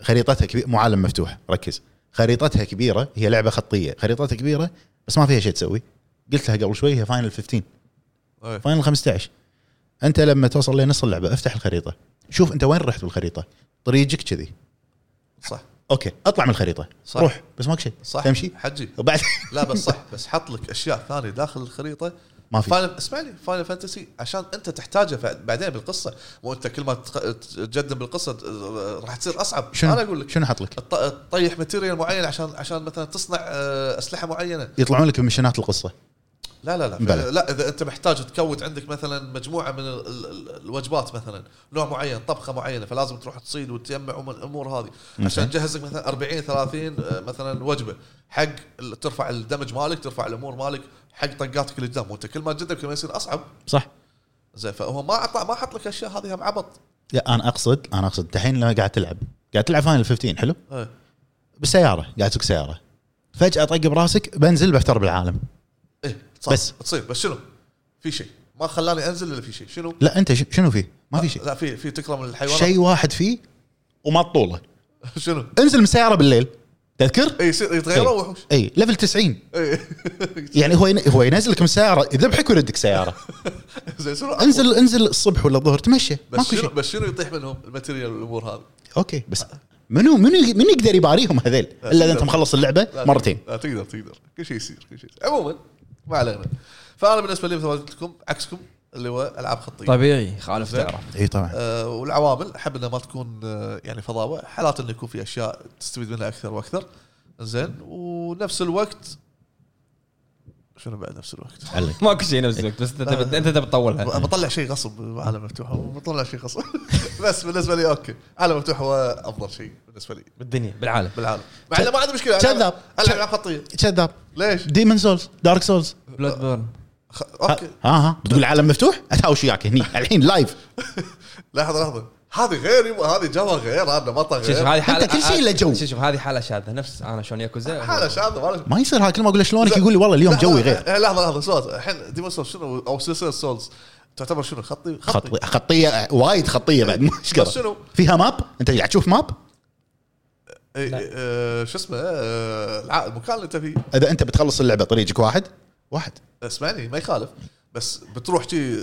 Speaker 2: خريطتها كبيره مو عالم مفتوح ركز خريطتها كبيره هي لعبه خطيه خريطتها كبيره بس ما فيها شيء تسوي قلت لها قبل شوي هي فاينل 15
Speaker 3: اي
Speaker 2: فاينل 15 انت لما توصل لنص اللعبه افتح الخريطه شوف انت وين رحت بالخريطه طريقك كذي
Speaker 3: صح
Speaker 2: اوكي اطلع من الخريطه
Speaker 3: صح.
Speaker 2: صح. روح بس ماك شيء
Speaker 3: صح
Speaker 2: تمشي
Speaker 3: حجي
Speaker 2: وبعد
Speaker 3: لا بس صح بس حط لك اشياء ثانيه داخل الخريطه
Speaker 2: ما في
Speaker 3: فاينل اسمعني فاينل فانتسي عشان انت تحتاجه ف- بعدين بالقصه مو انت كل ما تق- تجدم بالقصه ت- راح تصير اصعب
Speaker 2: شنو
Speaker 3: انا اقول لك
Speaker 2: شنو حط لك؟
Speaker 3: الط- تطيح ماتيريال معين عشان عشان مثلا تصنع آه، اسلحه معينه
Speaker 2: يطلعون لك بمشنات القصه
Speaker 3: لا لا لا
Speaker 2: بلى.
Speaker 3: لا اذا انت محتاج تكود عندك مثلا مجموعه من ال- ال- ال- الوجبات مثلا نوع معين طبخه معينه فلازم تروح تصيد وتجمع ومن الامور هذه عشان
Speaker 2: زين.
Speaker 3: تجهز لك مثلا 40 30 آه، مثلا وجبه حق ال- ترفع الدمج مالك ترفع الامور مالك حق طقاتك اللي قدام وانت كل ما تجدم كل ما يصير اصعب
Speaker 2: صح
Speaker 3: زين فهو ما اعطى ما حط لك اشياء هذه هم عبط
Speaker 2: لا انا اقصد انا اقصد الحين لما قاعد تلعب قاعد تلعب فاينل 15 حلو
Speaker 3: إيه.
Speaker 2: بالسياره قاعد تسوق سياره فجاه طق براسك بنزل بحتر بالعالم
Speaker 3: ايه صح
Speaker 2: بس.
Speaker 3: تصير بس شنو؟ في شيء ما خلاني انزل الا في شيء شنو؟
Speaker 2: لا انت ش- شنو فيه ما في شيء
Speaker 3: لا في في تكرم الحيوانات
Speaker 2: شيء واحد فيه وما الطوله
Speaker 3: شنو؟
Speaker 2: انزل من السياره بالليل تذكر
Speaker 3: اي يصير
Speaker 2: إيه.
Speaker 3: إيه. يتغيروا إيه، وحوش
Speaker 2: اي ليفل 90
Speaker 3: اي
Speaker 2: يعني هو ين- هو ينزلك من سياره يذبحك ويردك سياره
Speaker 3: زين شنو؟
Speaker 2: انزل انزل الصبح ولا الظهر تمشي
Speaker 3: بس
Speaker 2: ماكو
Speaker 3: شنو
Speaker 2: شيء
Speaker 3: بس شنو يطيح منهم الماتيريال والامور هذه؟
Speaker 2: اوكي بس منو منو منو يقدر يباريهم هذيل الا
Speaker 3: لا
Speaker 2: اذا
Speaker 3: تقدر.
Speaker 2: انت مخلص اللعبه
Speaker 3: لا
Speaker 2: مرتين
Speaker 3: لا تقدر تقدر كل شيء يصير كل شيء يصير. عموما ما علينا فانا بالنسبه لي مثل ما قلت لكم عكسكم اللي هو العاب خطيه
Speaker 2: طيب.
Speaker 1: طبيعي خالف
Speaker 3: زين.
Speaker 1: تعرف
Speaker 2: اي طبعا
Speaker 3: آه، والعوامل احب انها ما تكون آه، يعني فضاوه حالات انه يكون في اشياء تستفيد منها اكثر واكثر زين ونفس الوقت شنو بعد نفس الوقت
Speaker 2: عليك
Speaker 1: ماكو شيء نفس الوقت بس انت
Speaker 2: آه.
Speaker 1: تبي- انت تبي تطولها
Speaker 3: بطلع شيء غصب عالم مفتوح بطلع شيء غصب بس بالنسبه لي اوكي عالم مفتوح هو افضل شيء بالنسبه لي
Speaker 1: بالدنيا يعني بالعالم
Speaker 3: بالعالم مع انه ما عندي مشكله ألعب-
Speaker 2: كذاب.
Speaker 3: العب العاب خطيه
Speaker 2: كذاب
Speaker 3: ليش؟
Speaker 2: ديمن سولز دارك سولز
Speaker 1: بلاد بورن
Speaker 3: خ...
Speaker 2: ها
Speaker 3: اوكي
Speaker 2: ها بتقول آه. العالم مفتوح اتهاوش وياك هني الحين لايف
Speaker 3: لحظه لحظه هذه غير يبا هذه جوا غير هذا مطر
Speaker 1: شوف
Speaker 3: غير
Speaker 1: هذه حاله
Speaker 2: أنت كل شيء له جو.
Speaker 1: شوف هذه حاله شاذه نفس انا شلون ياكوزا
Speaker 3: حاله شاذه ما له-
Speaker 2: ما يصير هاي كل ما اقول له شلونك
Speaker 3: لا.
Speaker 2: يقول لي والله اليوم
Speaker 3: لا،
Speaker 2: جوي
Speaker 3: لا، إيه،
Speaker 2: غير
Speaker 3: لا، لحظه لحظه سؤال الحين ديمون سولز شنو او سلسله سولز تعتبر شنو خطي خطي
Speaker 2: خط- خطيه وايد خطيه بعد مش
Speaker 3: بس شنو؟
Speaker 2: قبل فيها ماب انت قاعد تشوف ماب
Speaker 3: إي- آه، شو اسمه آه، الع- المكان اللي انت فيه
Speaker 2: اذا انت بتخلص اللعبه طريقك واحد واحد
Speaker 3: اسمعني ما يخالف بس بتروح شي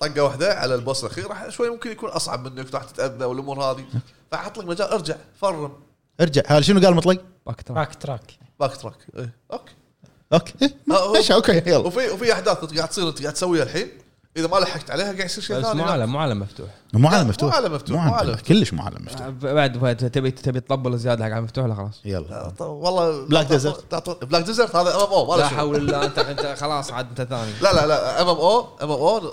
Speaker 3: طقه واحده على البوس الاخير راح شوي ممكن يكون اصعب منك راح تتاذى والامور هذه فاحط لك مجال ارجع فرم
Speaker 2: ارجع هل شنو قال مطلق؟
Speaker 1: باك تراك
Speaker 4: باك تراك
Speaker 3: باك تراك إيه، اوكي
Speaker 2: اوكي إيه،
Speaker 3: آه، هو-
Speaker 2: ماشي اوكي يلا
Speaker 3: وفي وفي احداث انت قاعد تصير انت قاعد تسويها الحين اذا ما لحقت عليها قاعد يصير شيء
Speaker 1: بس
Speaker 3: ثاني
Speaker 1: مو
Speaker 3: لا.
Speaker 1: عالم مو عالم مفتوح
Speaker 2: مو عالم
Speaker 3: مو
Speaker 2: مفتوح
Speaker 3: عالم مفتوح،
Speaker 2: مو
Speaker 3: مو
Speaker 2: عالم
Speaker 3: عالم
Speaker 2: مفتوح كلش مو عالم مفتوح
Speaker 1: بعد بعد تبي تبي تطبل زياده حق عالم مفتوح لا خلاص
Speaker 3: آه.
Speaker 2: يلا
Speaker 3: طب والله
Speaker 2: بلاك
Speaker 3: تعطون-
Speaker 2: ديزرت.
Speaker 3: تعطون- بلاك ديزرت هذا ام ام او ما له
Speaker 1: لا
Speaker 3: شغل.
Speaker 1: حول الله انت انت خلاص عاد انت ثاني
Speaker 3: لا لا لا ام ام او ام ام او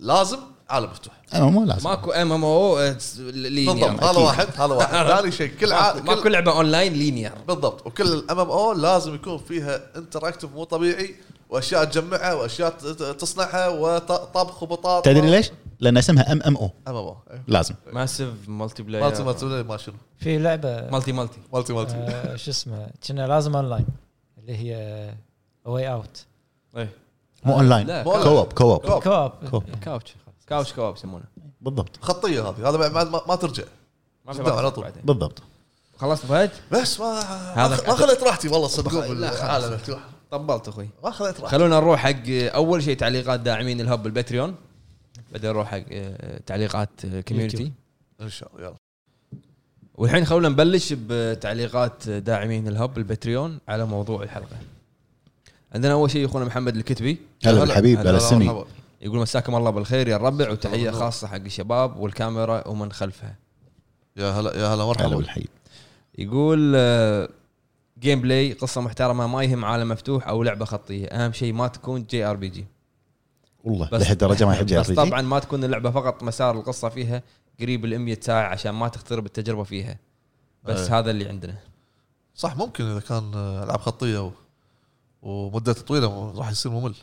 Speaker 3: لازم عالم مفتوح
Speaker 2: انا مو لازم
Speaker 1: ماكو ام ام او
Speaker 3: بالضبط
Speaker 1: لينير
Speaker 3: هذا واحد هذا واحد ثاني شيء كل عا- كل-
Speaker 1: ماكو لعبه اونلاين لينير
Speaker 3: بالضبط وكل الام ام او لازم يكون فيها انتراكتف مو طبيعي واشياء تجمعها واشياء ت- ت- تصنعها وطبخ وبطاطا
Speaker 2: تدري ليش؟ لان اسمها ام ام او
Speaker 3: ام ام او
Speaker 2: لازم
Speaker 1: ماسيف مالتي بلاير
Speaker 3: إيه. مالتي مالتي ما شنو
Speaker 4: في لعبه
Speaker 1: مالتي مالتي
Speaker 3: مالتي
Speaker 1: إيه.
Speaker 3: مالتي
Speaker 4: آه، شو اسمه كنا لازم اونلاين اللي هي واي اوت
Speaker 1: إيه.
Speaker 2: مو
Speaker 3: آه.
Speaker 2: اونلاين
Speaker 1: لا
Speaker 3: مو أونلاين.
Speaker 2: كوب كوب
Speaker 3: كوب.
Speaker 4: كوب آه،
Speaker 2: كوب.
Speaker 1: كاوتش كاوتش كواب يسمونه
Speaker 2: بالضبط
Speaker 3: خطيه هذه هذا بعد ما, ما, ما ترجع
Speaker 1: ما
Speaker 3: قدام على
Speaker 1: بعد-
Speaker 3: طول.
Speaker 1: بعدين.
Speaker 2: بالضبط
Speaker 3: آه.
Speaker 1: خلصت فهد
Speaker 3: بس ما
Speaker 1: هذا-
Speaker 3: ما خذيت راحتي والله
Speaker 1: لا،
Speaker 3: صدقون
Speaker 1: خلاص.
Speaker 3: بالعالم مفتوح
Speaker 1: طبلت اخوي
Speaker 3: ما خذيت راحتي
Speaker 1: خلونا نروح حق اول شيء تعليقات داعمين الهب الباتريون بعدين نروح حق آه، تعليقات كوميونتي
Speaker 4: يوتيوب.
Speaker 3: ان شاء الله يلا
Speaker 1: والحين خلونا نبلش بتعليقات آه، داعمين الهب الباتريون على موضوع الحلقه عندنا اول شيء اخونا محمد الكتبي
Speaker 2: هلا بالحبيب
Speaker 1: هلا
Speaker 2: هلا السني
Speaker 3: مرحبا.
Speaker 1: يقول مساكم الله بالخير يا الربع وتحيه خاصه حق الشباب والكاميرا ومن خلفها
Speaker 3: يا هلا يا هلا
Speaker 2: هلا
Speaker 3: مرحبا
Speaker 2: بالحبيب
Speaker 1: يقول آه، جيم بلاي قصه محترمه ما يهم عالم مفتوح او لعبه خطيه اهم شيء ما تكون جي ار بي جي
Speaker 2: والله لهالدرجه ما يحب جي ار
Speaker 1: بس طبعا ما تكون اللعبه فقط مسار القصه فيها قريب ال 100 ساعه عشان ما تخترب التجربه فيها بس
Speaker 2: إيه.
Speaker 3: أي.
Speaker 1: هذا اللي عندنا
Speaker 3: صح ممكن اذا كان آه، العاب خطيه و... ومدة طويله راح يصير ممل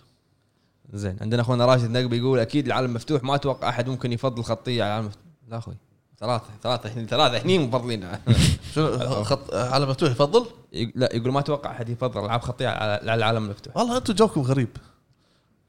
Speaker 1: زين عندنا اخونا راشد نقبي يقول اكيد العالم مفتوح ما اتوقع احد ممكن يفضل خطيه على العالم مفتوح لا اخوي ثلاثه ثلاثه هني ثلاثه هني مفضلين أه.
Speaker 3: شنو خط آه، عالم مفتوح يفضل؟
Speaker 1: لا يقول ما اتوقع احد يفضل العاب خطيه على على العالم المفتوح
Speaker 3: والله انتم جوكم غريب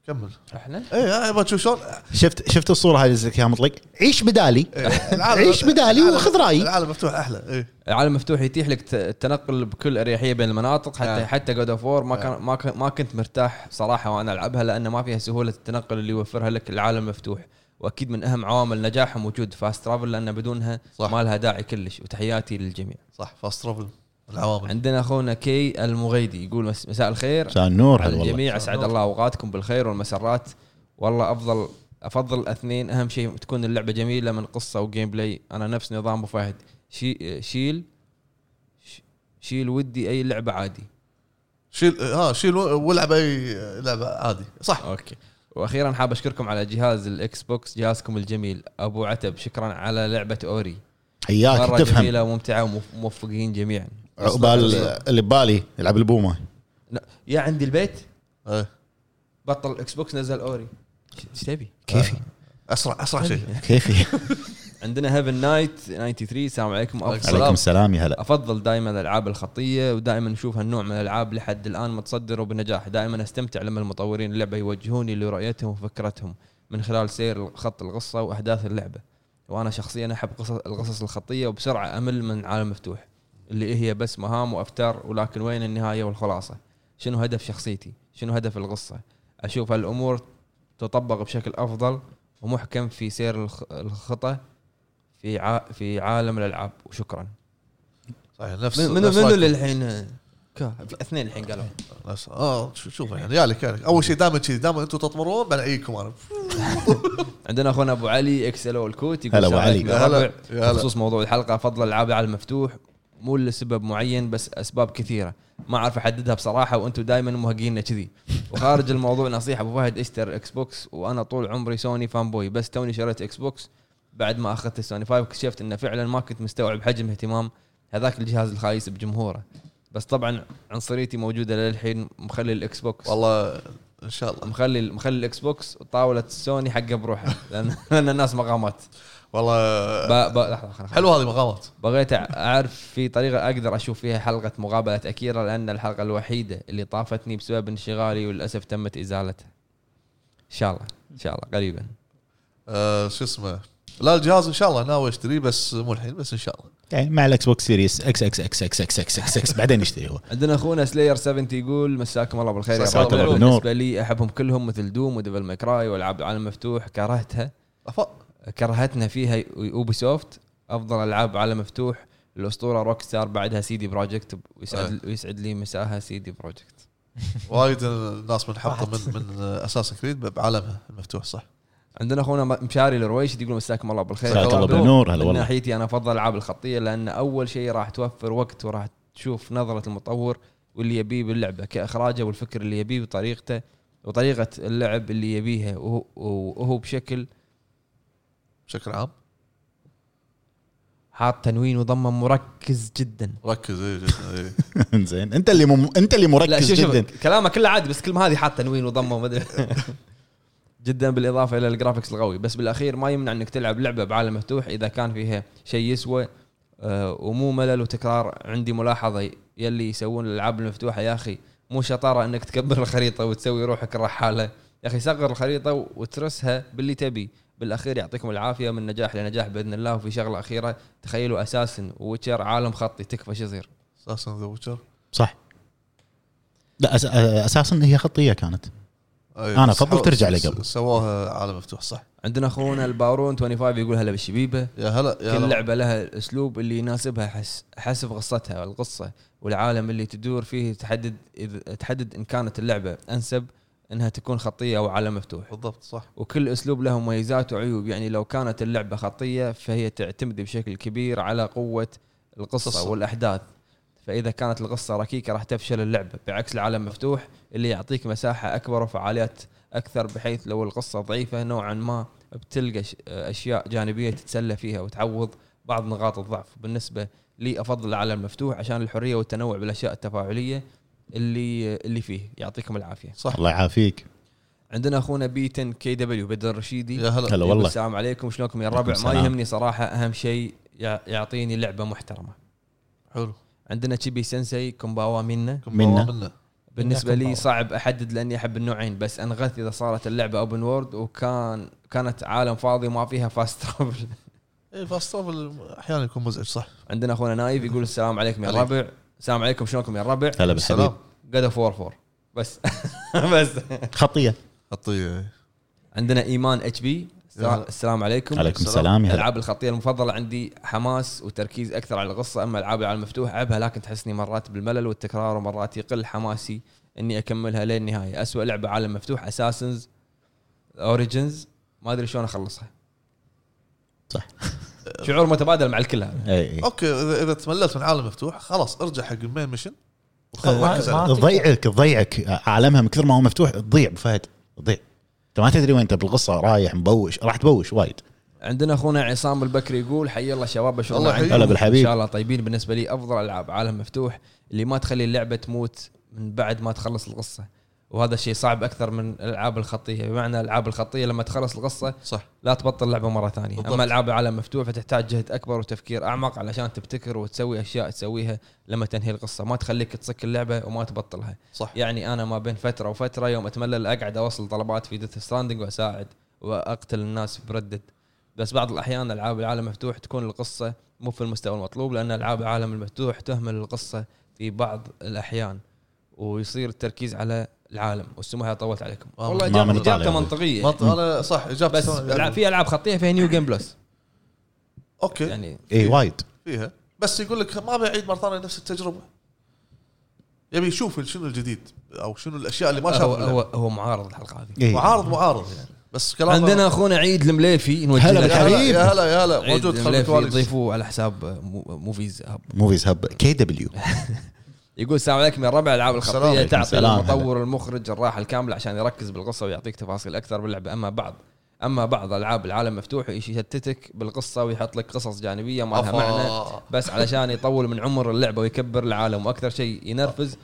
Speaker 3: كمل
Speaker 1: احنا
Speaker 3: اي ابغى تشوف شلون
Speaker 2: شفت شفت الصوره هذه اللي اياها مطلق عيش بدالي
Speaker 3: إيه، العالم-
Speaker 2: عيش بدالي
Speaker 3: العالم-
Speaker 2: وخذ رايي
Speaker 3: العالم مفتوح إيه، احلى اي
Speaker 1: العالم المفتوح يتيح لك ت- التنقل بكل اريحيه بين المناطق حتى
Speaker 3: آه.
Speaker 1: حتى جود اوف وور ما كان ما كان- ما كنت مرتاح صراحه وانا العبها لان ما فيها سهوله التنقل اللي يوفرها لك العالم المفتوح واكيد من اهم عوامل نجاحهم وجود فاست ترافل لان بدونها
Speaker 3: صح.
Speaker 1: ما لها داعي كلش وتحياتي للجميع.
Speaker 3: صح فاست ترافل العوامل
Speaker 1: عندنا اخونا كي المغيدي يقول مس- مساء الخير
Speaker 2: مساء النور
Speaker 1: على
Speaker 2: هلا والله
Speaker 1: الجميع اسعد الله اوقاتكم بالخير والمسرات والله افضل افضل الاثنين اهم شيء تكون اللعبه جميله من قصه وجيم بلاي انا نفس نظام ابو فهد شي شيل ش- شيل ودي اي لعبه عادي
Speaker 3: شيل ها شيل والعب اي لعبه عادي صح
Speaker 1: اوكي واخيرا حاب اشكركم على جهاز الاكس بوكس جهازكم الجميل ابو عتب شكرا على لعبه اوري
Speaker 2: حياك
Speaker 1: مره
Speaker 2: تفهم
Speaker 1: جميله وممتعه وموفقين جميعا
Speaker 2: عقبال اللي ببالي يلعب البومه
Speaker 1: لا، يا عندي البيت
Speaker 3: إيه.
Speaker 1: بطل الاكس بوكس نزل اوري ايش تبي؟ آه،
Speaker 2: كيفي
Speaker 3: اسرع اسرع
Speaker 1: يعني
Speaker 3: شيء
Speaker 2: كيفي
Speaker 1: عندنا هيفن نايت 93 السلام عليكم أفضل
Speaker 2: عليكم السلام يا هلا
Speaker 1: افضل دائما الالعاب الخطيه ودائما نشوف هالنوع من الالعاب لحد الان متصدر وبنجاح دائما استمتع لما المطورين اللعبه يوجهوني لرؤيتهم وفكرتهم من خلال سير خط القصه واحداث اللعبه وانا شخصيا احب قصص القصص الخطيه وبسرعه امل من عالم مفتوح اللي هي بس مهام وافكار ولكن وين النهايه والخلاصه شنو هدف شخصيتي شنو هدف القصه اشوف هالامور تطبق بشكل افضل ومحكم في سير الخ- الخطه في ع... في عالم الالعاب وشكرا
Speaker 3: صحيح نفس
Speaker 1: من- منو
Speaker 3: نفس
Speaker 1: منو
Speaker 3: رأيكم.
Speaker 1: اللي الحين كا- اثنين الحين قالوا
Speaker 3: نفس اه شو- شوف يعني يالك يالك اول شيء دائما كذي دائما انتم تطمرون بعدين اعيدكم انا
Speaker 1: عندنا اخونا ابو علي اكس ال الكوت يقول
Speaker 2: هلا أبو
Speaker 1: السلام
Speaker 2: علي.
Speaker 1: عليكم
Speaker 3: يا
Speaker 1: يا
Speaker 3: هلا،
Speaker 1: ربع.
Speaker 3: يا هلا.
Speaker 1: بخصوص موضوع الحلقه افضل الالعاب على المفتوح مو لسبب معين بس اسباب كثيره ما اعرف احددها بصراحه وانتم دائما مهقيننا كذي وخارج الموضوع نصيحه ابو فهد اشتر اكس بوكس وانا طول عمري سوني فان بوي بس توني شريت اكس بوكس بعد ما اخذت السوني 5 اكتشفت انه فعلا ما كنت مستوعب حجم اهتمام هذاك الجهاز الخايس بجمهوره بس طبعا عنصريتي موجوده للحين مخلي الاكس بوكس
Speaker 3: والله ان شاء الله
Speaker 1: مخلي مخلي الاكس بوكس وطاوله السوني حقه بروحه لان لان الناس مقامات ب...
Speaker 3: والله
Speaker 1: ب... لحظه خلنا- خلنا.
Speaker 3: حلوه هذه مقامات
Speaker 1: بغيت اعرف في طريقه اقدر اشوف فيها حلقه مقابله اكيرا لان الحلقه الوحيده اللي طافتني بسبب انشغالي وللاسف تمت ازالتها ان شاء الله ان شاء الله قريبا
Speaker 3: آه، شو اسمه لا الجهاز ان شاء الله ناوي اشتريه بس مو الحين بس ان شاء الله
Speaker 2: يعني مع الاكس بوكس سيريس اكس اكس اكس اكس اكس اكس اكس اكس بعدين يشتري هو
Speaker 1: عندنا اخونا سلاير 70 يقول مساكم الله بالخير يا
Speaker 2: مساكم
Speaker 1: رب.
Speaker 2: الله بالنور.
Speaker 1: بالنسبه لي احبهم كلهم مثل دوم وديفل ماكراي والعاب عالم مفتوح كرهتها
Speaker 3: أف-
Speaker 1: كرهتنا فيها اوبي سوفت افضل العاب على مفتوح الاسطوره روك ستار بعدها سيدي بروجكت ويسعد ويسعد لي مساها سيدي بروجكت
Speaker 3: وايد الناس منحطه من
Speaker 4: واحد.
Speaker 3: من اساس كريد بعالمها المفتوح صح
Speaker 1: عندنا اخونا مشاري الرويشد يقول مساكم الله بالخير
Speaker 2: مساك الله
Speaker 1: طلاب.
Speaker 2: بالنور، هلا
Speaker 1: من
Speaker 2: والله.
Speaker 1: ناحيتي انا افضل العاب الخطيه لان اول شيء راح توفر وقت وراح تشوف نظره المطور واللي يبيه باللعبه كاخراجه والفكر اللي يبيه وطريقته وطريقه اللعب اللي يبيها وهو, وهو بشكل
Speaker 3: بشكل عام
Speaker 1: حاط تنوين وضمه مركز جدا
Speaker 3: ركز إيه، اي جداً، إي.
Speaker 2: زين انت اللي مم... انت اللي
Speaker 1: لا
Speaker 2: مركز
Speaker 1: شوف شوف
Speaker 2: جدا
Speaker 1: كلامه كله عادي بس كلمه هذه حاط تنوين وضمه وما ادري جدا بالاضافه الى الجرافكس القوي بس بالاخير ما يمنع انك تلعب لعبه بعالم مفتوح اذا كان فيها شيء يسوى آه، ومو ملل وتكرار عندي ملاحظه يلي يسوون الالعاب المفتوحه يا اخي مو شطاره انك تكبر الخريطه وتسوي روحك الرحاله يا اخي صغر الخريطه وترسها باللي تبي بالاخير يعطيكم العافيه من نجاح لنجاح باذن الله وفي شغله اخيره تخيلوا اساسا ويتشر عالم خطي تكفى شو يصير
Speaker 3: اساسا ذا ويتشر
Speaker 2: صح لا أس... اساسا هي خطيه كانت أنا أفضل ترجع لقبل.
Speaker 3: سواها عالم مفتوح صح
Speaker 1: عندنا اخونا البارون 25 يقول هلا بالشبيبه
Speaker 3: يا هلا يا
Speaker 1: كل
Speaker 3: هلا
Speaker 1: لعبه لها الاسلوب اللي يناسبها حس حسب قصتها القصه والعالم اللي تدور فيه تحدد إذ تحدد ان كانت اللعبه انسب انها تكون خطيه او عالم مفتوح
Speaker 3: بالضبط صح
Speaker 1: وكل اسلوب له مميزات وعيوب يعني لو كانت اللعبه خطيه فهي تعتمد بشكل كبير على قوه القصه
Speaker 3: قصة.
Speaker 1: والاحداث فاذا كانت القصه ركيكه راح تفشل اللعبه بعكس العالم مفتوح اللي يعطيك مساحه اكبر وفعاليات اكثر بحيث لو القصه ضعيفه نوعا ما بتلقى ش- اشياء جانبيه تتسلى فيها وتعوض بعض نقاط الضعف بالنسبه لي افضل العالم المفتوح عشان الحريه والتنوع بالاشياء التفاعليه اللي اللي فيه يعطيكم العافيه
Speaker 3: صح
Speaker 2: الله يعافيك
Speaker 1: عندنا اخونا بي 10 كي دبليو بدر
Speaker 4: إيه.
Speaker 1: الرشيدي
Speaker 3: يا هلا
Speaker 2: هلا
Speaker 1: يقول
Speaker 2: والله
Speaker 1: السلام عليكم شلونكم يا الربع ما
Speaker 2: السلام.
Speaker 1: يهمني صراحه اهم شيء يع- يعطيني لعبه محترمه
Speaker 3: حلو
Speaker 1: عندنا تشيبي سensei كومباوا منا
Speaker 3: كم
Speaker 2: منا.
Speaker 3: مرة منا
Speaker 1: بالنسبه لي
Speaker 4: كومباوا.
Speaker 1: صعب احدد لاني احب النوعين بس انغث اذا صارت اللعبه اوبن وورد وكان كانت عالم فاضي وما فيها فاست ترافل
Speaker 3: اي فاست ترافل احيانا يكون مزعج صح
Speaker 1: عندنا اخونا نايف يقول السلام عليكم يا
Speaker 3: عليك.
Speaker 1: الربع السلام عليكم شلونكم يا الربع
Speaker 2: هلا بالحبيب
Speaker 3: السلام
Speaker 1: جاد اوف وور 4 بس بس
Speaker 2: خطيه
Speaker 3: حطيه
Speaker 4: إيه.
Speaker 1: عندنا ايمان اتش بي السلام عليكم
Speaker 2: عليكم السلام يا هلا
Speaker 1: العاب الخطيه المفضله عندي حماس وتركيز اكثر على القصه اما العاب العالم المفتوح العبها لكن تحسني مرات بالملل والتكرار ومرات يقل حماسي اني اكملها للنهايه اسوأ لعبه عالم مفتوح اساسنز اوريجنز ما ادري شلون اخلصها
Speaker 2: صح
Speaker 1: شعور متبادل مع الكل هذا
Speaker 2: اي اي
Speaker 3: اوكي اذا اذا تمللت من عالم مفتوح خلاص ارجع حق المين ميشن
Speaker 4: ما-
Speaker 3: وخلاص ركز
Speaker 4: طيب، ما-
Speaker 3: عليه
Speaker 2: تضيعك تضيعك عالمها من كثر ما هو مفتوح تضيع أبو فهد تضيع انت ما تدري وين انت بالقصه رايح مبوش راح تبوش وايد
Speaker 1: عندنا اخونا عصام البكري يقول حي الله شباب شلون
Speaker 3: الله يحييك.
Speaker 1: عندكم؟
Speaker 2: هلا بالحبيب.
Speaker 1: ان شاء الله طيبين بالنسبه لي افضل العاب عالم مفتوح اللي ما تخلي اللعبه تموت من بعد ما تخلص القصه وهذا الشيء صعب اكثر من الالعاب الخطيه بمعنى الالعاب الخطيه لما تخلص القصه
Speaker 3: صح
Speaker 1: لا تبطل لعبه مره ثانيه
Speaker 3: بالضبط.
Speaker 1: اما العاب العالم مفتوح فتحتاج جهد اكبر وتفكير اعمق علشان تبتكر وتسوي اشياء تسويها لما تنهي القصه ما تخليك تصك اللعبه وما تبطلها
Speaker 3: صح
Speaker 1: يعني انا ما بين فتره وفتره يوم اتملل اقعد اوصل طلبات في ديث ستراندنج واساعد واقتل الناس بردد بس بعض الاحيان العاب العالم مفتوح تكون القصه مو في المستوى المطلوب لان العاب العالم المفتوح تهمل القصه في بعض الاحيان ويصير التركيز على العالم والسمو هاي طولت عليكم
Speaker 3: آه،
Speaker 1: والله
Speaker 2: ما
Speaker 1: إجابة-
Speaker 2: من طالع
Speaker 1: اجابته
Speaker 2: هذه.
Speaker 1: منطقيه
Speaker 3: ما- انا صح اجابتي
Speaker 1: بس
Speaker 3: سواء-
Speaker 1: الع- في العاب خطيه فيها نيو جيم بلس
Speaker 3: اوكي
Speaker 1: يعني
Speaker 2: اي إيه، وايد
Speaker 3: فيها بس يقول لك ما بعيد مره ثانيه نفس التجربه يبي يشوف شنو الجديد او شنو الاشياء اللي ما
Speaker 1: هو
Speaker 3: شافها
Speaker 1: هو,
Speaker 3: باللعبة.
Speaker 1: هو معارض الحلقه هذه
Speaker 2: إيه.
Speaker 3: معارض معارض يعني بس كلام
Speaker 1: عندنا اخونا عيد المليفي نوجه
Speaker 2: هلا
Speaker 1: له
Speaker 3: يا هلا
Speaker 2: بالحبيب.
Speaker 3: يا هلا يا هلا
Speaker 1: عيد
Speaker 3: موجود خلف
Speaker 1: المليفي
Speaker 3: الكواليس
Speaker 1: ضيفوه على حساب مو- موفيز هب
Speaker 2: موفيز هب كي دبليو
Speaker 1: يقول السلام عليكم يا ربع العاب
Speaker 3: السلام
Speaker 1: الخطيه
Speaker 3: عليكم.
Speaker 1: تعطي
Speaker 2: سلام.
Speaker 1: المطور المخرج الراحه الكامله عشان يركز بالقصه ويعطيك تفاصيل اكثر باللعبه اما بعض اما بعض العاب العالم مفتوح يشتتك بالقصه ويحط لك قصص جانبيه ما لها معنى
Speaker 3: أفا.
Speaker 1: بس علشان يطول من عمر اللعبه ويكبر العالم واكثر شيء ينرفز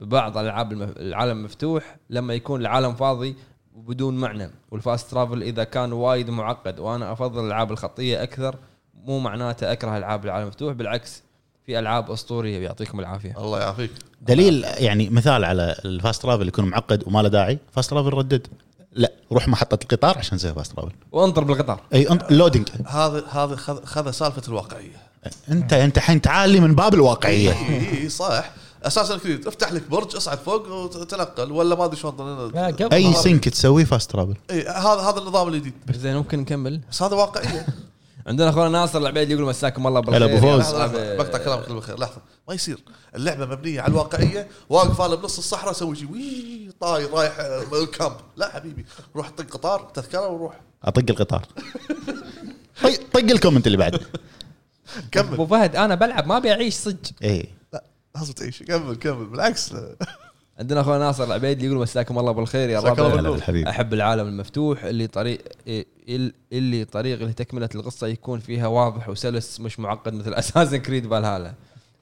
Speaker 1: ببعض العاب المف- العالم مفتوح لما يكون العالم فاضي وبدون معنى والفاست ترافل اذا كان وايد معقد وانا افضل الالعاب الخطيه اكثر مو معناته اكره العاب العالم المفتوح بالعكس في العاب اسطوريه يعطيكم العافيه
Speaker 3: الله يعافيك
Speaker 2: دليل يعني مثال على الفاست ترافل يكون معقد وما له داعي فاست ترافل ردد لا روح محطه القطار عشان تسوي فاست ترافل
Speaker 1: وانطر بالقطار
Speaker 2: اي انت لودنج
Speaker 3: هذا هذا خذ- خذ سالفه الواقعيه
Speaker 2: انت انت الحين تعالي من باب
Speaker 1: إيه.
Speaker 2: الواقعيه
Speaker 3: اي إي، إيه، صح اساسا كريد افتح لك برج اصعد فوق وتنقل ولا ما ادري شلون
Speaker 4: لا قبل
Speaker 3: إيه.
Speaker 2: اي
Speaker 4: ما-
Speaker 2: سنك تسويه فاست ترافل
Speaker 3: اي هذا هذا النظام الجديد
Speaker 1: زين ممكن نكمل
Speaker 3: بس هذا واقعيه
Speaker 1: عندنا اخونا ناصر العبيد يقول مساكم الله بالخير
Speaker 2: هلا أبو فوز.
Speaker 1: يا
Speaker 3: لحظة، لحظة،
Speaker 1: أهلا.
Speaker 3: بقطع كلامك اللي بالخير لحظه ما يصير اللعبه مبنيه على الواقعيه واقف انا بنص الصحراء اسوي شيء وي طاير رايح آه، الكامب لا حبيبي روح طق قطار تذكره وروح
Speaker 2: اطق القطار طق طق الكومنت اللي بعده
Speaker 1: ابو
Speaker 3: كمل
Speaker 1: فهد انا بلعب ما بعيش صدق
Speaker 2: اي
Speaker 3: لا لازم تعيش كمل كمل بالعكس لا.
Speaker 1: عندنا اخونا ناصر العبيد يقول مساكم الله بالخير يا
Speaker 3: مساك الله
Speaker 1: رب
Speaker 2: هلا بالحبيب
Speaker 1: احب العالم المفتوح اللي طريق ال- اللي طريق لتكمله القصه يكون فيها واضح وسلس مش معقد مثل اساسن كريد بالهالا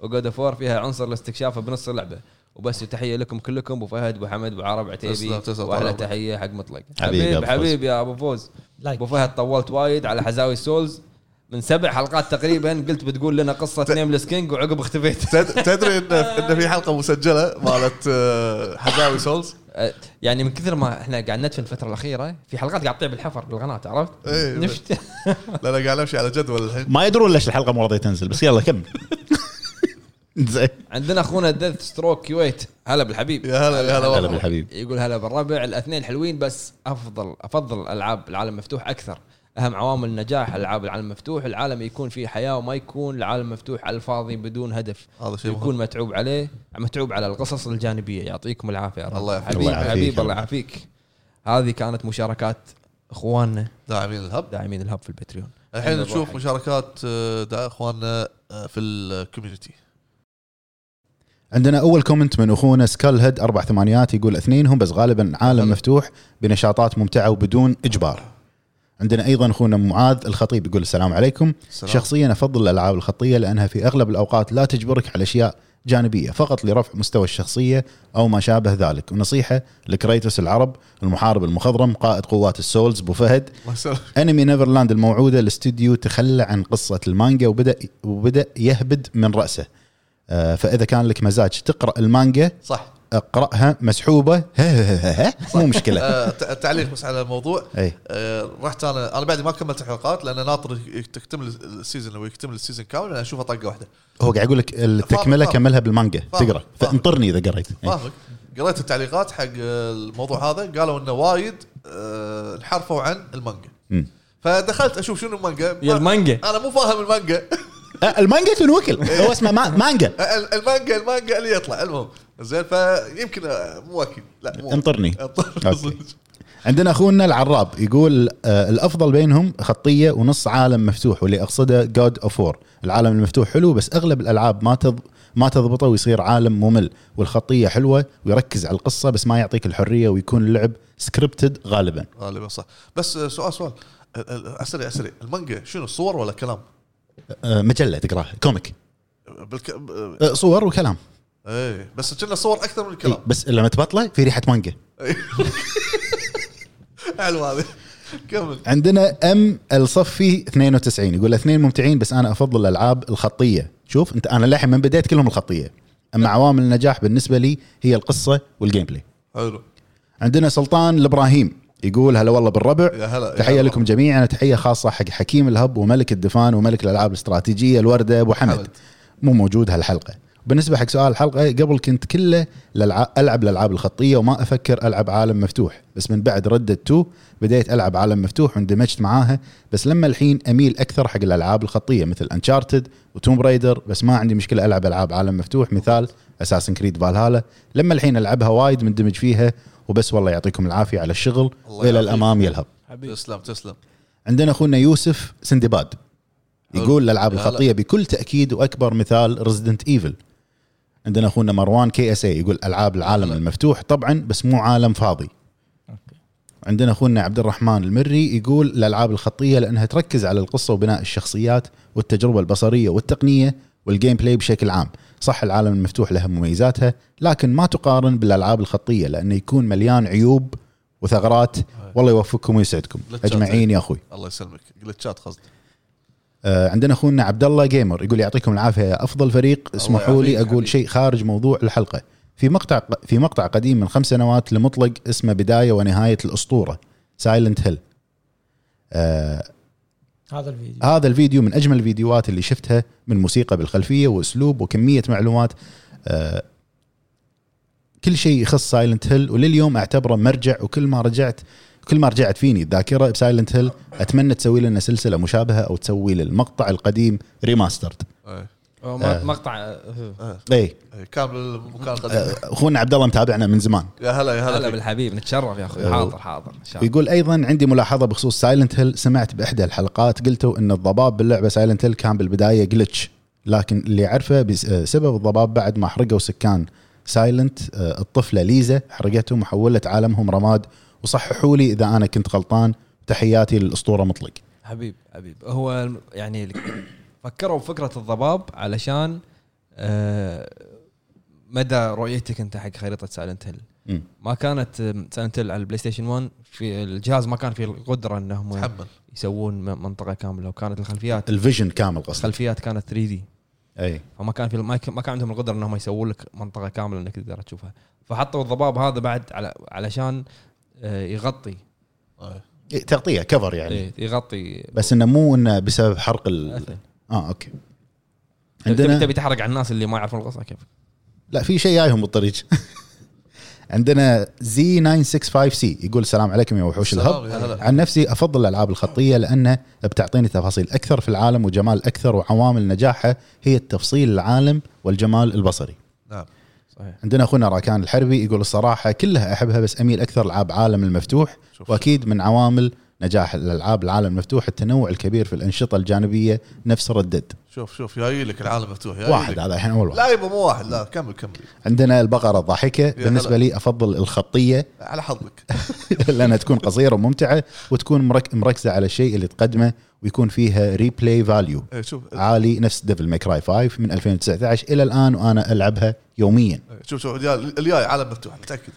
Speaker 1: وجود فور فيها عنصر الاستكشاف بنص اللعبه وبس تحيه لكم كلكم ابو فهد ابو حمد ابو عرب عتيبي
Speaker 3: تسلم، تسلم،
Speaker 1: واحلى
Speaker 3: طال عمرك.
Speaker 1: تحيه حق مطلق
Speaker 2: حبيبي
Speaker 1: حبيب
Speaker 2: يا أبو فوز.
Speaker 1: حبيب يا ابو فوز
Speaker 4: لايك
Speaker 1: ابو فهد طولت وايد على حزاوي السولز من سبع حلقات تقريبا قلت بتقول لنا قصه نيملس كينج وعقب اختفيت
Speaker 3: تد- تدري ان ان في حلقه مسجله مالت آه، حزاوي سولز
Speaker 1: أه، يعني من كثر ما احنا قاعد ندفن الفتره الاخيره في حلقات قاعد تطيح بالحفر بالقناه عرفت؟
Speaker 3: إيه.
Speaker 1: نشت
Speaker 3: لا انا قاعد امشي على جدول الحين
Speaker 2: ما يدرون ليش الحلقه مو راضيه تنزل بس يلا كمل زين
Speaker 1: عندنا اخونا ديث ستروك كويت هلا بالحبيب
Speaker 3: يا هلا يا هلا
Speaker 2: هلا
Speaker 3: والله.
Speaker 2: بالحبيب
Speaker 1: يقول هلا بالربع الاثنين حلوين بس افضل افضل العاب العالم مفتوح اكثر اهم عوامل نجاح العاب العالم مفتوح العالم يكون فيه حياه وما يكون العالم مفتوح على الفاضي بدون هدف
Speaker 3: هذا شيء
Speaker 1: يكون
Speaker 3: مهم
Speaker 1: متعوب عليه متعوب على القصص الجانبيه يعطيكم العافيه يا رب.
Speaker 3: الله يعافيك.
Speaker 1: حبيب
Speaker 2: الله يعافيك.
Speaker 1: حبيب الله يعافيك هذه كانت مشاركات اخواننا
Speaker 3: داعمين الهب
Speaker 1: داعمين الهب في البتريون
Speaker 3: الحين
Speaker 1: عندنا
Speaker 3: نشوف
Speaker 1: الروح.
Speaker 3: مشاركات آه، دا اخواننا آه، في الكوميونتي
Speaker 2: عندنا اول كومنت من اخونا سكال هيد اربع ثمانيات يقول اثنينهم بس غالبا عالم مفتوح بنشاطات ممتعه وبدون اجبار. عندنا ايضا اخونا معاذ الخطيب يقول السلام عليكم،
Speaker 3: سلام.
Speaker 2: شخصيا افضل الالعاب الخطيه لانها في اغلب الاوقات لا تجبرك على اشياء جانبيه فقط لرفع مستوى الشخصيه او ما شابه ذلك، ونصيحه لكريتوس العرب، المحارب المخضرم، قائد قوات السولز، بو فهد،
Speaker 3: الله يسلمك
Speaker 2: انمي نيفرلاند الموعوده الاستوديو تخلى عن قصه المانجا وبدا وبدا يهبد من راسه آه، فاذا كان لك مزاج تقرا المانجا
Speaker 3: صح
Speaker 2: اقراها مسحوبه مو إيه. مشكله
Speaker 3: آه، ت- تعليق بس على الموضوع
Speaker 2: اي
Speaker 3: آه، رحت انا انا بعد ما كملت الحلقات لان ناطر يك- تكتمل السيزون او يكتمل السيزون كامل انا اشوفه طقه واحده
Speaker 2: هو قاعد يقول لك التكمله
Speaker 3: فاهم.
Speaker 2: كملها بالمانجا تقرا فانطرني اذا قريت إي.
Speaker 3: فاهمك قريت التعليقات حق الموضوع هذا قالوا انه وايد آه، انحرفوا عن المانجا
Speaker 2: مم.
Speaker 3: فدخلت اشوف شنو المانجا
Speaker 1: يا المانجا
Speaker 3: انا مو فاهم المانجا
Speaker 2: آه، المانجا تنوكل هو اسمه ما- مانجا
Speaker 3: ال- المانجا المانجا اللي يطلع المهم زين فيمكن آه، مو اكيد لا مو
Speaker 2: انطرني
Speaker 3: انطرني
Speaker 2: أوكي. عندنا اخونا العراب يقول آه الافضل بينهم خطيه ونص عالم مفتوح واللي اقصده جود اوف وور العالم المفتوح حلو بس اغلب الالعاب ما تض... ما تضبطه ويصير عالم ممل والخطيه حلوه ويركز على القصه بس ما يعطيك الحريه ويكون اللعب سكريبتد غالبا
Speaker 3: غالبا صح بس آه، سؤال سؤال ال- ال- اسرع اسرع المانجا شنو صور ولا كلام؟
Speaker 2: آه مجله تقراها كوميك
Speaker 3: بالك... آه،
Speaker 2: آه صور وكلام
Speaker 3: ايه بس كنا صور اكثر من
Speaker 2: إي
Speaker 3: الكلام
Speaker 2: بس لما تبطله في ريحه مانجا
Speaker 3: حلو هذا كمل
Speaker 2: عندنا ام الصفي 92 يقول اثنين ممتعين بس انا افضل الالعاب الخطيه شوف انت انا للحين من بديت كلهم الخطيه اما عوامل النجاح بالنسبه لي هي القصه والجيم بلاي
Speaker 3: حلو
Speaker 2: عندنا سلطان الابراهيم يقول هلا والله بالربع
Speaker 3: يا هلا يا
Speaker 2: تحيه
Speaker 3: هلا.
Speaker 2: لكم جميعا تحيه خاصه حق حكيم الهب وملك الدفان وملك الالعاب الاستراتيجيه الورده ابو حمد
Speaker 3: حمد.
Speaker 2: مو موجود هالحلقه بالنسبه حق سؤال الحلقه قبل كنت كله للع- العب الالعاب الخطيه وما افكر العب عالم مفتوح بس من بعد ردة 2 بديت العب عالم مفتوح واندمجت معاها بس لما الحين اميل اكثر حق الالعاب الخطيه مثل انشارتد وتوم رايدر بس ما عندي مشكله العب العاب عالم مفتوح مثال اساسن كريد فالهالا لما الحين العبها وايد مندمج فيها وبس والله يعطيكم العافيه على الشغل
Speaker 3: الله
Speaker 2: والى
Speaker 3: يعافيك.
Speaker 2: الامام يلهب
Speaker 5: حبيبي
Speaker 3: تسلم تسلم
Speaker 2: عندنا اخونا يوسف سندباد يقول الالعاب
Speaker 3: يا هلا.
Speaker 2: الخطيه بكل تاكيد واكبر مثال ريزدنت ايفل عندنا اخونا مروان كي اس اي يقول العاب العالم المفتوح طبعا بس مو عالم فاضي
Speaker 4: أوكي.
Speaker 2: عندنا اخونا عبد الرحمن المري يقول الالعاب الخطيه لانها تركز على القصه وبناء الشخصيات والتجربه البصريه والتقنيه والجيم بلاي بشكل عام صح العالم المفتوح لها مميزاتها لكن ما تقارن بالالعاب الخطيه لانه يكون مليان عيوب وثغرات والله يوفقكم ويسعدكم اجمعين يا اخوي
Speaker 3: الله يسلمك جلتشات قصدي
Speaker 2: آه، عندنا اخونا عبد الله جيمر يقول يعطيكم العافيه يا افضل فريق اسمحوا لي
Speaker 3: يعافيك
Speaker 2: اقول
Speaker 3: حبيبي.
Speaker 2: شيء خارج موضوع الحلقه في مقطع في مقطع قديم من خمس سنوات لمطلق اسمه بدايه ونهايه الاسطوره سايلنت هيل آه،
Speaker 4: هذا الفيديو
Speaker 2: هذا الفيديو من اجمل الفيديوهات اللي شفتها من موسيقى بالخلفيه واسلوب وكميه معلومات آه، كل شيء يخص سايلنت هيل ولليوم اعتبره مرجع وكل ما رجعت كل ما رجعت فيني الذاكره بسايلنت هيل اتمنى تسوي لنا سلسله مشابهه او تسوي للمقطع القديم ريماسترد
Speaker 3: إيه.
Speaker 1: أو م- مقطع آه،
Speaker 2: اي
Speaker 3: إيه، كامل المكان قديم
Speaker 2: آه، اخونا عبد الله متابعنا من زمان
Speaker 3: يا هلا يا
Speaker 1: هلا
Speaker 3: هلا فيك.
Speaker 1: بالحبيب نتشرف يا اخوي حاضر حاضر إن شاء الله.
Speaker 2: ويقول ايضا عندي ملاحظه بخصوص سايلنت هيل سمعت باحدى الحلقات قلتوا ان الضباب باللعبه سايلنت هيل كان بالبدايه جلتش لكن اللي اعرفه بس- آه، سبب الضباب بعد ما حرقوا سكان سايلنت آه، الطفله ليزا حرقتهم وحولت عالمهم رماد وصححوا لي اذا انا كنت غلطان تحياتي للاسطوره مطلق
Speaker 1: حبيب حبيب هو الم- يعني ال- فكروا بفكره الضباب علشان آه، مدى رؤيتك انت حق خريطه سايلنت هيل
Speaker 2: مم.
Speaker 1: ما كانت سايلنت هيل على البلاي ستيشن 1 في الجهاز ما كان فيه القدره انهم
Speaker 3: تحمل
Speaker 1: يسوون م- منطقه كامله وكانت الخلفيات
Speaker 2: الفيجن كامل قصدي إيه.
Speaker 1: الخلفيات كانت 3 دي
Speaker 2: اي
Speaker 1: فما كان في ما كان ما كان عندهم القدره انهم يسوون لك منطقه كامله انك تقدر تشوفها فحطوا الضباب هذا بعد على علشان آه، يغطي
Speaker 3: إيه.
Speaker 2: إي، تغطيه كفر يعني
Speaker 1: إيه، يغطي
Speaker 2: بس انه مو انه بسبب حرق ال...
Speaker 1: أثر.
Speaker 2: اه اوكي
Speaker 1: عندنا طيب، تبي تحرق على الناس اللي ما يعرفون القصه كيف
Speaker 2: لا في شيء جايهم بالطريق عندنا زي 965 سي يقول السلام عليكم يا وحوش الهب
Speaker 3: السلام،
Speaker 2: أه.
Speaker 3: يا هلا.
Speaker 2: عن نفسي افضل الالعاب الخطيه لانها بتعطيني تفاصيل اكثر في العالم وجمال اكثر وعوامل نجاحها هي التفصيل العالم والجمال البصري
Speaker 3: نعم
Speaker 1: صحيح
Speaker 2: عندنا اخونا راكان الحربي يقول الصراحه كلها احبها بس اميل اكثر العاب عالم المفتوح
Speaker 3: شوف.
Speaker 2: واكيد من عوامل نجاح الالعاب العالم المفتوح التنوع الكبير في الانشطه الجانبيه نفس ردد
Speaker 3: شوف شوف جاي لك العالم مفتوح جاي
Speaker 2: واحد
Speaker 3: لك.
Speaker 2: هذا الحين اول واحد
Speaker 3: لا يبا مو واحد لا كمل كمل
Speaker 2: عندنا البقره الضاحكه بالنسبه
Speaker 3: هلا.
Speaker 2: لي افضل الخطيه
Speaker 3: على حظك
Speaker 2: لانها تكون قصيره وممتعه وتكون مرك- مركزه على الشيء اللي تقدمه ويكون فيها ريبلاي فاليو
Speaker 3: إيه، شوف
Speaker 2: عالي نفس ديفل ماكراي 5 من 2019 الى الان وانا العبها يوميا
Speaker 3: شوف شوف الجاي- الجاي عالم مفتوح متاكد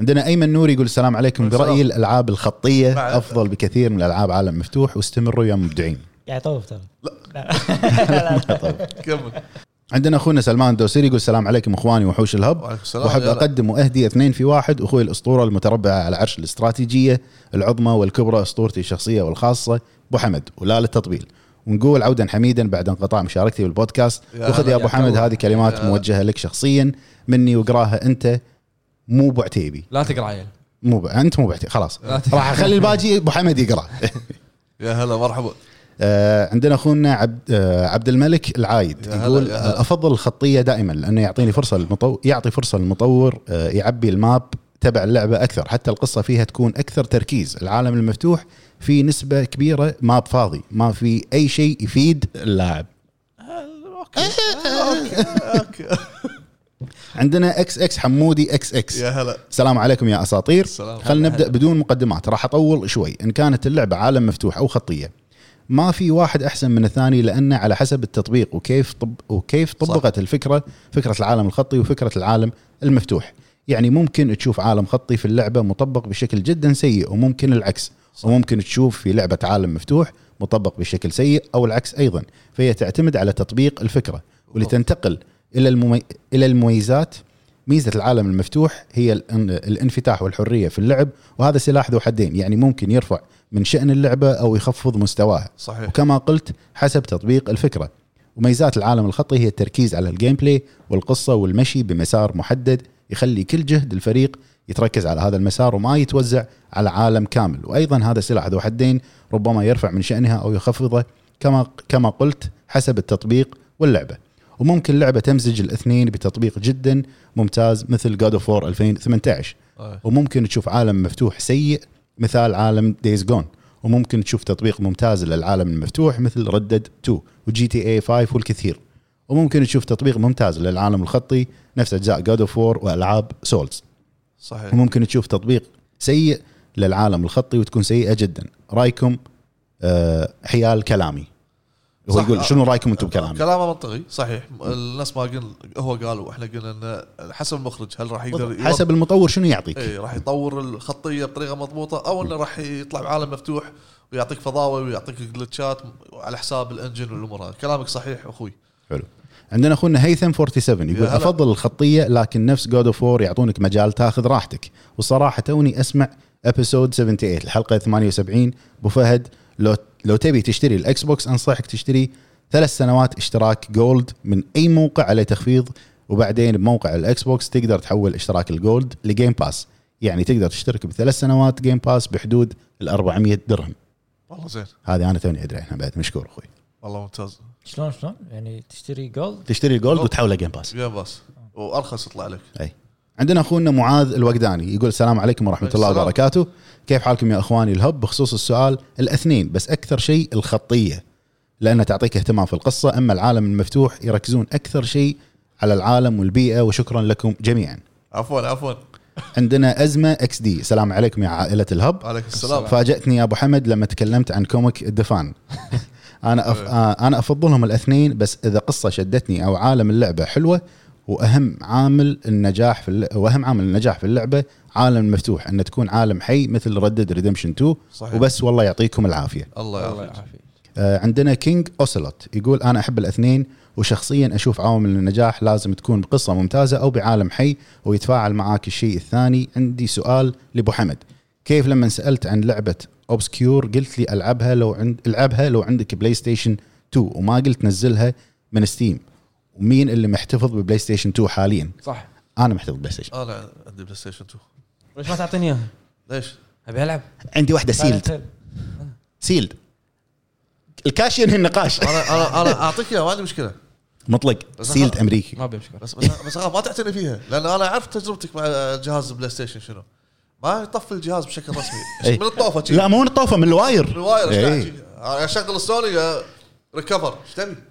Speaker 2: عندنا ايمن نوري يقول السلام عليكم
Speaker 3: السلام.
Speaker 2: برايي الالعاب الخطيه
Speaker 3: مع-
Speaker 2: افضل بكثير من الالعاب عالم مفتوح واستمروا يا مبدعين
Speaker 4: قاعد يطوف ترى لا
Speaker 3: كمل
Speaker 2: عندنا اخونا سلمان الدوسري يقول السلام عليكم اخواني وحوش الهب
Speaker 3: وعليكم السلام
Speaker 2: واحب
Speaker 3: يا هلا.
Speaker 2: اقدم واهدي اثنين في واحد اخوي الاسطوره المتربعه على عرش الاستراتيجيه العظمى والكبرى اسطورتي الشخصيه والخاصه ابو حمد ولا للتطبيل ونقول عودا حميدا بعد انقطاع مشاركتي بالبودكاست
Speaker 3: يا
Speaker 2: وخذ
Speaker 3: هلا
Speaker 2: يا
Speaker 3: يا
Speaker 2: ابو حمد
Speaker 3: هلا.
Speaker 2: هذه كلمات
Speaker 3: يا هلا.
Speaker 2: موجهه لك شخصيا مني وقراها انت مو ابو عتيبي
Speaker 1: لا تقرا عيل
Speaker 2: مو ب... انت مو ابو عتيبي خلاص
Speaker 1: لا تقرأ.
Speaker 2: راح اخلي الباقي ابو حمد يقرا
Speaker 3: يا هلا مرحبا
Speaker 2: آه، عندنا اخونا عبد آه، عبد الملك العايد
Speaker 3: يا هلا،
Speaker 2: يقول
Speaker 3: يا هلا.
Speaker 2: آه، افضل الخطيه دائما لانه يعطيني فرصه للمطور يعطي فرصه للمطور آه، يعبي الماب تبع اللعبه اكثر حتى القصه فيها تكون اكثر تركيز العالم المفتوح في نسبه كبيره ماب فاضي ما في اي شيء يفيد اللاعب
Speaker 3: أوكي.
Speaker 2: عندنا اكس اكس حمودي اكس اكس
Speaker 3: يا هلا
Speaker 2: السلام عليكم يا اساطير
Speaker 3: السلام.
Speaker 2: خلينا نبدا بدون مقدمات راح اطول شوي ان كانت اللعبه عالم مفتوح او خطيه ما في واحد احسن من الثاني لانه على حسب التطبيق وكيف طب وكيف طبقت الفكره فكره العالم الخطي وفكره العالم المفتوح يعني ممكن تشوف عالم خطي في اللعبه مطبق بشكل جدا سيء وممكن العكس وممكن تشوف في لعبه عالم مفتوح مطبق بشكل سيء او العكس ايضا فهي تعتمد على تطبيق الفكره ولتنتقل الى الممي... الى المميزات ميزه العالم المفتوح هي الان- الانفتاح والحريه في اللعب وهذا سلاح ذو حدين يعني ممكن يرفع من شان اللعبه او يخفض مستواها
Speaker 3: صحيح
Speaker 2: وكما قلت حسب تطبيق الفكره وميزات العالم الخطي هي التركيز على الجيم بلاي والقصه والمشي بمسار محدد يخلي كل جهد الفريق يتركز على هذا المسار وما يتوزع على عالم كامل وايضا هذا سلاح ذو حدين ربما يرفع من شانها او يخفضه كما كما قلت حسب التطبيق واللعبه وممكن لعبه تمزج الاثنين بتطبيق جدا ممتاز مثل جاد اوف 2018
Speaker 3: آه.
Speaker 2: وممكن تشوف عالم مفتوح سيء مثال عالم دايز جون وممكن تشوف تطبيق ممتاز للعالم المفتوح مثل ردد 2 وجي تي اي 5 والكثير وممكن تشوف تطبيق ممتاز للعالم الخطي نفس اجزاء جاد اوف وور والعاب سولز
Speaker 3: صحيح
Speaker 2: وممكن تشوف تطبيق سيء للعالم الخطي وتكون سيئه جدا رايكم آه، حيال كلامي هو
Speaker 3: صح.
Speaker 2: يقول شنو رايكم انتم بكلامي
Speaker 3: كلامه منطقي صحيح الناس ما قل هو قال واحنا قلنا انه حسب المخرج هل راح يقدر إيه. يوضح-
Speaker 2: حسب المطور شنو يعطيك
Speaker 3: اي راح يطور الخطيه بطريقه مضبوطه او انه راح يطلع بعالم مفتوح ويعطيك فضاوه ويعطيك جلتشات على حساب الانجن والامور هذه. كلامك صحيح اخوي
Speaker 2: حلو عندنا اخونا هيثم 47 يقول
Speaker 3: يا هلا.
Speaker 2: افضل الخطيه لكن نفس جود اوف وور يعطونك مجال تاخذ راحتك وصراحه توني اسمع ابيسود 78 الحلقه 78 ابو فهد لو لو تبي تشتري الاكس بوكس انصحك تشتري ثلاث سنوات اشتراك جولد من اي موقع عليه تخفيض وبعدين بموقع الاكس بوكس تقدر تحول اشتراك الجولد لجيم باس يعني تقدر تشترك بثلاث سنوات جيم باس بحدود ال 400 درهم
Speaker 3: والله زين
Speaker 2: هذه انا توني ادري عنها بعد مشكور اخوي
Speaker 3: والله ممتاز
Speaker 4: شلون شلون يعني تشتري جولد
Speaker 2: تشتري الجولد وتحوله جيم باس
Speaker 3: يا باس وارخص يطلع لك
Speaker 2: اي عندنا اخونا معاذ الوقداني يقول السلام عليكم ورحمه الله
Speaker 3: السلام.
Speaker 2: وبركاته كيف حالكم يا اخواني الهب بخصوص السؤال الاثنين بس اكثر شيء الخطيه لانها تعطيك اهتمام في القصه اما العالم المفتوح يركزون اكثر شيء على العالم والبيئه وشكرا لكم جميعا
Speaker 3: عفوا عفوا
Speaker 2: عندنا ازمه اكس دي السلام عليكم يا عائله الهب
Speaker 3: عليك السلام
Speaker 2: فاجأتني يا ابو حمد لما تكلمت عن كوميك الدفان انا أف... آه، انا افضلهم الاثنين بس اذا قصه شدتني او عالم اللعبه حلوه واهم عامل النجاح في الل... واهم عامل النجاح في اللعبه عالم مفتوح ان تكون عالم حي مثل ردد ريدمشن 2
Speaker 3: صحيح
Speaker 2: وبس والله يعطيكم العافيه
Speaker 3: الله
Speaker 1: الله
Speaker 3: يعافيك
Speaker 1: يعافيك
Speaker 2: آه، عندنا كينج اوسلوت يقول انا احب الاثنين وشخصيا اشوف عوامل النجاح لازم تكون بقصه ممتازه او بعالم حي ويتفاعل معاك الشيء الثاني عندي سؤال لابو حمد كيف لما سالت عن لعبه اوبسكيور قلت لي العبها لو عند العبها لو عندك بلاي ستيشن 2 وما قلت نزلها من ستيم ومين اللي محتفظ ببلاي ستيشن 2 حاليا
Speaker 1: صح
Speaker 2: انا محتفظ بلاي ستيشن
Speaker 3: انا عندي بلاي ستيشن 2
Speaker 1: ليش ما تعطيني اياها؟
Speaker 3: ليش؟
Speaker 1: ابي العب
Speaker 2: عندي واحده سيلد سيلد الكاش ينهي النقاش
Speaker 3: انا انا انا اعطيك اياها ما عندي مشكله
Speaker 2: مطلق
Speaker 3: بس
Speaker 2: سيلد
Speaker 3: أخ-
Speaker 2: امريكي
Speaker 1: ما ابي مشكله
Speaker 3: بس بس بس أخاف ما تعتني فيها لان انا عرفت تجربتك مع جهاز البلاي ستيشن شنو ما يطفي الجهاز بشكل رسمي
Speaker 2: إي.
Speaker 3: من الطوفه شي.
Speaker 2: إيه. لا مو من الطوفه من الواير
Speaker 3: من الواير
Speaker 2: إيه.
Speaker 3: إيش قاعد شي. اشغل السوني آه، ريكفر ايش تبي؟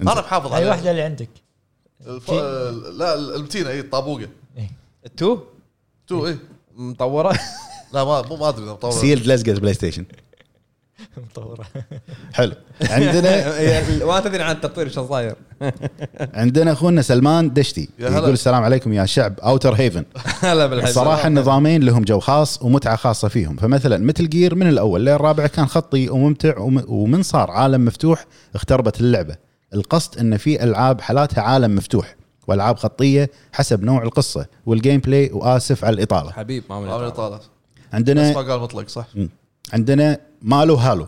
Speaker 3: انا محافظ
Speaker 4: هاي
Speaker 3: على
Speaker 4: واحده اللي عندك
Speaker 3: الف... آه، لا المتينه اي الطابوقه
Speaker 4: إيه.
Speaker 1: التو
Speaker 3: تو اي
Speaker 1: مطوره
Speaker 3: إيه. لا ما مو ما ادري إذا مطور
Speaker 2: سيلد لزقه بلاي ستيشن
Speaker 4: مطوره
Speaker 2: حلو عندنا
Speaker 1: إيه، ما تدري عن التطوير شو صاير
Speaker 2: عندنا اخونا سلمان دشتي
Speaker 3: يا هلا.
Speaker 2: يقول السلام عليكم يا شعب اوتر هيفن
Speaker 1: هلا بالحب
Speaker 2: صراحه النظامين لهم جو خاص ومتعه خاصه فيهم فمثلا مثل جير من الاول للرابع كان خطي وممتع وم- ومن صار عالم مفتوح اختربت اللعبه القصد ان في العاب حالاتها عالم مفتوح والعاب خطيه حسب نوع القصه والجيم بلاي واسف على الاطاله
Speaker 1: حبيب ما
Speaker 3: عامل
Speaker 1: من
Speaker 3: طالع
Speaker 2: عندنا
Speaker 3: بس ما قال مطلق صح
Speaker 2: عندنا مالو هالو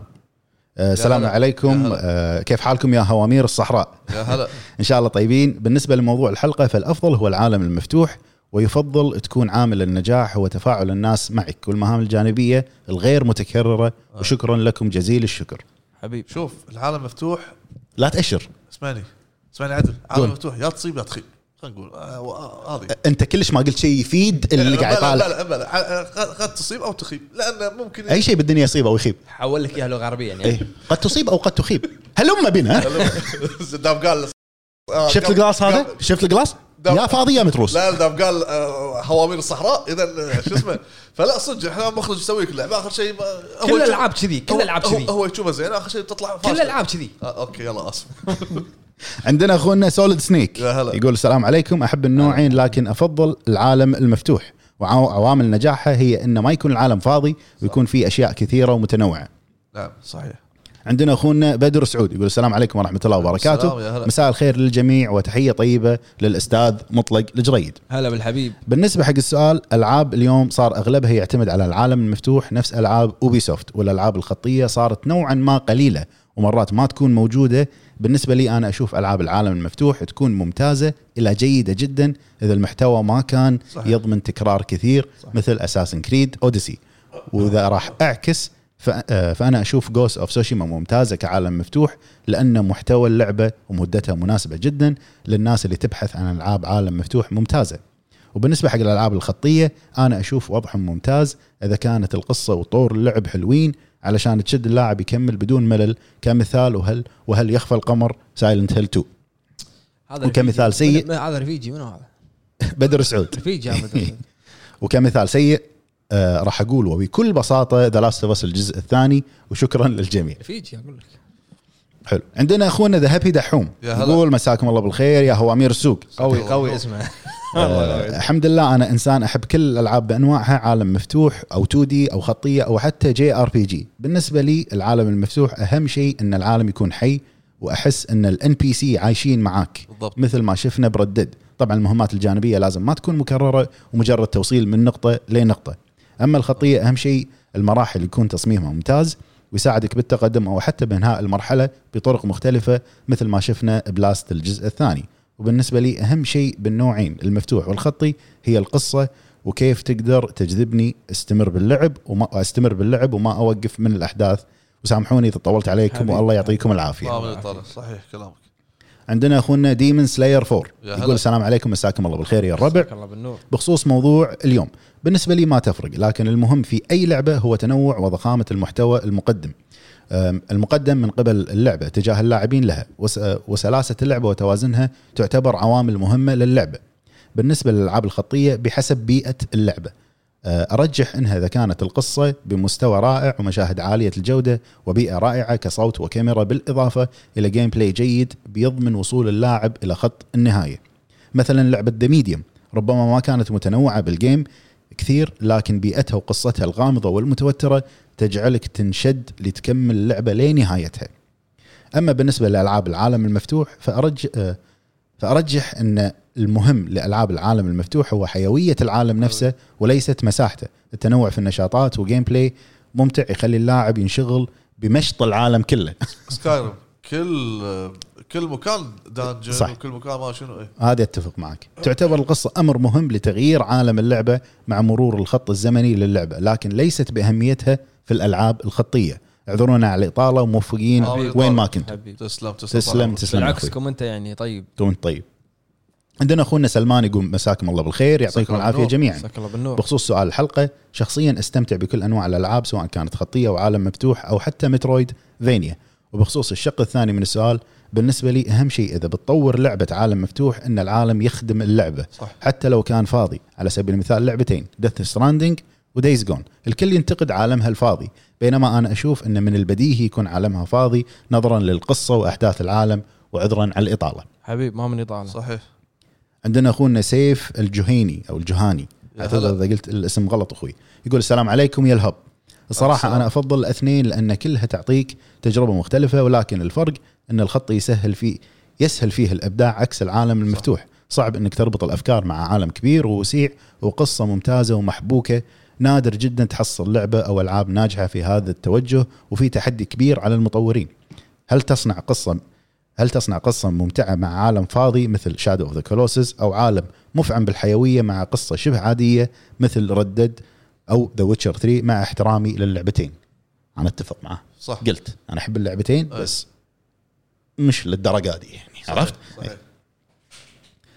Speaker 2: آه، السلام
Speaker 3: هلا. يا
Speaker 2: عليكم
Speaker 3: هلا.
Speaker 2: آه، كيف حالكم يا هوامير الصحراء
Speaker 3: يا هلا
Speaker 2: ان شاء الله طيبين بالنسبه لموضوع الحلقه فالافضل هو العالم المفتوح ويفضل تكون عامل النجاح هو تفاعل الناس معك والمهام الجانبيه الغير متكرره
Speaker 3: آه.
Speaker 2: وشكرا لكم جزيل الشكر
Speaker 1: حبيب
Speaker 3: شوف العالم مفتوح
Speaker 2: لا تاشر
Speaker 3: اسمعني اسمعني عدل عالم
Speaker 2: قول.
Speaker 3: مفتوح يا تصيب يا تخيب خلينا نقول آه، آه، هذه
Speaker 2: انت كلش ما قلت شيء يفيد اللي قاعد
Speaker 3: لا لا
Speaker 2: يطالع
Speaker 3: لا بلا. قد- قد تصيب او تخيب لان ممكن
Speaker 2: اي شيء بالدنيا يصيب او يخيب
Speaker 1: حول لك اياها لغه عربيه
Speaker 2: إيه.
Speaker 1: يعني
Speaker 2: قد تصيب او قد تخيب هلم بنا ها؟
Speaker 3: دام قال آه،
Speaker 2: شفت
Speaker 3: قبل-
Speaker 2: الجلاس هذا
Speaker 3: قبل-
Speaker 2: شفت الجلاس
Speaker 3: دام-
Speaker 2: يا فاضي يا متروس
Speaker 3: لا دام قال آه، هوامير الصحراء اذا آه، شو اسمه فلا صدق احنا مخرج يسوي لك لعبه اخر شيء ما- هو
Speaker 1: كل
Speaker 3: يشوف-
Speaker 1: الالعاب كذي كل
Speaker 3: هو-
Speaker 1: الالعاب
Speaker 3: هو-
Speaker 1: كذي
Speaker 3: هو يشوفها زين اخر شيء تطلع
Speaker 1: كل
Speaker 3: فاشلة.
Speaker 1: الالعاب كذي
Speaker 3: آه، اوكي يلا اسف
Speaker 2: عندنا اخونا سوليد سنيك
Speaker 3: يا هلا.
Speaker 2: يقول السلام عليكم احب النوعين لكن افضل العالم المفتوح وعوامل نجاحه هي انه ما يكون العالم فاضي ويكون فيه اشياء كثيره ومتنوعه
Speaker 3: نعم صحيح
Speaker 2: عندنا اخونا بدر سعود يقول السلام عليكم ورحمه الله
Speaker 3: السلام، يا
Speaker 2: وبركاته
Speaker 3: هلا.
Speaker 2: مساء الخير للجميع وتحيه طيبه للاستاذ مطلق الجريد
Speaker 1: هلا بالحبيب
Speaker 2: بالنسبه حق السؤال العاب اليوم صار اغلبها يعتمد على العالم المفتوح نفس العاب اوبي سوفت والالعاب الخطيه صارت نوعا ما قليله ومرات ما تكون موجوده بالنسبه لي انا اشوف العاب العالم المفتوح تكون ممتازه الى جيده جدا اذا المحتوى ما كان
Speaker 3: صحيح.
Speaker 2: يضمن تكرار كثير مثل اساسن كريد اوديسي واذا راح اعكس ف- آه، فانا اشوف جوس اوف سوشيما ممتازه كعالم مفتوح لان محتوى اللعبه ومدتها مناسبه جدا للناس اللي تبحث عن العاب عالم مفتوح ممتازه وبالنسبه حق الالعاب الخطيه انا اشوف وضعهم ممتاز اذا كانت القصه وطور اللعب حلوين علشان تشد اللاعب يكمل بدون ملل كمثال وهل وهل يخفى القمر سايلنت هيل 2
Speaker 1: هذا
Speaker 2: وكمثال
Speaker 1: رفيجي.
Speaker 2: سيء.
Speaker 1: من- هذا رفيجي منو هذا؟
Speaker 2: بدر سعود
Speaker 1: رفيجي هذا
Speaker 2: وكمثال سيء آه راح اقول وبكل بساطه ذا لاست اوف اس الجزء الثاني وشكرا للجميع
Speaker 1: رفيجي اقول لك
Speaker 2: حلو عندنا اخونا ذا هابي دحوم
Speaker 3: يا هلا.
Speaker 2: يقول مساكم الله بالخير يا هو امير السوق
Speaker 1: قوي قوي اسمه
Speaker 2: آه، الحمد لله انا انسان احب كل الالعاب بانواعها عالم مفتوح او 2 دي او خطيه او حتى جي ار بي جي بالنسبه لي العالم المفتوح اهم شيء ان العالم يكون حي واحس ان الان بي سي عايشين معاك
Speaker 3: بالضبط.
Speaker 2: مثل ما شفنا بردد طبعا المهمات الجانبيه لازم ما تكون مكرره ومجرد توصيل من نقطه لنقطه اما الخطيه اهم شيء المراحل يكون تصميمها ممتاز ويساعدك بالتقدم او حتى بانهاء المرحله بطرق مختلفه مثل ما شفنا بلاست الجزء الثاني وبالنسبه لي اهم شيء بالنوعين المفتوح والخطي هي القصه وكيف تقدر تجذبني استمر باللعب وما استمر باللعب وما اوقف من الاحداث وسامحوني اذا طولت عليكم
Speaker 1: حبيبي.
Speaker 2: والله يعطيكم العافيه
Speaker 3: ما من طالع صحيح كلامك
Speaker 2: عندنا اخونا ديمن سلاير 4
Speaker 3: يا هلا.
Speaker 2: يقول السلام عليكم مساكم الله بالخير يا الربع
Speaker 1: الله بالنور
Speaker 2: بخصوص موضوع اليوم بالنسبة لي ما تفرق لكن المهم في أي لعبة هو تنوع وضخامة المحتوى المقدم أم، المقدم من قبل اللعبة تجاه اللاعبين لها وس- وسلاسة اللعبة وتوازنها تعتبر عوامل مهمة للعبة بالنسبة للألعاب الخطية بحسب بيئة اللعبة أه، أرجح أنها إذا كانت القصة بمستوى رائع ومشاهد عالية الجودة وبيئة رائعة كصوت وكاميرا بالإضافة إلى جيم بلاي جيد بيضمن وصول اللاعب إلى خط النهاية مثلا لعبة ذا ميديوم ربما ما كانت متنوعة بالجيم كثير لكن بيئتها وقصتها الغامضة والمتوترة تجعلك تنشد لتكمل اللعبة لنهايتها أما بالنسبة لألعاب العالم المفتوح فأرج... آه، فأرجح أن المهم لألعاب العالم المفتوح هو حيوية العالم نفسه وليست مساحته التنوع في النشاطات وجيم بلاي ممتع يخلي اللاعب ينشغل بمشط العالم كله
Speaker 3: سكايرم كل آه، كل مكان دانجن
Speaker 2: صح.
Speaker 3: وكل مكان ما شنو ايه
Speaker 2: هذا اتفق معك تعتبر القصة أمر مهم لتغيير عالم اللعبة مع مرور الخط الزمني للعبة لكن ليست بأهميتها في الألعاب الخطية اعذرونا على الإطالة وموفقين
Speaker 3: آه،
Speaker 2: وين ما
Speaker 3: إطالة.
Speaker 2: كنتم
Speaker 1: حبيب
Speaker 3: تسلم تسلم
Speaker 2: تسلم تسلم أخوي.
Speaker 1: بالعكسكم انت يعني طيب
Speaker 2: وانت طيب عندنا اخونا سلمان يقول مساكم الله بالخير
Speaker 1: مساك
Speaker 2: يعطيكم
Speaker 1: الله
Speaker 2: العافيه
Speaker 1: بالنور.
Speaker 2: جميعا
Speaker 1: مساك الله بالنور
Speaker 2: بخصوص سؤال الحلقه شخصيا استمتع بكل انواع الالعاب سواء كانت خطيه او عالم مفتوح او حتى مترويد فينيا وبخصوص الشق الثاني من السؤال بالنسبه لي اهم شيء اذا بتطور لعبه عالم مفتوح ان العالم يخدم اللعبه
Speaker 3: صح.
Speaker 2: حتى لو كان فاضي على سبيل المثال لعبتين ديث ستراندنج ودايز جون الكل ينتقد عالمها الفاضي بينما انا اشوف ان من البديهي يكون عالمها فاضي نظرا للقصه واحداث العالم وعذرا على الاطاله
Speaker 1: حبيب ما من يطالع
Speaker 3: صحيح
Speaker 2: عندنا اخونا سيف الجوهيني او الجهاني
Speaker 3: يا
Speaker 2: اعتذر
Speaker 3: هلا.
Speaker 2: اذا قلت الاسم غلط اخوي يقول السلام عليكم يا الهب الصراحة
Speaker 3: السلام.
Speaker 2: أنا أفضل الاثنين لأن كلها تعطيك تجربة مختلفة ولكن الفرق أن الخط يسهل فيه يسهل فيه الإبداع عكس العالم المفتوح صعب أنك تربط الأفكار مع عالم كبير ووسيع وقصة ممتازة ومحبوكة نادر جدا تحصل لعبة أو ألعاب ناجحة في هذا التوجه وفي تحدي كبير على المطورين هل تصنع قصة هل تصنع قصة ممتعة مع عالم فاضي مثل شادو اوف ذا كولوسس أو عالم مفعم بالحيوية مع قصة شبه عادية مثل ردد أو ذا ويتشر 3 مع احترامي للعبتين أنا أتفق معه
Speaker 3: صح
Speaker 2: قلت أنا أحب اللعبتين
Speaker 3: أي.
Speaker 2: بس مش للدرجة دي يعني عرفت
Speaker 3: صحيح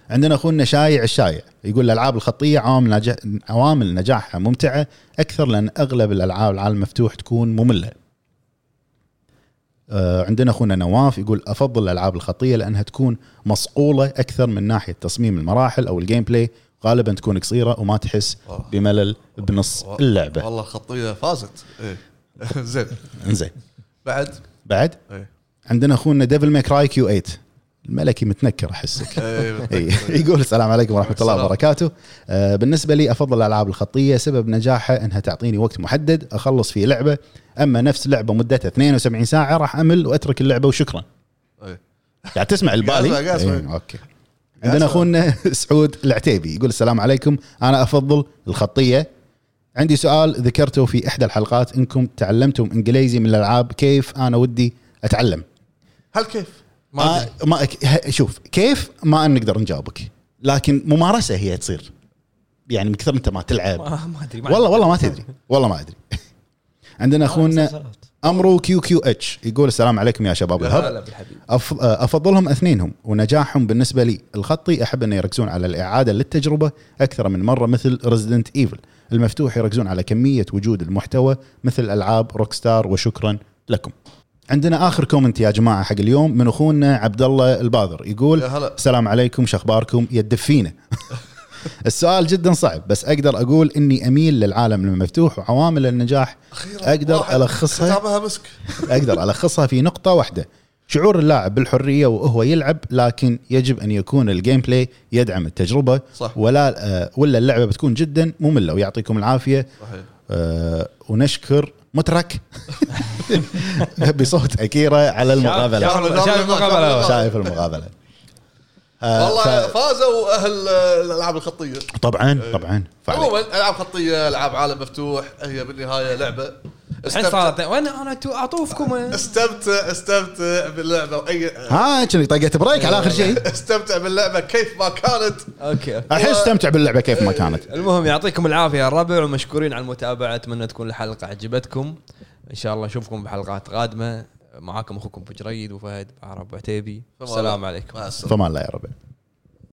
Speaker 2: عندنا اخونا شايع الشايع يقول الالعاب الخطيه عوامل نجاح عوامل نجاحها ممتعه اكثر لان اغلب الالعاب العالم المفتوح تكون ممله. آه، عندنا اخونا نواف يقول افضل الالعاب الخطيه لانها تكون مصقوله اكثر من ناحيه تصميم المراحل او الجيم بلاي غالبا تكون قصيره وما تحس
Speaker 3: والله.
Speaker 2: بملل بنص
Speaker 3: والله-
Speaker 2: اللعبه.
Speaker 3: والله الخطيه فازت ايه زين
Speaker 2: انزين
Speaker 3: بعد
Speaker 2: بعد
Speaker 3: ايه
Speaker 2: عندنا اخونا ديفل ميك راي كيو 8 الملكي متنكر احسك. إي.
Speaker 3: إيه.
Speaker 2: يقول السلام عليكم ورحمه الله
Speaker 3: السلام.
Speaker 2: وبركاته آه، بالنسبه لي افضل الالعاب الخطيه سبب نجاحها انها تعطيني وقت محدد اخلص فيه لعبه اما نفس لعبه مدتها 72 ساعه راح امل واترك اللعبه وشكرا
Speaker 3: إيه.
Speaker 2: قاعد تسمع البالي
Speaker 3: قاعد أسمع.
Speaker 2: إيه، اوكي عندنا
Speaker 3: أسمع.
Speaker 2: اخونا سعود العتيبي يقول السلام عليكم انا افضل الخطيه عندي سؤال ذكرته في احدى الحلقات انكم تعلمتم انجليزي من الالعاب كيف انا ودي اتعلم
Speaker 3: هل كيف؟
Speaker 1: ما
Speaker 2: ما
Speaker 1: أدري.
Speaker 2: آه، ما أك- ه- شوف كيف ما نقدر نجاوبك لكن ممارسه هي تصير يعني من كثر انت ما تلعب
Speaker 1: ما ما ادري ما
Speaker 2: والله والله ما تدري والله ما ادري عندنا اخونا
Speaker 4: مسلسلات.
Speaker 2: امرو كيو كيو اتش يقول السلام عليكم يا شباب
Speaker 1: أدري.
Speaker 2: الهب
Speaker 1: لا لا بالحبيب
Speaker 2: أف- افضلهم اثنينهم ونجاحهم بالنسبه لي الخطي احب انه يركزون على الاعاده للتجربه اكثر من مره مثل ريزدنت ايفل المفتوح يركزون على كميه وجود المحتوى مثل العاب روكستار وشكرا لكم عندنا اخر كومنت يا جماعه حق اليوم من اخونا عبد الله الباذر يقول
Speaker 3: يا هلا
Speaker 2: السلام عليكم شخباركم يا الدفينه السؤال جدا صعب بس اقدر اقول اني اميل للعالم المفتوح وعوامل النجاح
Speaker 3: اخيرا
Speaker 2: أقدر
Speaker 3: واحد
Speaker 2: ألخصها؟
Speaker 3: ختامها مسك
Speaker 2: اقدر الخصها في نقطه واحده شعور اللاعب بالحريه وهو يلعب لكن يجب ان يكون الجيم بلاي يدعم التجربه
Speaker 3: صح
Speaker 2: ولا آه، ولا اللعبه بتكون جدا ممله ويعطيكم العافيه
Speaker 3: صحيح
Speaker 2: آه، ونشكر مترك بصوت اكيرا على المقابله
Speaker 1: شاف- شاف المقابله
Speaker 2: شايف المقابله آه،
Speaker 3: والله آه،
Speaker 2: ف-
Speaker 3: فازوا اهل آه، الالعاب الخطيه
Speaker 2: طبعا طبعا فعلا.
Speaker 3: عموما العاب خطيه العاب عالم مفتوح هي بالنهايه لعبه
Speaker 1: الحين
Speaker 3: استمتع
Speaker 1: صارت وين انا تو- اعطوفكم
Speaker 3: استمتع استمتع باللعبه واي
Speaker 2: ها كنا طقت بريك على اخر شيء
Speaker 3: استمتع باللعبه كيف ما كانت
Speaker 1: اوكي أوكي.
Speaker 2: الحين
Speaker 3: آه،
Speaker 2: استمتع باللعبه كيف ما كانت
Speaker 1: المهم يعطيكم العافيه يا الربع ومشكورين على المتابعه اتمنى تكون الحلقه عجبتكم ان شاء الله نشوفكم بحلقات قادمه معاكم اخوكم أبو جريد وفهد عرب وعتيبي السلام عليكم
Speaker 3: مع السلامه
Speaker 2: فما الله يا رب